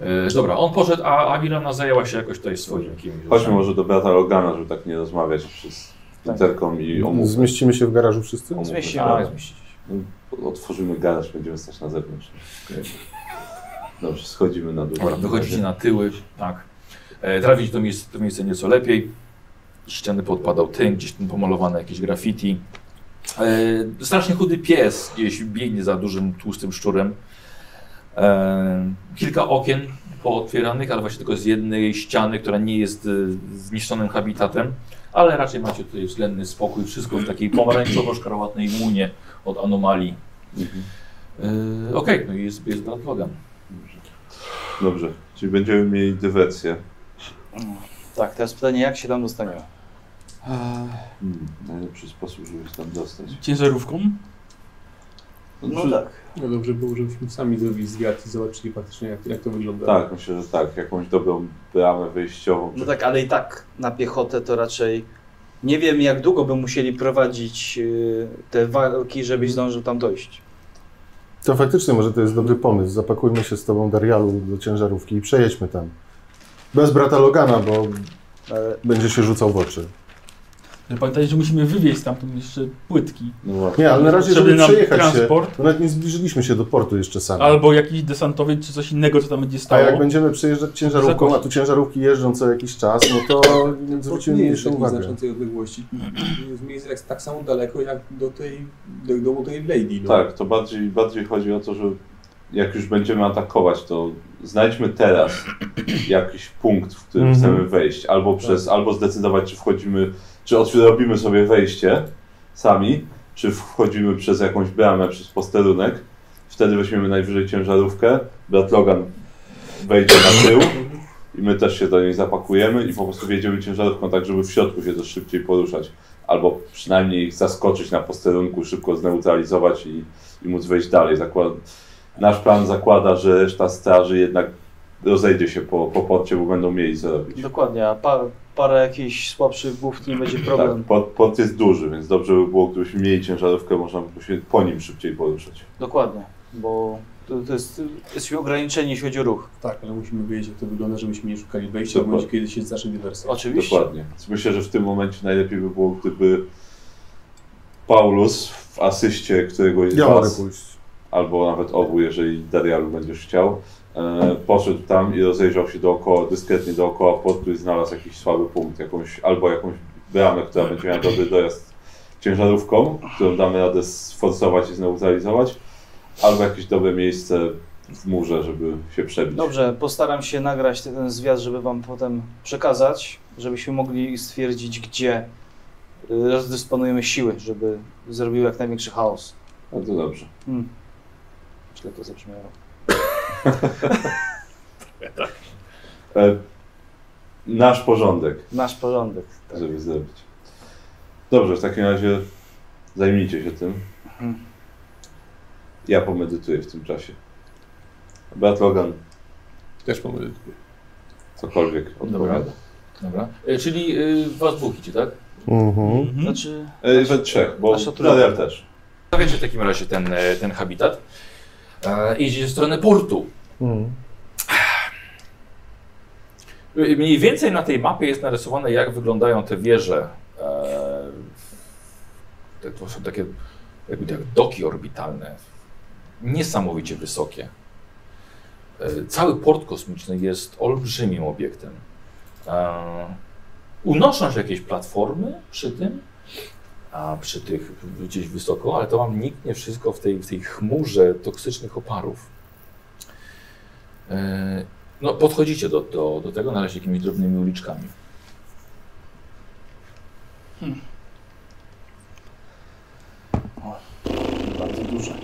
A: E, dobra, on poszedł, a, a Milana zajęła się jakoś tutaj swoim jakimś.
B: Chodźmy może do brata Logana, żeby tak nie rozmawiać przez
D: Tak.
B: interkom i omówmy.
F: Zmieścimy się w garażu wszyscy?
B: omówmy
D: Zmieścimy.
A: A,
B: sprawę.
A: zmieścić.
B: No, Otworzymy garaż, będziemy stać na zewnątrz. Okej. Dobrze, schodzimy na dół.
A: Dobra, E, wychodzicie na tyły, tak. E, trafić do miejsca, to miejsce nieco lepiej. Ściany podpadał tynk, gdzieś tam pomalowane jakieś graffiti. E, strasznie chudy pies gdzieś biegnie za dużym, tłustym szczurem. E, kilka okien pootwieranych, ale właśnie tylko z jednej ściany, która nie jest e, zniszczonym habitatem. Ale raczej macie tutaj względny spokój, wszystko w takiej pomarańczowo-szkarłatnej munie od anomalii.
B: Mhm.
A: E, Okej, no i jest, jest brat Logan.
B: Dobrze, czyli będziemy mieli dywersję.
D: Tak, teraz pytanie, jak się tam dostaniemy?
B: Hmm, najlepszy sposób, żeby się tam dostać.
E: Ciężarówką?
D: No tak.
G: No dobrze było, żebyśmy sami zrobili zwiat i zobaczyli faktycznie, jak, jak to wygląda.
B: Tak, myślę, że tak. Jakąś dobrą bramę wyjściową.
D: No tak, ale i tak na piechotę to raczej nie wiem, jak długo by musieli prowadzić y, te walki, żebyś zdążył tam dojść.
F: To faktycznie może to jest dobry pomysł. Zapakujmy się z tobą Darialu do ciężarówki i przejedźmy tam. Bez brata Logana, bo
D: Ale
F: będzie się rzucał w oczy.
E: Ale Pamiętajcie, że musimy wywieźć stamtąd jeszcze płytki.
B: No właśnie.
F: Nie, ale na razie,
E: Żeby
F: żeby
E: nam
F: przejechać się,
E: transport,
F: to nawet nie zbliżyliśmy się do portu jeszcze sami.
E: albo jakiś desantowiec, czy coś innego, co tam będzie
F: A jak
E: stało.
F: będziemy przejeżdżać ciężarówką, a tu ciężarówki jeżdżą co jakiś czas, no to
G: Zwróćmy
F: zwrócimy
G: nie jest
F: mniejszą
G: takiej
F: uwagę.
G: znaczącej odległości. Jest miejsce jak- tak samo daleko, jak do tej, do domu tej lady. No.
B: Tak, to bardziej, bardziej chodzi o to, że jak już będziemy atakować, to znajdźmy teraz jakiś punkt, w którym
F: Mhm.
B: chcemy wejść. Albo, przez, albo zdecydować, czy wchodzimy, czy otw- robimy sobie wejście sami, czy wchodzimy przez jakąś bramę, przez posterunek. Wtedy weźmiemy najwyżej ciężarówkę. Brat Logan wejdzie na tył i my też się do niej zapakujemy i po prostu wjedziemy ciężarówką tak, żeby w środku się też szybciej poruszać. Albo przynajmniej ich zaskoczyć na posterunku, szybko zneutralizować i, i móc wejść dalej. Zakład... Nasz plan zakłada, że reszta straży jednak rozejdzie się po, po porcie, bo będą mieli co robić.
D: dokładnie, a par, parę jakichś słabszych głów nie będzie
B: Tak,
D: problem.
B: port, port jest duży, więc dobrze by było, gdybyśmy mieli ciężarówkę, można by było się po nim szybciej poruszać.
D: Dokładnie, bo to, to jest, jesteśmy ograniczeni, jeśli chodzi o ruch.
G: tak, ale musimy wiedzieć, jak to wygląda, żebyśmy nie szukali wejścia w
B: Dokładnie.
G: momencie, kiedy się zacznie dywersja.
D: Oczywiście.
B: Dokładnie. Myślę, że w tym momencie najlepiej by było, gdyby Paulus w asyście któregoś z
F: Ja mogę
B: was,
F: pójść.
B: albo nawet obu, jeżeli Darialu będziesz chciał, e, poszedł tam i rozejrzał się dookoła, dyskretnie dookoła portu i znalazł jakiś słaby punkt, jakąś, albo jakąś bramę, która będzie miała dobry dojazd ciężarówką, którą damy radę sforsować i zneutralizować, albo jakieś dobre miejsce w murze, żeby się przebić.
D: Dobrze, postaram się nagrać ten zwiat, żeby wam potem przekazać, żebyśmy mogli stwierdzić, gdzie y, rozdysponujemy siły, żeby zrobił jak największy chaos.
B: No to dobrze.
D: Hmm. Źle to zabrzmiało.
B: E, nasz porządek,
D: Nasz porządek. Tak.
B: żeby zrobić. Dobrze, w takim razie zajmijcie się tym.
D: Mhm.
B: Ja pomedytuję w tym czasie. Brat Logan,
C: Też pomyśl.
B: cokolwiek odpowiada.
A: Dobra. E, Czyli y, was dwóch idzie, tak?
F: Mhm.
D: Znaczy,
B: E, we trzech, bo
D: Nasza trójka.
B: Darial też.
A: Stawiacie w takim razie ten, e, ten habitat. E, idziecie w stronę portu.
F: Mhm.
A: Y, Mniej więcej na tej mapie jest narysowane, jak wyglądają te wieże. E, te, to są takie jakby jak doki orbitalne. Niesamowicie wysokie. E, cały port kosmiczny jest olbrzymim obiektem. E, unoszą się jakieś platformy przy tym, a przy tych gdzieś wysoko, ale to wam niknie wszystko w tej, w tej chmurze toksycznych oparów. E, no, podchodzicie do, do, do tego na razie jakimiś drobnymi uliczkami.
D: bardzo duże.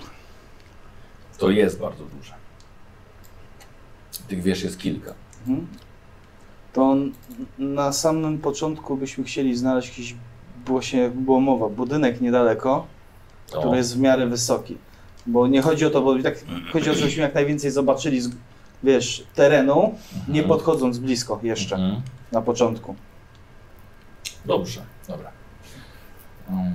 A: To jest bardzo duże. Tych wież jest kilka.
D: Mhm. To n- na samym początku byśmy chcieli znaleźć jakiś, było się, było mowa, budynek niedaleko,
A: O,
D: który jest w miarę wysoki. Bo nie chodzi o to, bo i tak chodzi o to, żebyśmy jak najwięcej zobaczyli, z, wiesz, terenu, nie
A: mhm.
D: podchodząc blisko jeszcze
A: Mhm.
D: na początku.
A: Dobrze, dobra. Mm.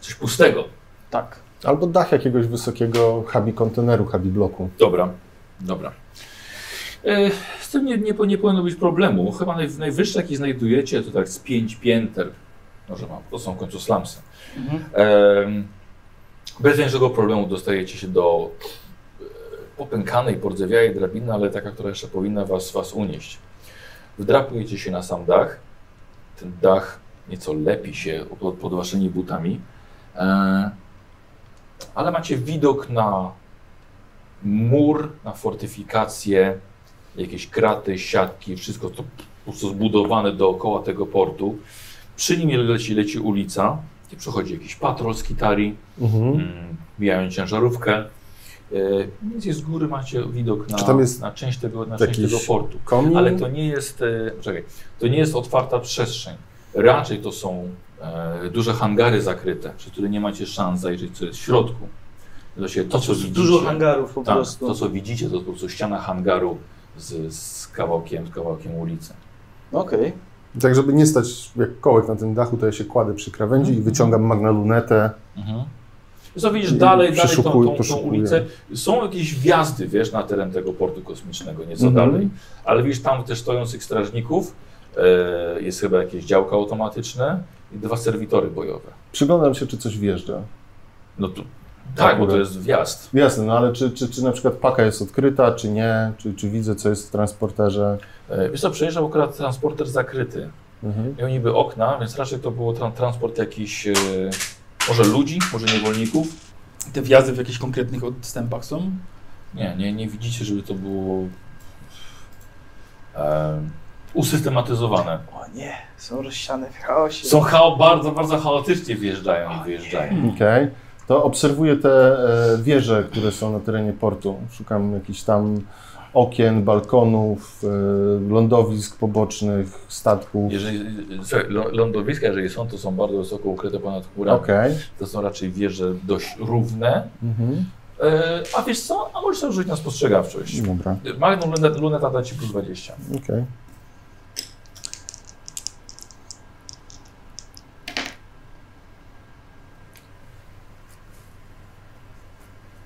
A: Coś pustego.
D: Tak.
F: Albo dach jakiegoś wysokiego hubi konteneru, hubi bloku.
A: Dobra, dobra. E, Z tym nie, nie, nie powinno być problemu. Chyba naj, najwyższy jaki znajdujecie to tak z pięć pięter. Może mam, to są w końcu slumsy.
D: Mhm.
A: Em, Bez większego problemu dostajecie się do e, popękanej, pordzewiałej drabiny, ale taka, która jeszcze powinna was, was unieść. Wdrapujecie się na sam dach. Ten dach nieco lepi się pod, pod waszymi butami. E, Ale macie widok na mur, na fortyfikacje, jakieś kraty, siatki, wszystko to po prostu zbudowane dookoła tego portu. Przy nim leci, leci ulica, gdzie przechodzi jakiś patrol z Kitari,
F: Mhm.
A: mm, mijają ciężarówkę. Yy, Więc jest z góry macie widok na,
F: Czy tam jest
A: na część tego, na część
F: jakiś
A: tego portu.
F: Komin?
A: Ale to nie jest, e, czekaj, to nie jest otwarta przestrzeń. Raczej to są e, duże hangary zakryte, przez które nie macie szans zajrzeć, co jest w środku. To, się, to
F: Znaczy,
A: co widzicie,
D: Dużo hangarów po
A: tak,
D: prostu.
A: to co widzicie, to jest po prostu ściana hangaru z, z kawałkiem, z kawałkiem ulicy.
D: Okej.
F: Tak, żeby nie stać jak kołek na tym dachu, to ja się kładę przy krawędzi i wyciągam magnalunetę.
A: Mhm. Co widzisz
F: I
A: dalej, dalej tą,
F: przeszukuję-
A: tą, tą
F: przeszukuję.
A: ulicę. Są jakieś wjazdy, wiesz, na teren tego portu kosmicznego, nieco
F: Mhm.
A: dalej. Ale widzisz tam też stojących strażników, e, jest chyba jakieś działka automatyczne i dwa serwitory bojowe.
F: Przyglądam się, czy coś wjeżdża.
A: No to, tak, bo to
F: Akurat.
A: jest wjazd.
F: Jasne, no ale czy, czy, czy na przykład paka jest odkryta, czy nie? Czy, czy widzę, co jest w transporterze?
A: E, Wiesz co, przejeżdżał akurat transporter zakryty.
F: Mhm.
A: Miał niby okna, więc raczej to było tra- transport jakiś, e, może ludzi, może niewolników.
E: Te wjazdy w jakichś konkretnych odstępach są?
A: Nie, nie, nie widzicie, żeby to było e, usystematyzowane.
D: O nie, są rozsiane w chaosie.
A: Są chao- bardzo, bardzo chaotycznie wjeżdżają i wyjeżdżają.
F: Okej. To obserwuję te e, wieże, które są na terenie portu. Szukam jakichś tam okien, balkonów, e, lądowisk pobocznych, statków.
A: Jeżeli, słuchaj, lą- lądowiska, jeżeli są, to są bardzo wysoko ukryte ponad chmurami.
F: Okej.
A: To są raczej wieże dość równe.
F: Mhm.
A: E, a wiesz co? A możesz sobie rzucić na spostrzegawczość.
F: Dobra,
A: Magnum lunet, luneta da ci plus 20.
F: okej.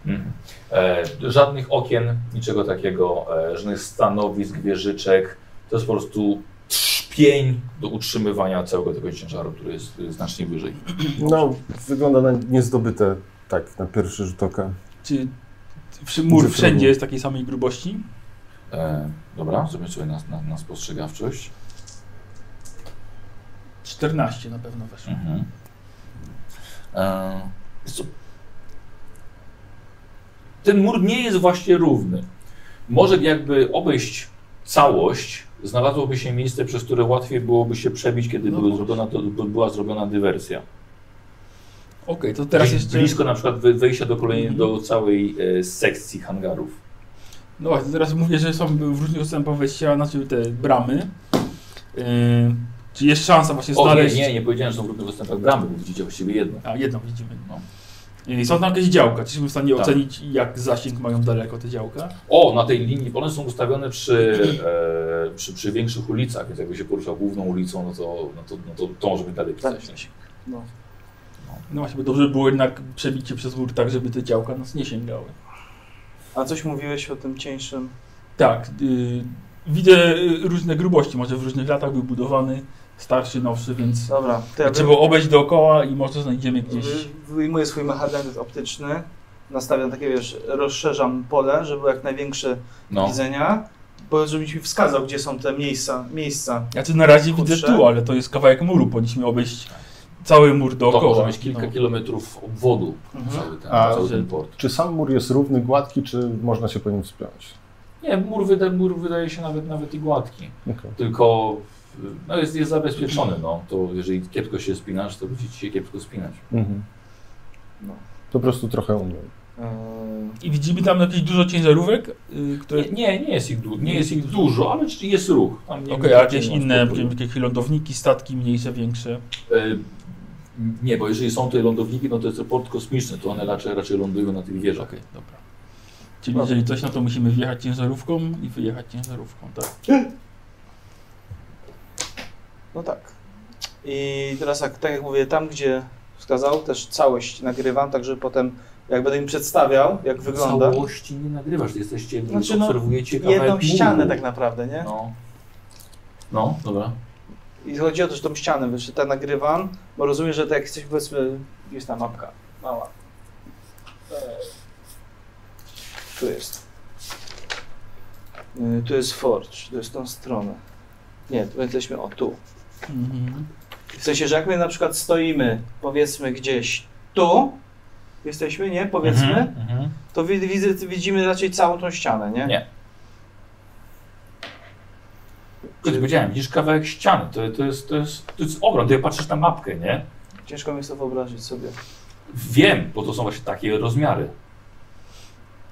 A: Mhm. E, żadnych okien, niczego takiego, e, żadnych stanowisk, wieżyczek. To jest po prostu pień do utrzymywania całego tego ciężaru, który jest y, znacznie wyżej.
F: No, wygląda na niezdobyte, tak, na pierwszy rzut oka.
E: Czy w- mur
F: Ze
E: wszędzie
F: środku.
E: jest takiej samej grubości?
A: E, dobra, zrobimy sobie na, na, na spostrzegawczość.
E: 14 na pewno weszło.
A: Mhm. E, wiesz co? ten mur nie jest właśnie równy. Może jakby obejść całość, znalazłoby się miejsce, przez które łatwiej byłoby się przebić, kiedy
E: No
A: były
E: właśnie.
A: zrobiona, to, by- była zrobiona dywersja.
E: Okej, to teraz
A: Gdzieś
E: jeszcze...
A: Blisko na przykład wy- wejścia do kolejnej,
E: Mhm.
A: do całej e, sekcji hangarów.
E: No właśnie, teraz mówię, że są w różnych odstępach wejścia, znaczy te bramy. Yy, czy jest szansa właśnie
A: O nie,
E: znaleźć...
A: nie, nie powiedziałem, że są w różnych dostępach bramy, bo widzicie właściwie jedno.
E: A, jedną widzimy.
A: No.
E: Yy, Są tam jakieś działka, czy jesteśmy w stanie
A: Tak.
E: ocenić, jak zasięg mają daleko te działka?
A: O, na tej linii, one są ustawione przy, e, przy, przy większych ulicach, więc jakby się poruszał główną ulicą, no to, no to, no to, to może być dalej
D: Tak.
A: zasięg.
D: No.
E: No właśnie, bo dobrze by było jednak przebicie przez mur tak, żeby te działka nas nie sięgały.
D: A coś mówiłeś o tym cieńszym?
E: Tak, yy, widzę y, różne grubości, może w różnych latach był budowany, starszy, nowszy, więc
D: Dobra, to ja
E: trzeba obejść dookoła i może znajdziemy gdzieś...
D: wy, wyjmuję swój mechanizm optyczny, nastawiam takie, wiesz, rozszerzam pole, żeby było jak największe
A: No.
D: widzenia, bo żebyś mi wskazał, gdzie są te miejsca. miejsca.
E: Ja tu na razie
D: Chudsze.
E: widzę tu, ale to jest kawałek muru, powinniśmy obejść cały mur
A: To
E: dookoła.
A: może mieć kilka
E: No.
A: kilometrów obwodu
D: Mhm.
A: cały, ten,
F: A,
A: cały
E: że-
A: ten port.
F: Czy sam mur jest równy, gładki, czy można się po nim wspiąć?
A: Nie, mur, wyda, mur wydaje się nawet nawet i gładki,
F: Okej.
A: tylko y, no jest, jest zabezpieczony, no. To jeżeli kiepsko się spinasz, to będzie ci się kiepsko spinać.
F: Mhm.
D: No.
F: Po prostu trochę umiem.
D: Eee,
E: I widzimy tam jakieś dużo ciężarówek, y, które...
A: Nie, nie, nie jest ich, du- nie jest ich dużo, ale czy- jest ruch. Tam nie-
E: Okej, a jakieś
A: nie ma
E: inne,
A: spokoju.
E: jakieś lądowniki, statki mniejsze, większe.
A: E, Nie, bo jeżeli są tutaj lądowniki, no to jest to port kosmiczny, to one raczej, raczej lądują na tych wieżach.
E: Okej, dobra. Czyli jeżeli coś, no to musimy wjechać ciężarówką i wyjechać ciężarówką, tak.
D: no tak. I teraz, jak, tak jak mówię, tam gdzie wskazał, też całość nagrywam, tak żeby potem, jak będę im przedstawiał, jak wygląda,
A: Całości nie nagrywasz, jesteście,
D: Znaczy, no,
A: obserwujecie kawałek
D: jedną
A: muru.
D: ścianę tak naprawdę, nie?
A: No. no, dobra.
D: I chodzi o to, że tą ścianę, wiesz, że ta nagrywam, bo rozumiem, że tak jak jesteś, powiedzmy, jest ta mapka mała. Eee, Tu jest. Yy, Tu jest Forge, to jest tą stronę. Nie, tu jesteśmy, o tu.
E: Mhm.
D: W sensie, że jak my na przykład stoimy, powiedzmy gdzieś tu, jesteśmy, nie? Powiedzmy,
A: Mhm.
D: to wi- widzę, widzimy raczej całą tą ścianę, nie?
A: Nie. Czyli powiedziałem, widzisz kawałek ściany, to, to, jest, to, jest, to jest ogrom, ty patrzysz na mapkę, nie?
D: Ciężko mi jest to wyobrazić sobie.
A: Wiem, bo to są właśnie takie rozmiary.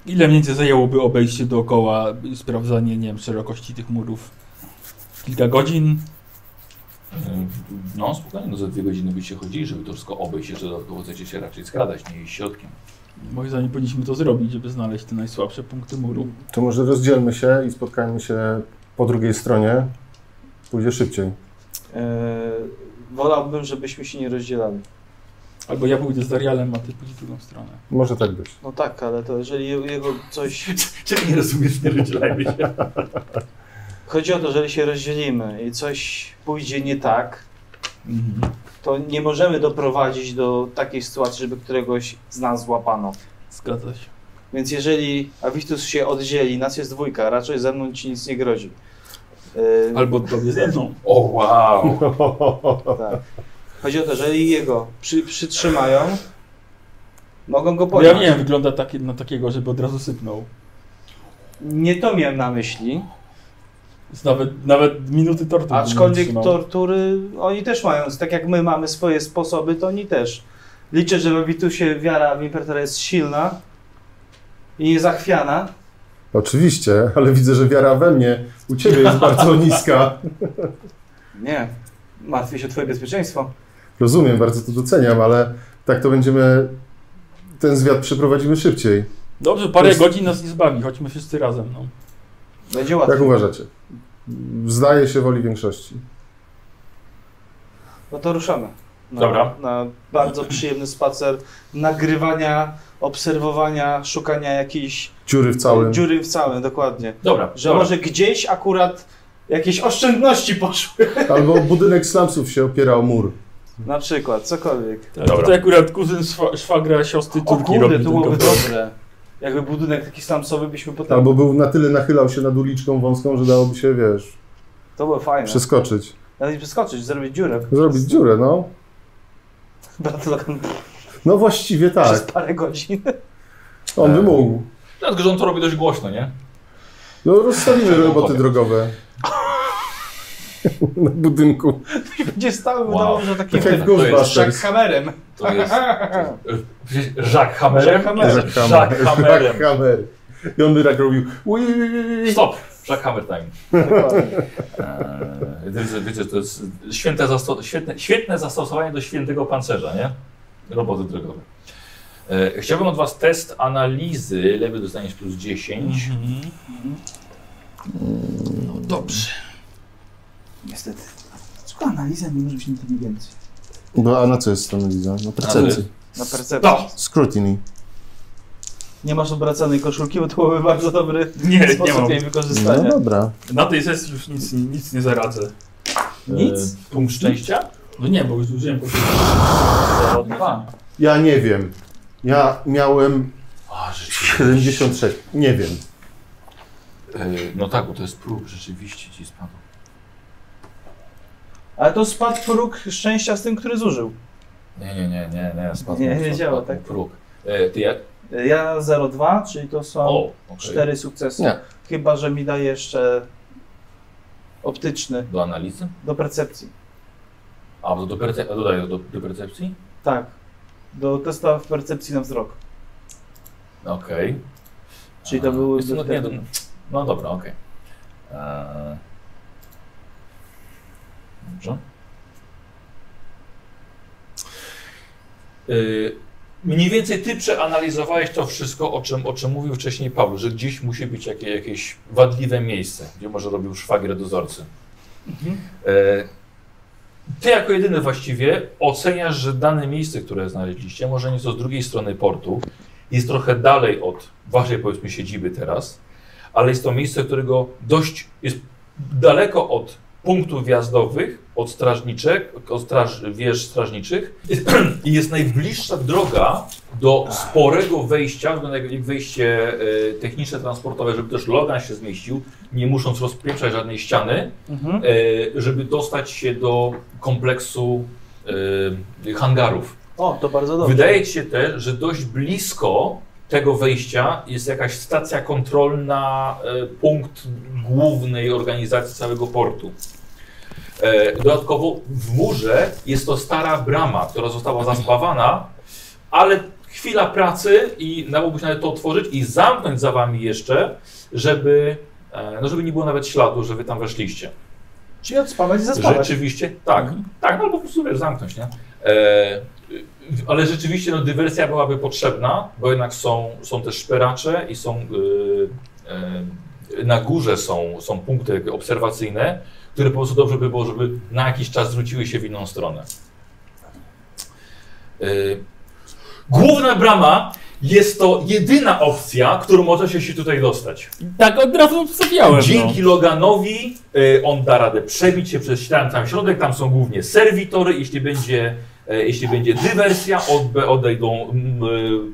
E: Ile mniej więcej zajęłoby obejście dookoła, y, sprawdzanie, nie wiem, szerokości tych murów? Kilka godzin?
A: Mm, No spokojnie, no za dwie godziny byście chodzili, żeby to wszystko obejść, jeszcze dodatkowo chcecie się raczej skradać, nie iść środkiem.
E: Moim zdaniem powinniśmy to zrobić, żeby znaleźć te najsłabsze punkty muru.
F: To może rozdzielmy się i spotkajmy się po drugiej stronie. Pójdzie szybciej.
D: Yy, wolałbym, żebyśmy się nie rozdzielali.
E: Albo ja pójdę z Darialem, a ty pójdziesz w drugą stronę.
F: Może tak być.
D: No tak, ale to jeżeli jego coś.
A: Czego nie rozumiesz, nie rozdzielajmy się.
D: Chodzi o to, że jeżeli się rozdzielimy i coś pójdzie nie tak,
A: Mhm.
D: to nie możemy doprowadzić do takiej sytuacji, żeby któregoś z nas złapano.
E: Zgadza się.
D: Więc jeżeli Avitus się oddzieli, nas jest dwójka, raczej ze mną ci nic nie grozi. Yy,
E: Albo tobie ze mną.
A: O wow!
D: tak. Chodzi o to, że jeżeli jego przy, przytrzymają, mogą go
E: Bo ja
A: tak.
D: podnieść.
E: wiem, wygląda takie, na takiego, żeby od razu sypnął.
D: Nie to miałem na myśli.
E: Jest nawet, nawet minuty tortu. bym nie
D: Aczkolwiek
E: trzymał.
D: tortury oni też mają, tak jak my mamy swoje sposoby, to oni też. Liczę, że w Abitusie wiara w Imperatora jest silna i niezachwiana.
F: Oczywiście, ale widzę, że wiara we mnie u ciebie jest bardzo niska.
D: Nie, martwię się o twoje bezpieczeństwo.
F: Rozumiem, bardzo to doceniam, ale tak to będziemy. Ten zwiat przeprowadzimy szybciej.
E: Dobrze, parę
F: To jest-
E: godzin nas nie zbawi, chodźmy wszyscy razem. No.
D: Będzie
F: Jak
D: łatwo.
F: uważacie? Zdaje się woli większości.
D: No to ruszamy. Na,
A: Dobra.
D: Na bardzo przyjemny spacer nagrywania, obserwowania, szukania jakiejś
F: Dziury w całym.
D: dziury w całym, dokładnie.
A: Dobra,
D: Że
A: dobra.
D: może gdzieś akurat Jakieś oszczędności poszły.
F: Albo budynek slumsów się opierał o mur.
D: Na przykład, cokolwiek.
E: Tak, to akurat kuzyn szwa, szwagra siostry
D: O
E: Turki
D: kurde,
E: robił
D: to
E: ten
D: byłoby
E: kompromis.
D: dobre. Jakby budynek taki slamsowy byśmy potem...
F: Albo był na tyle nachylał się nad uliczką wąską, że dałoby się, wiesz,
D: To było fajne.
F: przeskoczyć.
D: Nawet nie przeskoczyć, zrobić dziurę.
F: Zrobić dziurę, no.
D: Bratlokan
F: No właściwie
D: przez
F: tak.
D: parę godzin.
F: On by mógł.
A: Teraz że on to robi dość głośno, nie?
F: No rozstawimy roboty drogowe. Na budynku.
D: Gdzie stały,
A: Wow.
D: udało że taki
F: Tak jak
D: ten...
F: w
D: Z Jack
F: Ghostbusters.
D: Hammerem.
A: To jest... Jacques Hammerem?
D: Jacques Hammerem.
F: Jack Hammer.
A: Jacques Hammerem.
F: Jack Hammer. I on by tak robił. Ui.
A: Stop! Jacques Hammer time. Eee, wiecie, wiecie, to jest święte, zasto- świetne, świetne zastosowanie do świętego pancerza, nie? Roboty drogowe. Eee, chciałbym od Was test analizy. Lewy dostaniesz plus 10.
E: No dobrze.
D: Niestety. Tylko analiza nie może być inteligencji.
F: No a na co jest analiza? Na percepcji.
D: Na percepcji.
A: No!
F: Scrutiny.
D: Nie masz obracanej koszulki, bo to byłby bardzo dobry
H: Nie, nie
D: sposób
H: mam.
D: jej
F: No
D: wykorzystania.
F: dobra.
H: Na tej sesji już nic, nic nie zaradzę.
F: no.
D: Nic?
A: Eee, punkt szczęścia?
H: No nie, bo już użyłem po
A: Dwa.
F: Ja nie wiem. Ja miałem 76. Nie wiem.
A: Eee, no tak, bo to jest prób, rzeczywiście ci spadł.
D: Ale to spadł próg szczęścia z tym, który zużył.
A: Nie, nie, nie, nie, nie, spadł.
D: Nie, nie
A: spadł,
D: działa,
A: spadł
D: tak?
A: Próg. Eee, ty jak?
D: Ja 0,2, czyli to są
A: O, okay.
D: cztery sukcesy.
F: Nie.
D: Chyba, że mi daje jeszcze optyczny
A: Do analizy?
D: do percepcji.
A: A, bo do, perce- a dodaję do, do percepcji?
D: Tak. Do testa w percepcji na wzrok.
A: Okej.
D: Czyli to
A: A,
D: były-
A: jest No, nie, no, no dobra, okej. Eee, Dobrze. Yy, Mniej więcej ty przeanalizowałeś to wszystko, o czym, o czym mówił wcześniej Paweł, że gdzieś musi być jakie, jakieś wadliwe miejsce, gdzie może robił szwagier dozorcy. E, Ty jako jedyny właściwie oceniasz, że dane miejsce, które znaleźliście, może nieco z drugiej strony portu, jest trochę dalej od waszej powiedzmy siedziby teraz, ale jest to miejsce, którego dość jest daleko od punktów wjazdowych, od strażniczek, od straż, wież strażniczych i jest najbliższa droga do sporego wejścia, wygląda jak jak wejście e, techniczne, transportowe, żeby też Logan się zmieścił, nie musząc rozpieprzać żadnej ściany,
D: Mhm.
A: e, żeby dostać się do kompleksu e, hangarów.
D: O, to bardzo No dobrze.
A: Wydaje ci się też, że dość blisko tego wejścia jest jakaś stacja kontrolna, e, punkt głównej organizacji całego portu. E, Dodatkowo w murze jest to stara brama, która została zaspawana, ale chwila pracy i dałoby się nawet to otworzyć i zamknąć za wami jeszcze, żeby, e, no żeby nie było nawet śladu, że wy tam weszliście.
D: Czyli odspawać i zaspawać.
A: Rzeczywiście, tak. Tak, no albo po prostu wiesz, zamknąć, nie? E, w- ale rzeczywiście no, dywersja byłaby potrzebna, bo jednak są, są też szperacze i są y, y, na górze są, są punkty obserwacyjne, które po prostu dobrze by było, żeby na jakiś czas zwróciły się w inną stronę. Y, główna brama jest to jedyna opcja, którą możecie się tutaj dostać.
E: Tak od razu no. obstawiałem.
A: Dzięki Loganowi y, on da radę przebić się przez tam, tam środek, tam są głównie serwitory, jeśli będzie, e, jeśli będzie dywersja, odbe, odejdą mm,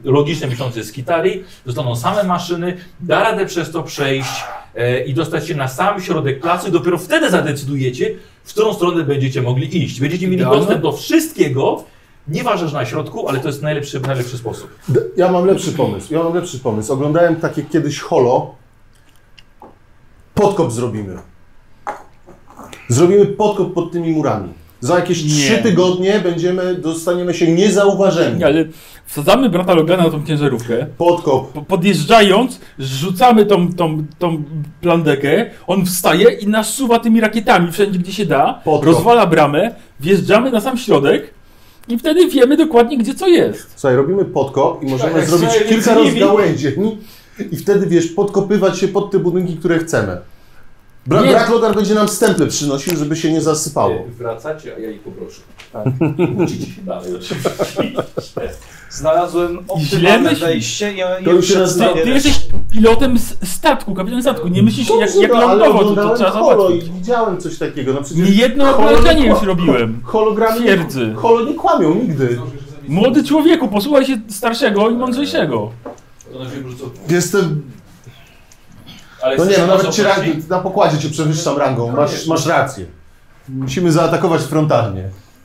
A: e, logiczne miesiące z Kitari, zostaną same maszyny, da radę przez to przejść e, i dostać się na sam środek placu i dopiero wtedy zadecydujecie, w którą stronę będziecie mogli iść. Będziecie mieli
E: Idealne.
A: dostęp do wszystkiego, nie ważasz na środku, ale to jest najlepszy, najlepszy sposób.
F: D- Ja mam lepszy pomysł. Ja mam lepszy pomysł. Oglądałem takie kiedyś holo. Podkop zrobimy. Zrobimy podkop pod tymi murami. Za jakieś
E: Nie.
F: trzy tygodnie będziemy, dostaniemy się niezauważeni.
E: No. Ale wsadzamy brata Logana na tą ciężarówkę.
F: Podkop.
E: Po- Podjeżdżając, rzucamy tą, tą, tą plandekę, on wstaje i nasuwa tymi rakietami wszędzie, gdzie się da,
F: Podkop.
E: rozwala bramę, wjeżdżamy na sam środek i wtedy wiemy dokładnie, gdzie co jest.
F: Słuchaj, robimy podkop i możemy
H: Tak,
F: zrobić
H: słuchaj,
F: kilka
H: nie- nie-
F: rozgałęzień. I wtedy, wiesz, podkopywać się pod te budynki, które chcemy. Bra
E: Nie.
F: Braklogar będzie nam stępy przynosił, żeby się nie zasypało.
A: Y, Wracacie, a ja ich poproszę.
H: Tak.
A: Uczycie się dalej oczywiście.
D: Znalazłem
E: źle
D: optymalne
E: myślisz.
D: wejście i
F: To już się nazywa-
E: Ty, ty jesteś pilotem z statku, kapitanem statku. Nie myślisz jak,
F: Dobrze,
E: jak
F: no, ale
E: lądowo, to, to
F: oglądałem
E: trzeba
F: holo
E: zobaczyć.
F: i widziałem coś takiego. No przecież
E: Nie jedno
F: Holo-
E: obrażenie już robiłem.
F: hologramy
E: Twierdzy.
F: holo nie kłamią nigdy.
E: Młody człowieku, posłuchaj się starszego i mądrzejszego.
A: To na ziemi rzucą.
F: Jestem.
A: Ale
F: No nie,
A: chcecie
F: no
A: nas
F: nawet cię
A: opuścić?
F: rang, na pokładzie cię przewyższam rangą. Masz, masz rację. Musimy zaatakować frontalnie.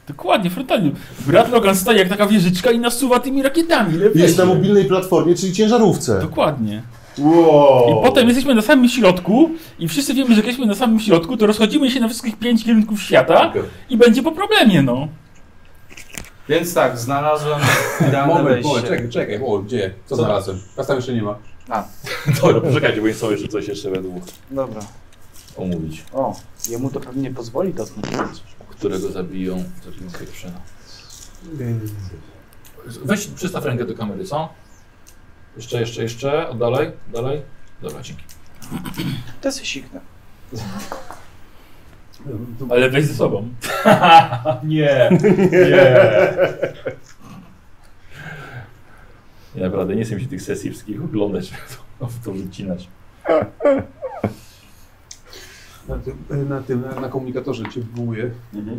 E: Dokładnie, frontalnie. Brat Logan staje jak taka wieżyczka i nasuwa tymi rakietami. lepiej.
F: Jest na mobilnej platformie, czyli ciężarówce.
E: Dokładnie.
F: Wow.
E: I potem jesteśmy na samym środku i wszyscy wiemy, że jak jesteśmy na samym środku, to rozchodzimy się na wszystkich pięć kierunków świata i będzie po problemie, no.
D: Więc tak, znalazłem idealne
H: Moment, moment,
D: wejście.
H: czekaj, czekaj, moment, gdzie? Co znalazłem? Was tam jeszcze nie ma.
A: Dobra, poczekajcie, bo są jeszcze coś jeszcze we dwóch
D: Dobra.
A: omówić.
D: O, jemu to pewnie nie pozwoli dotknąć.
A: Którego zabiją, zabiją pierwszyna. Weź, przystaw rękę do kamery, co? Jeszcze, jeszcze, jeszcze, O, dalej, dalej. Dobra, dzięki.
D: To się siknę.
E: Ale weź ze sobą.
A: Nie, nie. Ja naprawdę nie chcę mi się tych sesji wszystkich oglądać, to, to wycinać.
H: Na tym, na, tym, na, na komunikatorze cię wywołuje.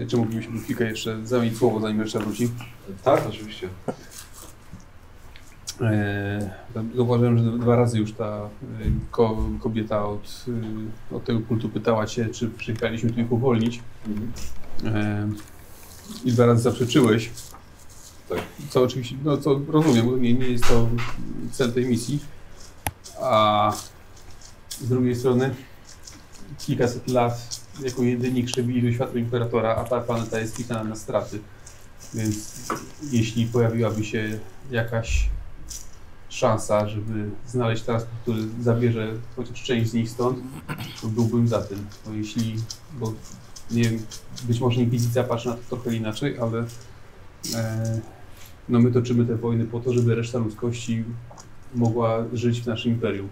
H: E, Czy mówiliśmy chwilkę jeszcze, zamień słowo, zanim reszta wróci.
B: Tak, oczywiście.
H: Eee, zauważyłem, że dwa razy już ta e, ko, kobieta od, e, od tego kultu pytała cię, czy przyjechaliśmy tu ich uwolnić. Eee, I dwa razy zaprzeczyłeś.
B: Tak.
H: Co oczywiście, no co rozumiem, bo nie, nie jest to cel tej misji. A z drugiej strony kilkaset lat jako jedyni krzywili światło imperatora, a ta planeta jest pisana na straty. Więc jeśli pojawiłaby się jakaś szansa, żeby znaleźć transport, który zabierze chociaż część z nich stąd, to byłbym za tym. Bo jeśli, bo nie wiem, być może Inkwizycja patrzy na to trochę inaczej, ale e, no my toczymy te wojny po to, żeby reszta ludzkości mogła żyć w naszym imperium.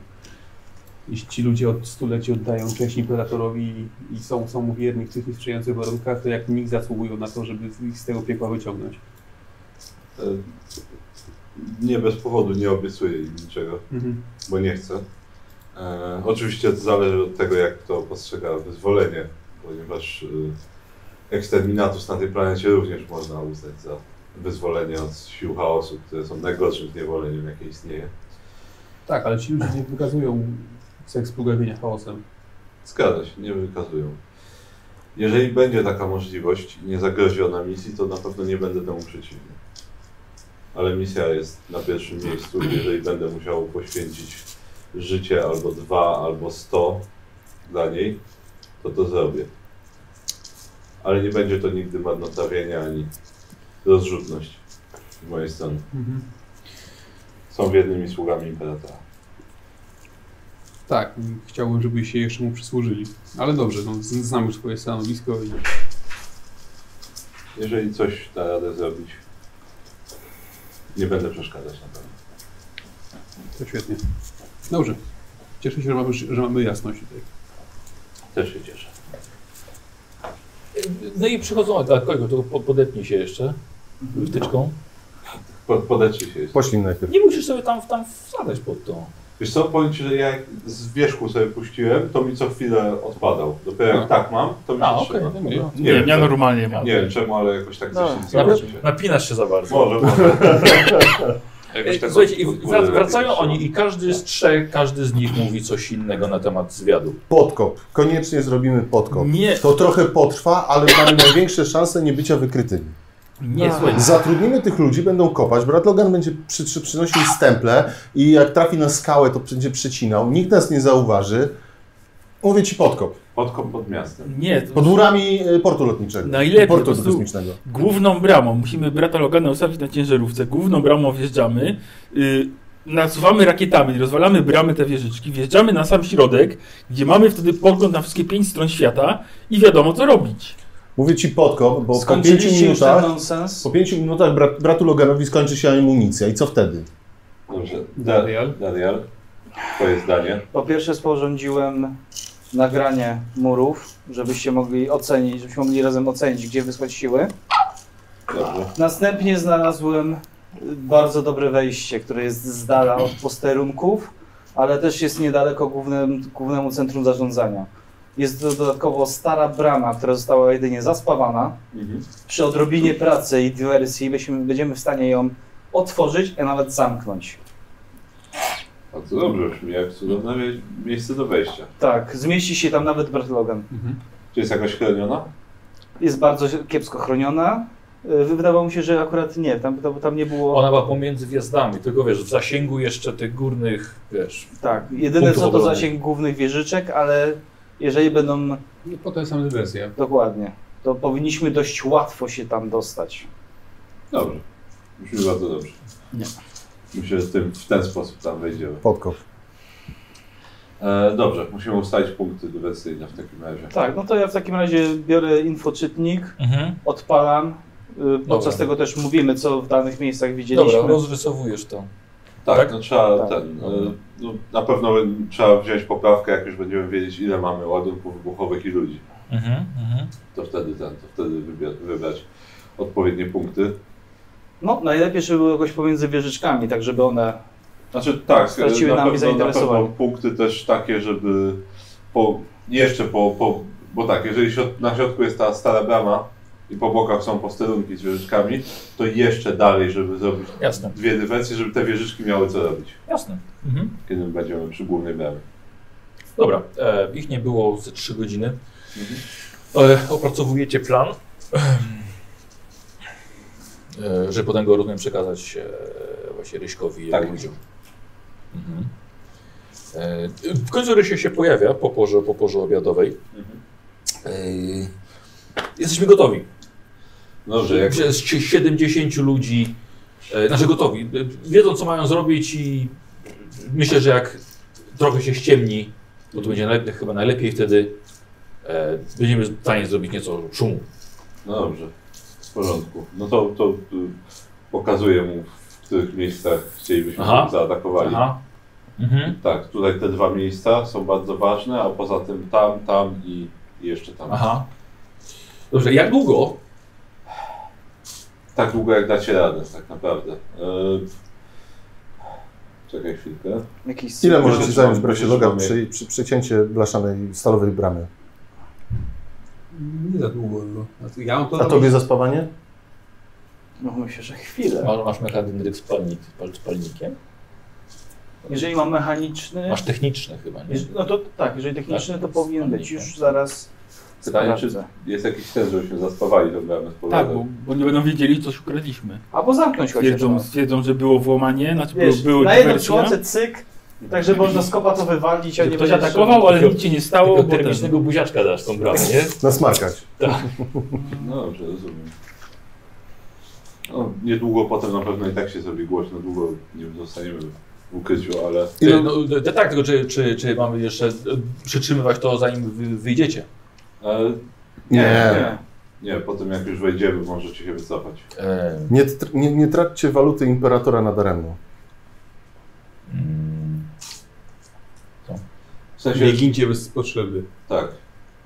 H: Jeśli ci ludzie od stuleci oddają cześć imperatorowi i są, są mu wierni w tych niesprzyjających warunkach, to jak nikt zasługują na to, żeby ich z tego piekła wyciągnąć.
B: E, Nie bez powodu nie obiecuję im niczego, bo nie chcę. E, oczywiście to zależy od tego, jak kto postrzega wyzwolenie, ponieważ e, eksterminatus na tej planecie również można uznać za wyzwolenie od sił chaosu, które są najgorszym zniewoleniem, jakie istnieje.
H: Tak, ale ci ludzie nie wykazują seks pogłębienia chaosem.
B: Zgadza się, nie wykazują. Jeżeli będzie taka możliwość i nie zagrozi ona misji, to na pewno nie będę temu przeciwny. Ale misja jest na pierwszym miejscu. i Jeżeli będę musiał poświęcić życie albo dwa, albo sto dla niej, to to zrobię. Ale nie będzie to nigdy marnotrawienie ani rozrzutność z mojej strony. Są wiernymi sługami imperatora.
H: Tak, m, chciałbym, żeby się jeszcze mu przysłużyli. Ale dobrze, no, z- znam już swoje stanowisko i
B: Jeżeli coś da radę zrobić, nie będę przeszkadzać na pewno.
H: to świetnie. Dobrze. Cieszę się, że mamy, że mamy jasność tutaj.
B: Też się cieszę.
A: No i przychodzą, tak, kogo, to po- podepnij się jeszcze wtyczką.
B: Po, podeczy się jeszcze.
F: Poślij najpierw.
A: Nie musisz sobie tam, tam wsadać pod to.
B: Wiesz co, powiem Ci, że jak z wierzchu sobie puściłem, to mi co chwilę odpadał. Dopiero jak
H: No.
B: tak mam, to mi się
A: A, okej,
B: trzyma.
E: No
A: dobra.
H: Nie.
B: Nie no wiem,
I: ja
B: czemu-
I: normalnie mam.
B: nie wiem czemu, ale jakoś tak
D: No.
B: coś się
A: Dobra.
B: zobaczy.
A: Napinasz się za bardzo.
B: Może, może. tak
A: Ej, Słuchajcie, i wrac- wracają oni i każdy z trzech, każdy z nich mówi coś innego na temat zwiadu.
F: Podkop. Koniecznie zrobimy podkop.
E: Nie,
F: To trochę potrwa, ale mamy największe szanse nie bycia wykrytymi.
A: Nie, słuchaj,
F: Zatrudnimy tych ludzi, będą kopać. Brat Logan będzie przy, przy, przynosił stemple i jak trafi na skałę, to będzie przecinał. Nikt nas nie zauważy. Mówię ci podkop.
B: Podkop pod miastem.
E: nie. to-
F: Pod murami e, portu lotniczego.
E: Najlepiej, po
F: Portu
E: prostu.
F: kosmicznego.
E: Główną bramą, musimy brata Logana ustawić na ciężarówce, główną bramą wjeżdżamy,
H: y,
E: yy, nasuwamy rakietami, rozwalamy bramy te wieżyczki, wjeżdżamy na sam środek, gdzie mamy wtedy pogląd na wszystkie pięć stron świata i wiadomo co robić.
F: Mówię ci podkop, bo po pięciu
D: Skończyliście już ten
F: minutach,
D: nonsens?
F: po pięciu minutach brat, bratu Loganowi skończy się amunicja. I co wtedy?
B: Dobrze. Da-
H: Darial?
B: Darial, twoje zdanie.
D: Po pierwsze sporządziłem nagranie murów, żebyście mogli ocenić, żebyśmy mogli razem ocenić, gdzie wysłać siły.
B: Dobrze.
D: Następnie znalazłem y, bardzo dobre wejście, które jest z dala od posterunków, ale też jest niedaleko głównym, głównemu centrum zarządzania. Jest to dodatkowo stara brama, która została jedynie zaspawana.
B: Mhm.
D: Przy odrobinie pracy i dywersji byśmy, będziemy w stanie ją otworzyć, a nawet zamknąć.
B: Bardzo dobrze, brzmi jak cudowne mie- miejsce do wejścia.
D: Tak, zmieści się tam nawet Bertlogan.
B: Czy jest jakaś chroniona?
D: Jest bardzo kiepsko chroniona. Y, Wydawało mi się, że akurat nie, tam, tam, tam nie było...
A: Ona była pomiędzy wjazdami, tylko wiesz, w zasięgu jeszcze tych górnych, wiesz,
D: Tak, jedyne
A: Punktów
D: co to
A: obrony.
D: zasięg głównych wieżyczek, ale jeżeli będą
G: No, po to jest sama dywersja.
D: dokładnie, to powinniśmy dość łatwo się tam dostać.
B: Dobrze. Brzmi bardzo dobrze.
E: Nie.
B: Myślę, że tym, w ten sposób tam wejdziemy.
F: Podkop.
B: E, dobrze, musimy ustalić punkty dywersyjne w takim razie.
D: Tak, no to ja w takim razie biorę infoczytnik, odpalam. y, Podczas
A: Dobra.
D: tego też mówimy, co w danych miejscach widzieliśmy.
A: Dobra, rozrysowujesz to.
B: Tak,
A: Tak?
B: no trzeba
D: Tak.
B: ten. e, No, na pewno bę- trzeba wziąć poprawkę, jak już będziemy wiedzieć, ile mamy ładunków wybuchowych i ludzi. To wtedy ten, to wtedy wybie- wybrać odpowiednie punkty.
D: No, najlepiej, żeby było jakoś pomiędzy wieżyczkami, tak żeby one...
B: Znaczy tak,
D: Straciły
B: na
D: nami
B: pewno, na pewno
D: zainteresowanie.
B: punkty też takie, żeby po, jeszcze po, po, bo tak, jeżeli środ, na środku jest ta stara brama i po bokach są posterunki z wieżyczkami, to jeszcze dalej, żeby zrobić
A: Jasne,
B: dwie dywersje, żeby te wieżyczki miały co robić,
A: jasne. Mhm.
B: kiedy będziemy przy głównej bramie.
A: Dobra, e, ich nie było ze 3 godziny. E, opracowujecie plan, e, żeby potem go rozumiem przekazać e, właśnie Ryśkowi i
B: Tak.
A: tak. ludziom. Mhm. E, w końcu Rysiek się pojawia po porze, po porze obiadowej. E, jesteśmy gotowi.
B: Dobrze, jak
A: Przez 70 ludzi, e, znaczy gotowi, e, wiedzą co mają zrobić i myślę, że jak trochę się ściemni, bo to będzie najlepiej, chyba najlepiej wtedy, e, będziemy w stanie zrobić nieco szumu.
B: No dobrze, w porządku. No to, to y, pokazuję mu, w których miejscach chcielibyśmy
A: Aha.
B: żeby zaatakowali.
A: Aha. Mhm.
B: Tak, tutaj te dwa miejsca są bardzo ważne, a poza tym tam, tam i i jeszcze tam.
A: Aha. Dobrze, jak długo?
B: Tak długo jak dacie radę, tak naprawdę. Yy... Czekaj chwilkę.
D: Jakiś
F: Ile
B: Myślę,
F: może ci
B: że
F: zająć
B: mam-
F: brasiloga
B: myślę, że
F: przy, przy przecięcie blaszanej stalowej bramy?
G: Nie za długo. No. A ty- Ja mam to
F: A tobie zaspawanie?
D: No myślę, że chwilę.
A: Masz, masz mechanizm spalnik, pal- spalnikiem?
D: Jeżeli mam mechaniczny,
A: Masz techniczny chyba, nie?
D: jeż- no to tak, jeżeli techniczny, to powinien być już zaraz.
B: Pytanie, czy
D: Sprawdzę.
B: jest jakiś sens, żebyśmy zaspawali do bramy z
H: Tak,
B: powrotem?
H: bo, bo nie będą wiedzieli, co ukradliśmy.
D: Albo zamknąć chociaż.
H: Stwierdzą,
D: no.
H: stwierdzą że było włamanie, znaczy
D: Wiesz,
H: było, było
D: na jednym
H: dywersja,
D: członce cyk, tak żeby można z kopa to wywalić, a
H: że
D: nie
H: ktoś
D: będzie
H: atakował, ale
A: Takiego-
H: nic się nie
A: Takiego
H: stało, bo ten...
A: termicznego buziaczka dasz tą bramę, nie?
F: Nasmarkać.
B: No dobrze, rozumiem. No, niedługo potem na pewno i tak się zrobi głośno, długo nie zostaniemy w ukryciu, ale
A: Ty, no, d- tak, tylko czy, czy, czy mamy jeszcze e, przytrzymywać to zanim wy, wyjdziecie?
B: e,
F: Nie.
D: Nie.
B: Nie, potem jak już wejdziemy, możecie się wycofać.
A: E,
F: Nie, tr- nie, nie traćcie waluty imperatora nadaremno.
A: mm,
B: W sensie,
G: Nie gincie bez potrzeby.
B: tak.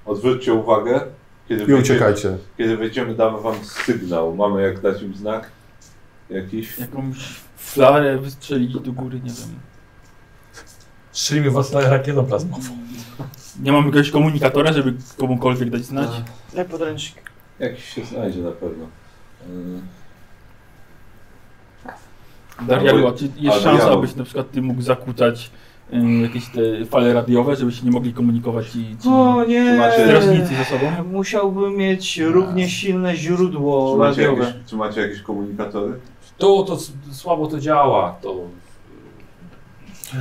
B: Odwróćcie uwagę. Kiedy
F: I
B: wejdziemy-
F: uciekajcie.
B: Kiedy wejdziemy, damy wam sygnał. Mamy jak dać im znak jakiś.
H: Jakąś flarę wystrzelić do góry, nie wiem.
A: Strzelimy was na rakietą plazmową.
H: Nie mam jakiegoś komunikatora, żeby komukolwiek dać znać.
D: Jak podręcznik.
B: Jakiś się znajdzie na pewno.
H: Daria
B: Albo-
H: była, czy jest
B: albo
H: szansa,
B: ja-
H: abyś na przykład ty mógł zakłócać em, jakieś te fale radiowe, żeby się nie mogli komunikować i ci
F: No,
D: O nie,
F: e,
B: Macie-
H: strażnicy ze sobą?
D: musiałbym mieć równie silne
B: Czy
D: źródło
B: macie,
D: radiowe.
B: jakieś, czy macie jakieś komunikatory?
A: To, to s- słabo to działa, to...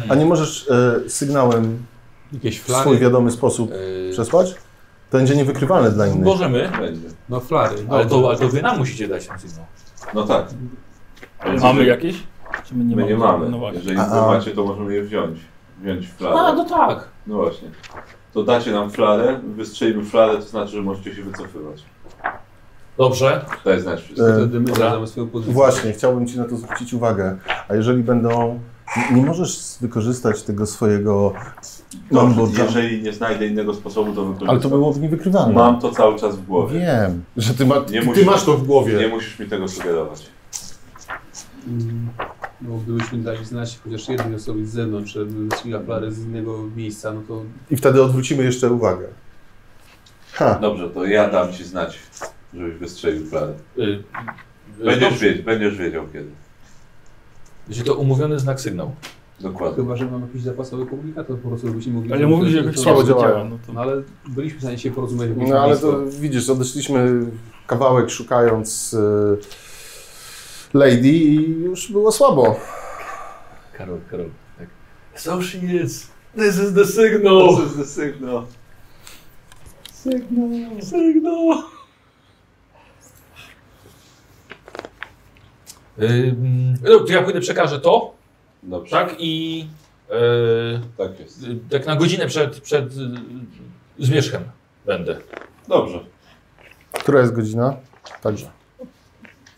F: A nie możesz e, sygnałem
G: Jakieś
F: w swój
G: flary.
F: wiadomy sposób
A: e,
F: przesłać? To będzie niewykrywalne dla innych.
A: Możemy,
B: Będzie.
G: No flary.
A: ale to,
G: dobrze.
A: ale to wy nam musicie dać ten sygnał.
B: No tak.
H: Ale Mamy jakieś? Czy my nie
B: My
H: mamy?
B: nie mamy.
H: No właśnie.
B: Jeżeli
F: A,
B: wy
F: a.
B: macie, to możemy je wziąć. Wziąć
A: A,
B: flarę.
A: no tak.
B: No właśnie. To dacie nam flarę, wystrzelimy flarę, to znaczy, że możecie się wycofywać.
A: Dobrze.
B: Daj znać wszystko.
F: E,
G: Wtedy my
A: Dobra.
G: znamy swoją pozycję.
F: Właśnie, chciałbym Ci na to zwrócić uwagę. A jeżeli będą Nie- Nie możesz wykorzystać tego swojego
B: Dobrze,
F: Longboarda.
B: No, jeżeli nie znajdę innego sposobu, to wykorzystam.
F: Ale to było niewykrywalne.
B: Mam to cały czas w głowie.
F: Wiem, że ty, ma,
B: Nie
F: ty
B: musisz-
F: masz to w
B: Nie
F: głowie.
B: musisz mi tego sugerować.
H: Mm, No, gdybyśmy dali znać chociaż jednej osobie z zewnątrz, że wystrzeliła flarę z innego miejsca, no to
F: I wtedy odwrócimy jeszcze uwagę. Ha,
B: Dobrze, to ja dam ci znać, żebyś wystrzelił flarę.
A: Y, y,
B: Będziesz,
A: dobrze.
B: wiedział, będziesz wiedział kiedy.
A: Będzie to umówiony znak sygnał.
B: Dokładnie.
H: chyba, że mam jakiś zapasowy komunikator, po prostu byśmy mogli...
E: Ale mówisz, że jakoś
H: to-
E: słabo
F: działa.
E: działa. No to...
H: No ale byliśmy w stanie się porozumieć. w jakimś
F: no ale
H: miejscu.
F: to widzisz, odeszliśmy kawałek szukając y, Lady i już było słabo.
A: Karol, Karol, tak. So she is. This is the signal.
B: jest the sygnał.
A: Sygnał. Ym, no, to ja pójdę, przekażę to,
B: Dobrze, tak?
A: tak? I y,
B: tak jest.
A: y, tak na godzinę przed, przed y, zmierzchem będę.
B: Dobrze.
F: Która jest godzina? Także.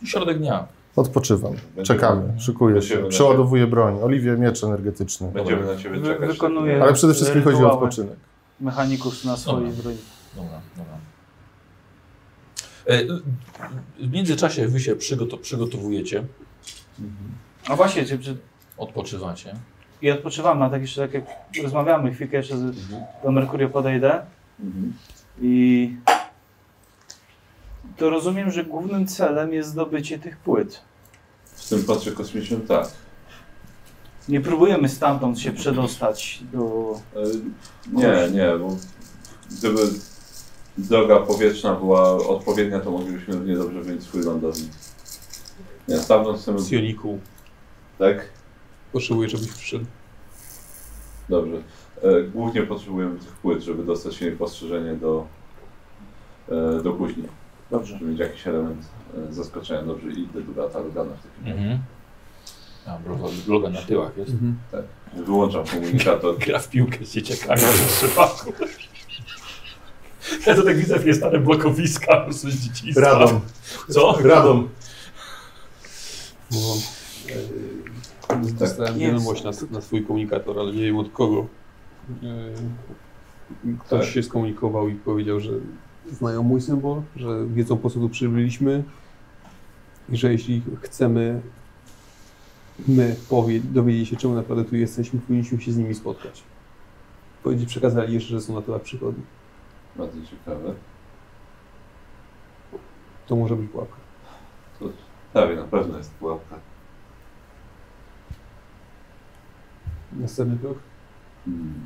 A: Środek dnia.
F: Odpoczywam. Czekamy, szykuję się,
B: Będziemy-
F: przeładowuję broń. Oliwie miecz energetyczny.
B: Będziemy na ciebie
D: Wy-
B: czekać.
D: wykonuję.
F: Ale przede wszystkim chodzi o
D: Rytuały.
F: odpoczynek.
D: Mechanikus na swojej
A: Dobra.
D: broni.
A: Dobra, dobra. Y, y, W międzyczasie wy się przygoto- przygotowujecie,
D: No właśnie, czy, czy,
A: odpoczywacie.
D: i odpoczywam na tak jeszcze tak jak rozmawiamy, chwilkę jeszcze z, do Merkurio podejdę
B: Mhm.
D: i to rozumiem, że głównym celem jest zdobycie tych płyt.
B: W tym patrze kosmicznym tak.
D: Nie próbujemy stamtąd się przedostać do...
B: Y, Nie, nie, bo gdyby droga powietrzna była odpowiednia, to moglibyśmy równie dobrze mieć swój lądownik. Nie, stamtąd chcemy...
H: Sioniku,
B: Tak?
H: potrzebuję, żebyś przyszedł.
B: Dobrze. E, Głównie potrzebujemy tych płyt, żeby dostać się niepostrzeżenie do, e, do później.
D: Dobrze.
B: Żeby mieć jakiś element e, zaskoczenia. Dobrze, idę do brata Lugana w takim razie.
A: Mhm. A, bro, loga na tyłach jest.
B: Wyłączam komunikator.
A: Gra w piłkę z dzieciakami w
F: No.
A: przypadku. Ja to tak widzę, takie stare blokowiska po prostu z dzieciństwa.
F: Radom,
A: Co?
F: radom.
H: Bo,
D: tak,
H: e, dostałem
D: Jest.
H: wiadomość na, na swój komunikator, ale nie wiem od kogo. E, ktoś
B: Tak.
H: się skomunikował i powiedział, że znają mój symbol, że wiedzą po co tu przybyliśmy i że jeśli chcemy my powie, dowiedzieć się czemu naprawdę tu jesteśmy, powinniśmy się z nimi spotkać. Powiedzi, przekazali jeszcze, że są na tyłach przychodni.
B: Bardzo ciekawe.
H: To może być pułapka.
B: Prawie na pewno jest pułapka.
H: Następny krok?
B: Hmm.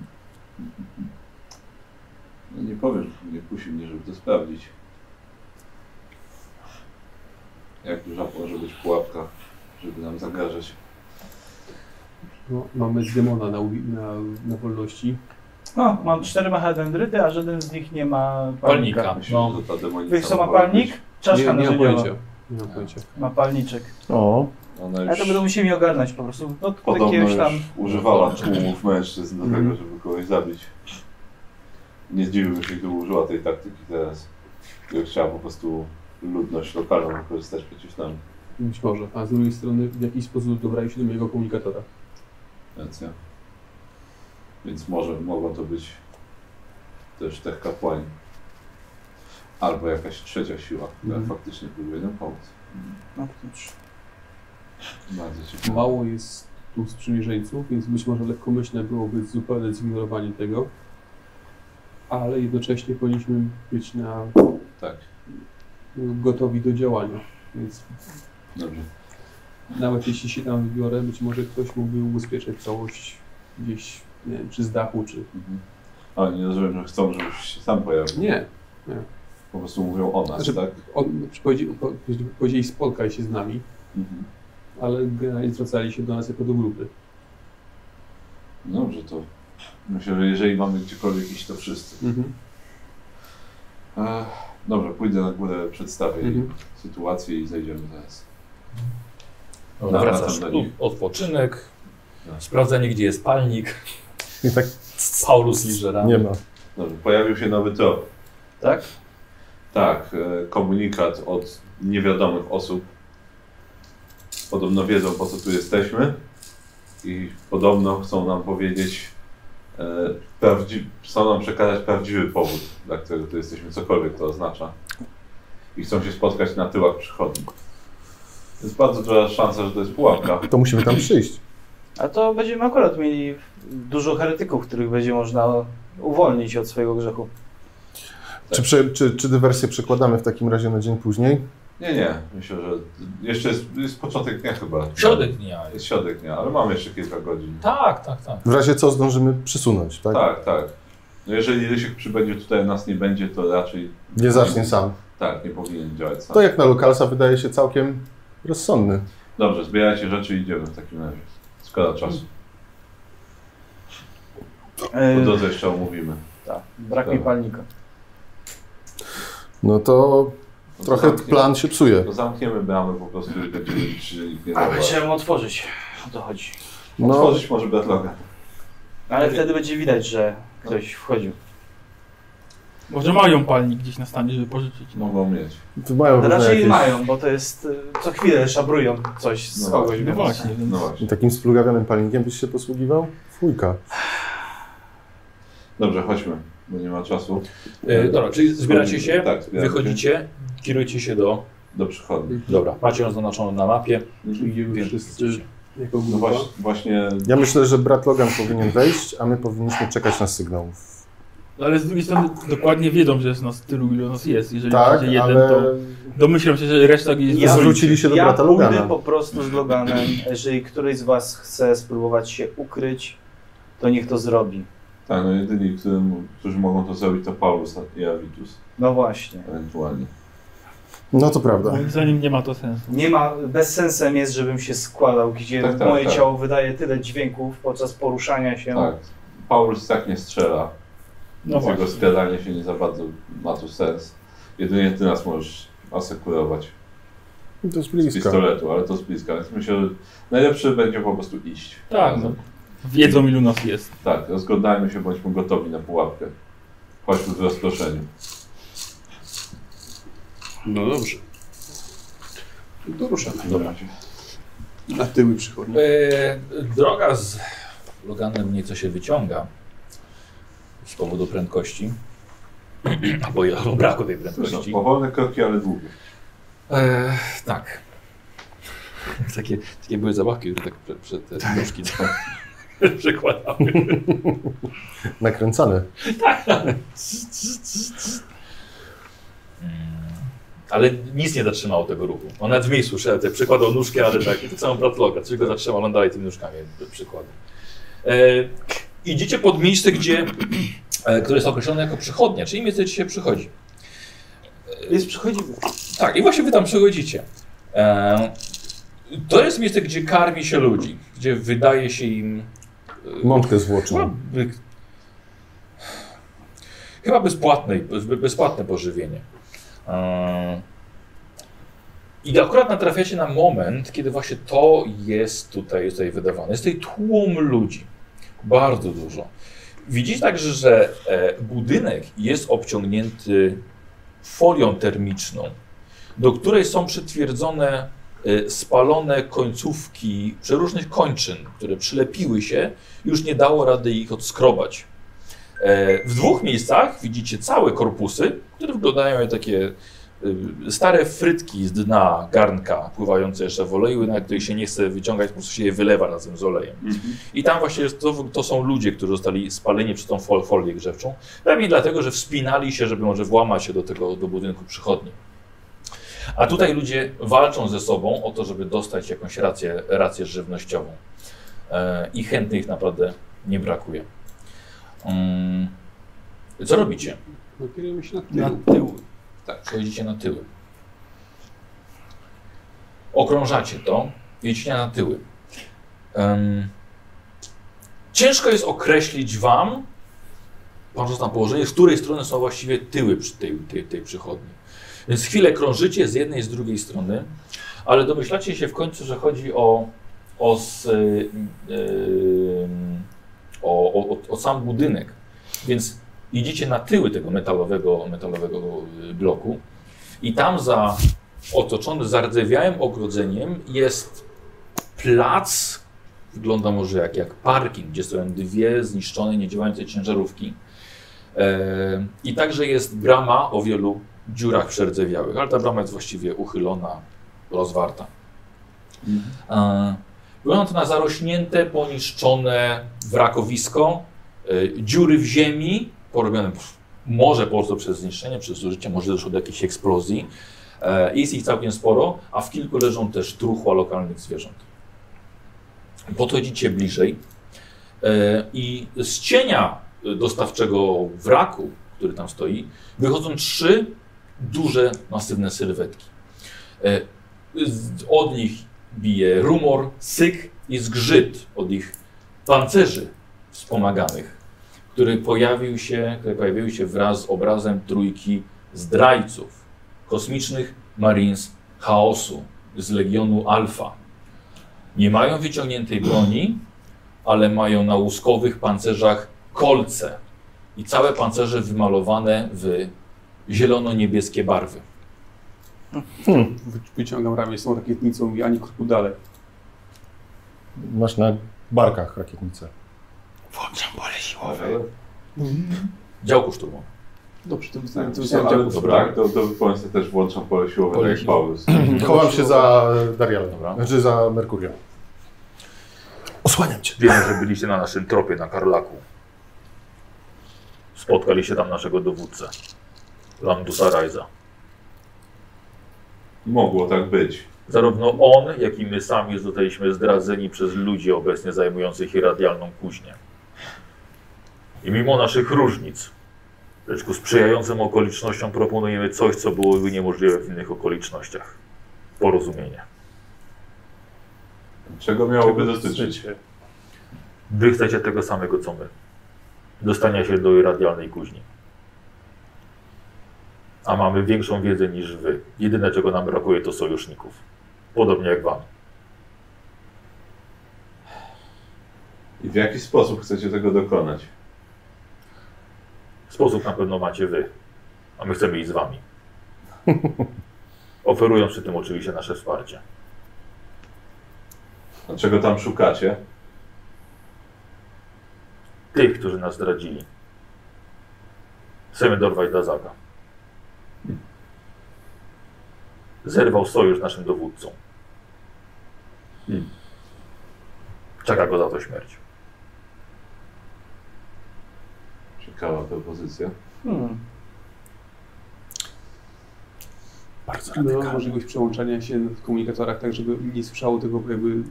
B: No nie powiem, nie kusi mnie, żeby to sprawdzić. Jak duża może być pułapka, żeby nam zagrażać.
H: No, mamy demona na, uwi- na, na wolności.
D: No, mam cztery mechadendryty, a żaden z nich nie ma palnika.
A: Palnika.
B: Myślę,
A: No.
B: że ta demonica
D: Wiesz co ma
B: mogła
D: palnik?
B: być-
D: Czaszka
H: nie, nie mam
D: narzędziowa.
H: pojęcia. Nie mam pojęcia.
D: Ma palniczek.
F: O,
B: Ona
D: Ale
B: już
D: to będą musieli ogarnąć po prostu. No,
B: podobno
D: jakiegoś
B: już
D: tam...
B: używała tłumów mężczyzn do
F: Mhm.
B: tego, żeby kogoś zabić. Nie zdziwiłbym się, gdyby użyła tej taktyki teraz. Gdyby chciała po prostu ludność lokalną wykorzystać przeciw nam.
H: Być może. A z drugiej strony w jakiś sposób dobrali się do mojego komunikatora.
B: Racja. Więc może mogą to być też tych kapłani. Albo jakaś trzecia siła, która
H: Mhm.
B: faktycznie próbuje nam pomóc.
D: No, to już.
B: Bardzo ciekawe.
H: Mało jest tu sprzymierzeńców, więc być może lekkomyślne byłoby zupełne zignorowanie tego. Ale jednocześnie powinniśmy być na
B: Tak,
H: gotowi do działania. Więc
B: dobrze.
H: nawet jeśli się tam wybiorę, być może ktoś mógłby ubezpieczać całość gdzieś, nie wiem, czy z dachu, czy...
B: Mhm. Ale nie rozumiem, że chcą, żebyś się sam pojawił.
H: Nie,
B: Po prostu mówią o nas,
H: Znaczy-
B: tak?
H: on, powiedzieli, po- powiedzieli spotkaj się z nami,
B: Mhm.
H: ale generalnie zwracali się do nas jako do grupy.
B: Dobrze, to myślę, że jeżeli mamy gdziekolwiek iść, to wszyscy. Ech, dobrze, pójdę na górę, przedstawię
H: Mhm.
B: jej sytuację i zejdziemy zaraz.
A: Dobra,
B: Wracam
A: wracasz
B: do
A: tu,
B: nich.
A: odpoczynek, sprawdzenie gdzie jest palnik.
F: i tak
A: Paulus Ligera.
F: nie ma.
B: Dobrze, No, pojawił się nowy trop.
D: Tak?
B: Tak, e, komunikat od niewiadomych osób. Podobno wiedzą, po co tu jesteśmy. i podobno chcą nam powiedzieć, e, prawdzi- chcą nam przekazać prawdziwy powód, dla którego tu jesteśmy, cokolwiek to oznacza. I chcą się spotkać na tyłach przychodni. Jest bardzo duża szansa, że to jest pułapka.
F: To musimy tam przyjść.
D: A to będziemy akurat mieli dużo heretyków, których będzie można uwolnić od swojego grzechu.
F: Czy, prze, czy, czy dywersję przekładamy w takim razie na dzień później?
B: Nie, nie, myślę, że jeszcze jest, jest początek dnia chyba.
A: Środek dnia jest.
B: Jest środek dnia, ale mamy jeszcze kilka godzin.
A: Tak, tak, tak.
F: W razie co zdążymy przesunąć, tak?
B: Tak, tak. No jeżeli Rysiek przybędzie tutaj, nas nie będzie, to raczej
F: Nie zacznie sam.
B: tak, nie powinien działać sam.
F: To jak na lokalsa wydaje się całkiem rozsądny.
B: Dobrze, zbierajcie rzeczy i idziemy w takim razie. Szkoda czasu. Po
D: Yy,
B: drodze jeszcze omówimy.
D: tak, brak mi
B: Dobra.
D: palnika.
F: No to
B: No to
F: trochę
B: zamkniemy-
F: plan się psuje.
B: To zamkniemy bramy po prostu i będziemy liczyć, że nikt nie
D: Ale
B: zauważy.
D: będziemy ją otworzyć. O to chodzi.
F: No,
B: Otworzyć może Bratloga.
D: Ale wtedy będzie widać, że ktoś wchodził.
H: Może mają palnik gdzieś na stanie, żeby pożyczyć. No.
B: Mogą mieć.
F: mają różne
D: Raczej
F: jakieś...
D: mają, bo to jest y, co chwilę szabrują coś z
B: No
D: kogoś.
H: No
D: więc-
H: właśnie, więc
B: No właśnie.
F: Takim splugawionym palnikiem byś się posługiwał? Fujka.
B: Dobrze, chodźmy, bo nie ma czasu.
A: E, dobra, czyli zbieracie się,
B: Tak, zbieramy się.
A: wychodzicie, kierujecie się do...
B: Do przychodni.
A: Dobra, macie ją zaznaczoną na mapie.
G: Idziemy
A: Wiem,
G: wszyscy jako
B: No
G: grupa.
B: właśnie, właśnie
F: Ja myślę, że brat Logan powinien wejść, a my powinniśmy czekać na sygnał.
H: No ale z drugiej strony dokładnie wiedzą, że jest nas tylu, ile nas jest. Jeżeli
F: Tak,
H: będzie jeden,
F: ale
H: to domyślam się, że reszta jest
D: Ja-
H: do
F: zwrócili się do
D: ja
F: brata
D: pójdę
F: Logana.
D: po prostu z Loganem. Jeżeli któryś z was chce spróbować się ukryć, to niech to zrobi.
B: tak, no jedyni, którym, którzy mogą to zrobić to Paulus i Avitus
D: No właśnie.
B: ewentualnie.
F: No to prawda.
H: Moim zdaniem nie ma to sensu.
D: Nie ma, bezsensem jest, żebym się składał, gdzie
B: Tak, tak,
D: moje
B: tak.
D: ciało wydaje tyle dźwięków podczas poruszania się.
B: Tak. Paulus tak nie strzela.
H: No
B: Więc jego
H: właśnie.
B: skradanie się nie za bardzo ma tu sens. Jedynie ty nas możesz asekurować
F: To jest
B: z
F: blisko.
B: pistoletu, ale to z bliska, więc myślę, że najlepsze będzie po prostu iść.
H: Tak, no. Wiedzą, ilu nas jest.
B: Tak, rozglądajmy się, bądźmy gotowi na pułapkę. Chodźmy w rozproszeniu.
G: No dobrze. To ruszamy.
A: Dobra.
G: Na tyły przychodni.
A: E, droga z Loganem nieco się wyciąga z powodu prędkości. Albo i- albo braku tej
B: Zresztą
A: prędkości.
B: No, powolne kroki, ale długie.
A: E, tak. Takie, takie były zabawki, które tak przed, przed te nóżki tak. przekładały.
F: Nakręcane.
A: Mm, Ale nic nie zatrzymało tego ruchu. On nawet w miejscu szedł, tak przekładał nóżki, ale tak, to całą platloga, tylko zatrzymał, on dalej tymi nóżkami przykładu. E, idziecie pod miejsce, gdzie, e, które jest określone jako przychodnia, czyli miejsce, gdzie się przychodzi.
D: Jest przychodzimy.
A: Tak, i właśnie wy tam przechodzicie. E, to jest miejsce, gdzie karmi się ludzi, gdzie wydaje się im. e,
F: Mąkę zwłoczną.
A: Chyba- Chyba bezpłatne, bezpłatne pożywienie. Eee, I akurat natrafiacie na moment, kiedy właśnie to jest tutaj, jest tutaj wydawane. Jest tutaj tłum ludzi. Bardzo dużo. Widzicie także, że e, budynek jest obciągnięty folią termiczną, do której są przytwierdzone e, spalone końcówki przeróżnych kończyn, które przylepiły się już nie dało rady ich odskrobać. E, W dwóch miejscach widzicie całe korpusy, które wyglądają jak takie y, stare frytki z dna garnka pływające jeszcze w oleju, na których się nie chce wyciągać, po prostu się je wylewa razem z olejem. I tam właśnie jest to, to są ludzie, którzy zostali spaleni przez tą fol, folię grzewczą. Pewnie dlatego, że wspinali się, żeby może włamać się do tego, do budynku przychodni. A tutaj ludzie walczą ze sobą o to, żeby dostać jakąś rację, rację żywnościową. E, I chętnych naprawdę nie brakuje. Mm, Co robicie?
G: No kierujemy się na tył.
H: Na tył.
A: Tak, przechodzicie na tyły. Okrążacie to, jedziecie na tyły. Em, ciężko jest określić wam, patrząc na położenie, z której strony są właściwie tyły przy tej, tej, tej przychodni. Więc chwilę krążycie z jednej i z drugiej strony, ale domyślacie się w końcu, że chodzi o, o, s- ym, ym, o, o, o, o sam budynek. Więc idziecie na tyły tego metalowego, metalowego y, bloku i tam za otoczony zardzewiałym ogrodzeniem jest plac, wygląda może jak, jak parking, gdzie stoją dwie zniszczone, niedziałające ciężarówki. E, I także jest brama o wielu dziurach przerdzewiałych, ale ta brama jest właściwie uchylona, rozwarta. E, Wygląda to na zarośnięte, poniszczone wrakowisko, e, dziury w ziemi, porobione pff, może po prostu przez zniszczenie, przez zużycie, może doszło do jakiejś eksplozji. E, Jest ich całkiem sporo, a w kilku leżą też truchła lokalnych zwierząt. Podchodzicie bliżej e, i z cienia e, dostawczego wraku, który tam stoi, wychodzą trzy duże, masywne sylwetki. E, z- Od nich bije rumor, syk i zgrzyt od ich pancerzy wspomaganych, który pojawił się, które pojawiły się wraz z obrazem trójki zdrajców, kosmicznych Marines Chaosu z Legionu Alfa. Nie mają wyciągniętej broni, ale mają na łuskowych pancerzach kolce i całe pancerze wymalowane w zielono-niebieskie barwy.
G: Wy- Wyciągam ramię z tą rakietnicą i ani kroku dalej.
F: Masz na barkach rakietnicę.
A: Działku szturmowe. No,
G: Dobrze, to wyznałem. To
B: Ale,
G: wyznałem
B: ale,
G: działku.
A: dobra.
B: tak, to, to Państwo też włączam pole siłowe, tak
A: Pole
B: jak
A: siłowe.
B: Paweł.
F: Chowam No się za Darialem,
A: Dobra.
F: znaczy za Merkurią. Osłaniam cię.
A: Wiem, że byliście na naszym tropie, na Karlaku. Spotkaliście tam naszego dowódcę, Lamdusa Rajza.
B: Mogło tak być.
A: Zarówno on, jak i my sami zostaliśmy zdradzeni przez ludzi obecnie zajmujących irradialną kuźnię. I mimo naszych różnic, lecz ku sprzyjającym okolicznościom proponujemy coś, co byłoby niemożliwe w innych okolicznościach. Porozumienie.
B: Czego miałoby dotyczyć?
A: Wy chcecie tego samego, co my. Dostania się do irradialnej kuźni. A mamy większą wiedzę niż wy. Jedyne, czego nam brakuje, to sojuszników. Podobnie jak wam.
B: I w jaki sposób chcecie tego dokonać?
A: Sposób na pewno macie wy, a my chcemy iść z wami. Oferując przy tym oczywiście nasze wsparcie.
B: A czego tam szukacie?
A: Tych, którzy nas zdradzili. Chcemy dorwać Dazaka. Zerwał sojusz z naszym dowódcą. Czeka go za to śmierć.
B: Ciekawa propozycja.
D: Hmm.
G: Była możliwość przełączania się w komunikatorach tak, żeby nie słyszało tego jakby y,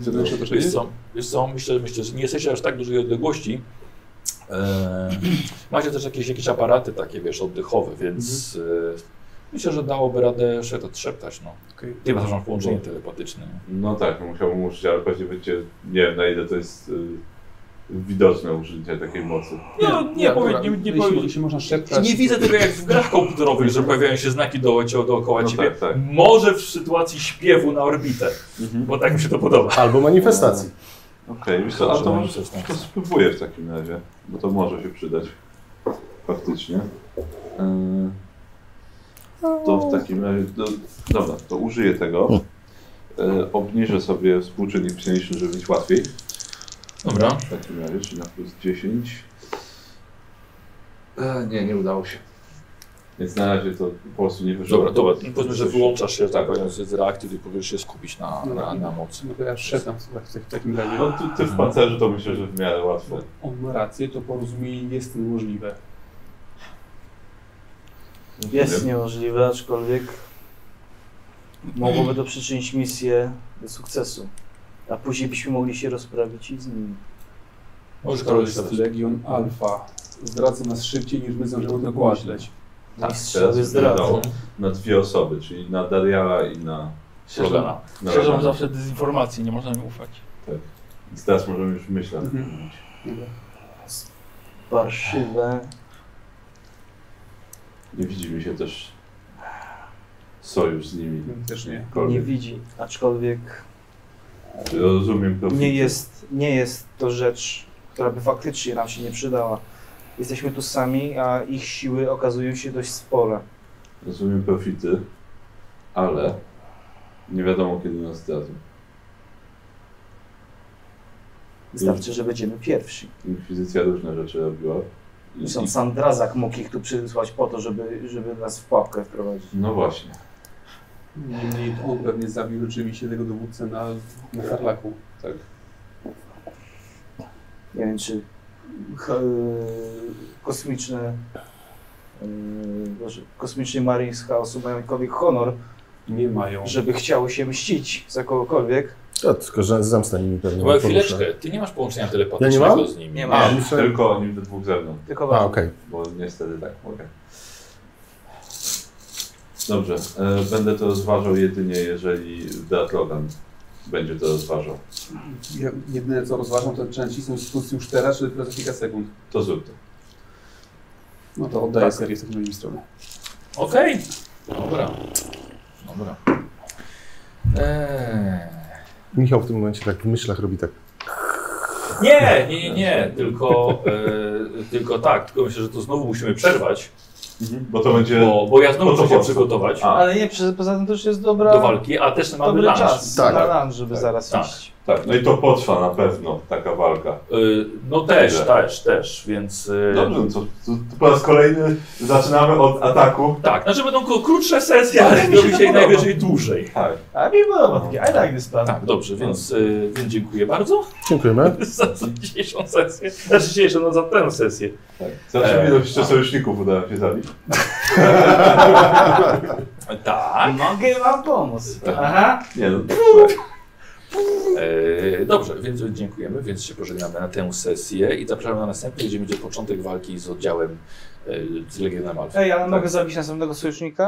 G: zewnętrzne otoczenie?
A: Wiesz co, wiesz co myślę, myślę, że nie jesteście aż tak dużej odległości. Eee, macie też jakieś, jakieś aparaty takie, wiesz, oddechowe, więc e, myślę, że dałoby radę szeptać, szeptać no.
G: Okej.
A: Ty masz połączenie telepatyczne.
B: No tak, musiałbym użyć, ale pewnie będzie, nie wiem na ile to jest y, widoczne użycie takiej mocy.
A: No, nie, nie,
G: dobra.
A: powiedz, nie, nie,
G: jeśli,
A: powiedz,
G: jeśli można szeptać,
A: nie widzę tego jak w grach komputerowych, że pojawiają się znaki dookoła, dookoła
B: No
A: ciebie.
B: tak, Mhm. tak.
A: Może w sytuacji śpiewu na orbitę, bo tak mi się to podoba.
F: Albo manifestacji.
B: Okej, wiesz co, a to może to spróbuję w takim razie, bo to może się przydać. Faktycznie. Yy, To w takim razie, no, dobra, to użyję tego. Yy, Obniżę sobie współczynnik psychiczny, żeby mieć łatwiej.
A: Dobra.
B: W takim razie, czyli na plus 10. E, nie, nie udało się. Więc na razie to po prostu nie wyszło.
A: Dobra, dobra. Powiedzmy, że wyłączasz się, tak, powiem, z z reakcji i próbujesz się skupić na, na, na mocy.
G: no to ja szeptam słuchaj, w tak- w takim razie.
B: No ty, ty w pancerzu to myślę, że w miarę łatwo.
G: On ma rację, to porozumienie jest niemożliwe.
B: Wiem.
D: Jest niemożliwe, aczkolwiek mogłoby to przyczynić misję do sukcesu. A później byśmy mogli się rozprawić i z nimi.
A: Możesz
G: To
A: Karol
G: jest
A: zadać.
G: Legion Alfa. Zdradza nas szybciej niż my zdążymy tego myśleć.
B: Tak,
D: Mistrzowie
B: teraz
D: zdradzą.
B: udało. Na dwie osoby, czyli na Dariala i na...
H: Sierżana.
B: na
H: Sierżan
B: Ramana.
H: zawsze dezinformacji, nie można mi ufać.
B: Więc teraz możemy już myśleć.
D: Parszywe.
B: Nie widzi mi się też sojusz z nimi.
G: Też nie.
D: Nie
B: Jakkolwiek.
D: widzi, aczkolwiek
B: Rozumiem profil.
D: nie jest, nie jest to rzecz, która by faktycznie nam się nie przydała. Jesteśmy tu sami, a ich siły okazują się dość spore.
B: Rozumiem profity, ale nie wiadomo kiedy nas zdradzą.
D: Wystarczy, że będziemy pierwsi.
B: Inkwizycja różne rzeczy robiła. I-
D: Zresztą
B: i-
D: sam Drazak mógł ich tu przysłać po to, żeby, żeby nas w pułapkę wprowadzić.
B: No właśnie.
G: Niemniej to on pewnie zabił rzeczywiście tego dowódcę na, na Harlaku. Tak.
D: Nie wiem, czy ch- e, kosmiczne, yy, Boże, kosmiczni Marii z chaosu mają jakikolwiek honor,
G: Nie mają.
D: żeby chciały się mścić za kogokolwiek.
F: Ja tylko, że zemsta nimi pewnie
A: No ale
F: poruszę.
A: chwileczkę, ty nie masz połączenia
F: Ja nie
A: telepatycznego
F: mam?
A: z nimi.
D: Nie
B: A,
D: ma.
F: myślę-
B: tylko oni we dwóch ze mną,
D: Tylko
F: A,
G: Tak.
D: wam.
F: okej.
B: bo niestety tak mogę. Dobrze, e, będę to rozważał jedynie, jeżeli Datlogan będzie to rozważał.
G: Ja, jedyne co rozważam, to czy nacisnąć spust już teraz, czy dopiero za kilka sekund.
B: To zrób to.
G: No to oddaję serię z tej mojej strony.
A: Okej. Dobra. Dobra. Eee.
F: Michał w tym momencie tak w myślach robi tak.
A: Nie, nie, nie, nie. Tylko, e, tylko tak, tylko myślę, że to znowu musimy przerwać,
B: Bo to będzie...
A: bo, bo ja znowu
B: Bo to
A: muszę się
B: po-
A: przygotować
B: A.
D: No, Ale nie, przy- poza tym to już jest dobra,
A: do walki, a też mamy
D: dobry
A: lunch.
D: czas
F: Tak.
D: na lunch, żeby
B: Tak.
D: zaraz
A: Tak.
D: iść.
B: Tak, no i to potrwa na pewno, taka walka.
A: E, no też,
B: Dobrze.
A: też, też, więc... e,
B: Dobrze, no to, to, to po raz kolejny zaczynamy od ataku.
A: Tak, znaczy będą ko- krótsze sesje, ale
D: mi się
A: zrobi
D: to
A: się
D: podoba.
A: najwyżej dłużej.
B: Tak.
D: A mi podoba takie, I like this plan.
A: Tak, dobrze, więc, e, więc dziękuję bardzo
F: Dziękujemy.
A: za, za dzisiejszą sesję, znaczy dzisiejszą, no za tę sesję.
B: tak. Zawsze mi do sojuszników udało się zabić.
A: Tak.
D: Mogę wam pomóc. Aha.
B: Nie no,
A: E, dobrze, więc dziękujemy, więc się pożegnamy na tę sesję i zapraszamy na następny, gdzie będzie początek walki z oddziałem e, z Legionem Alfa.
D: Ej, ale mogę zabić następnego sojusznika?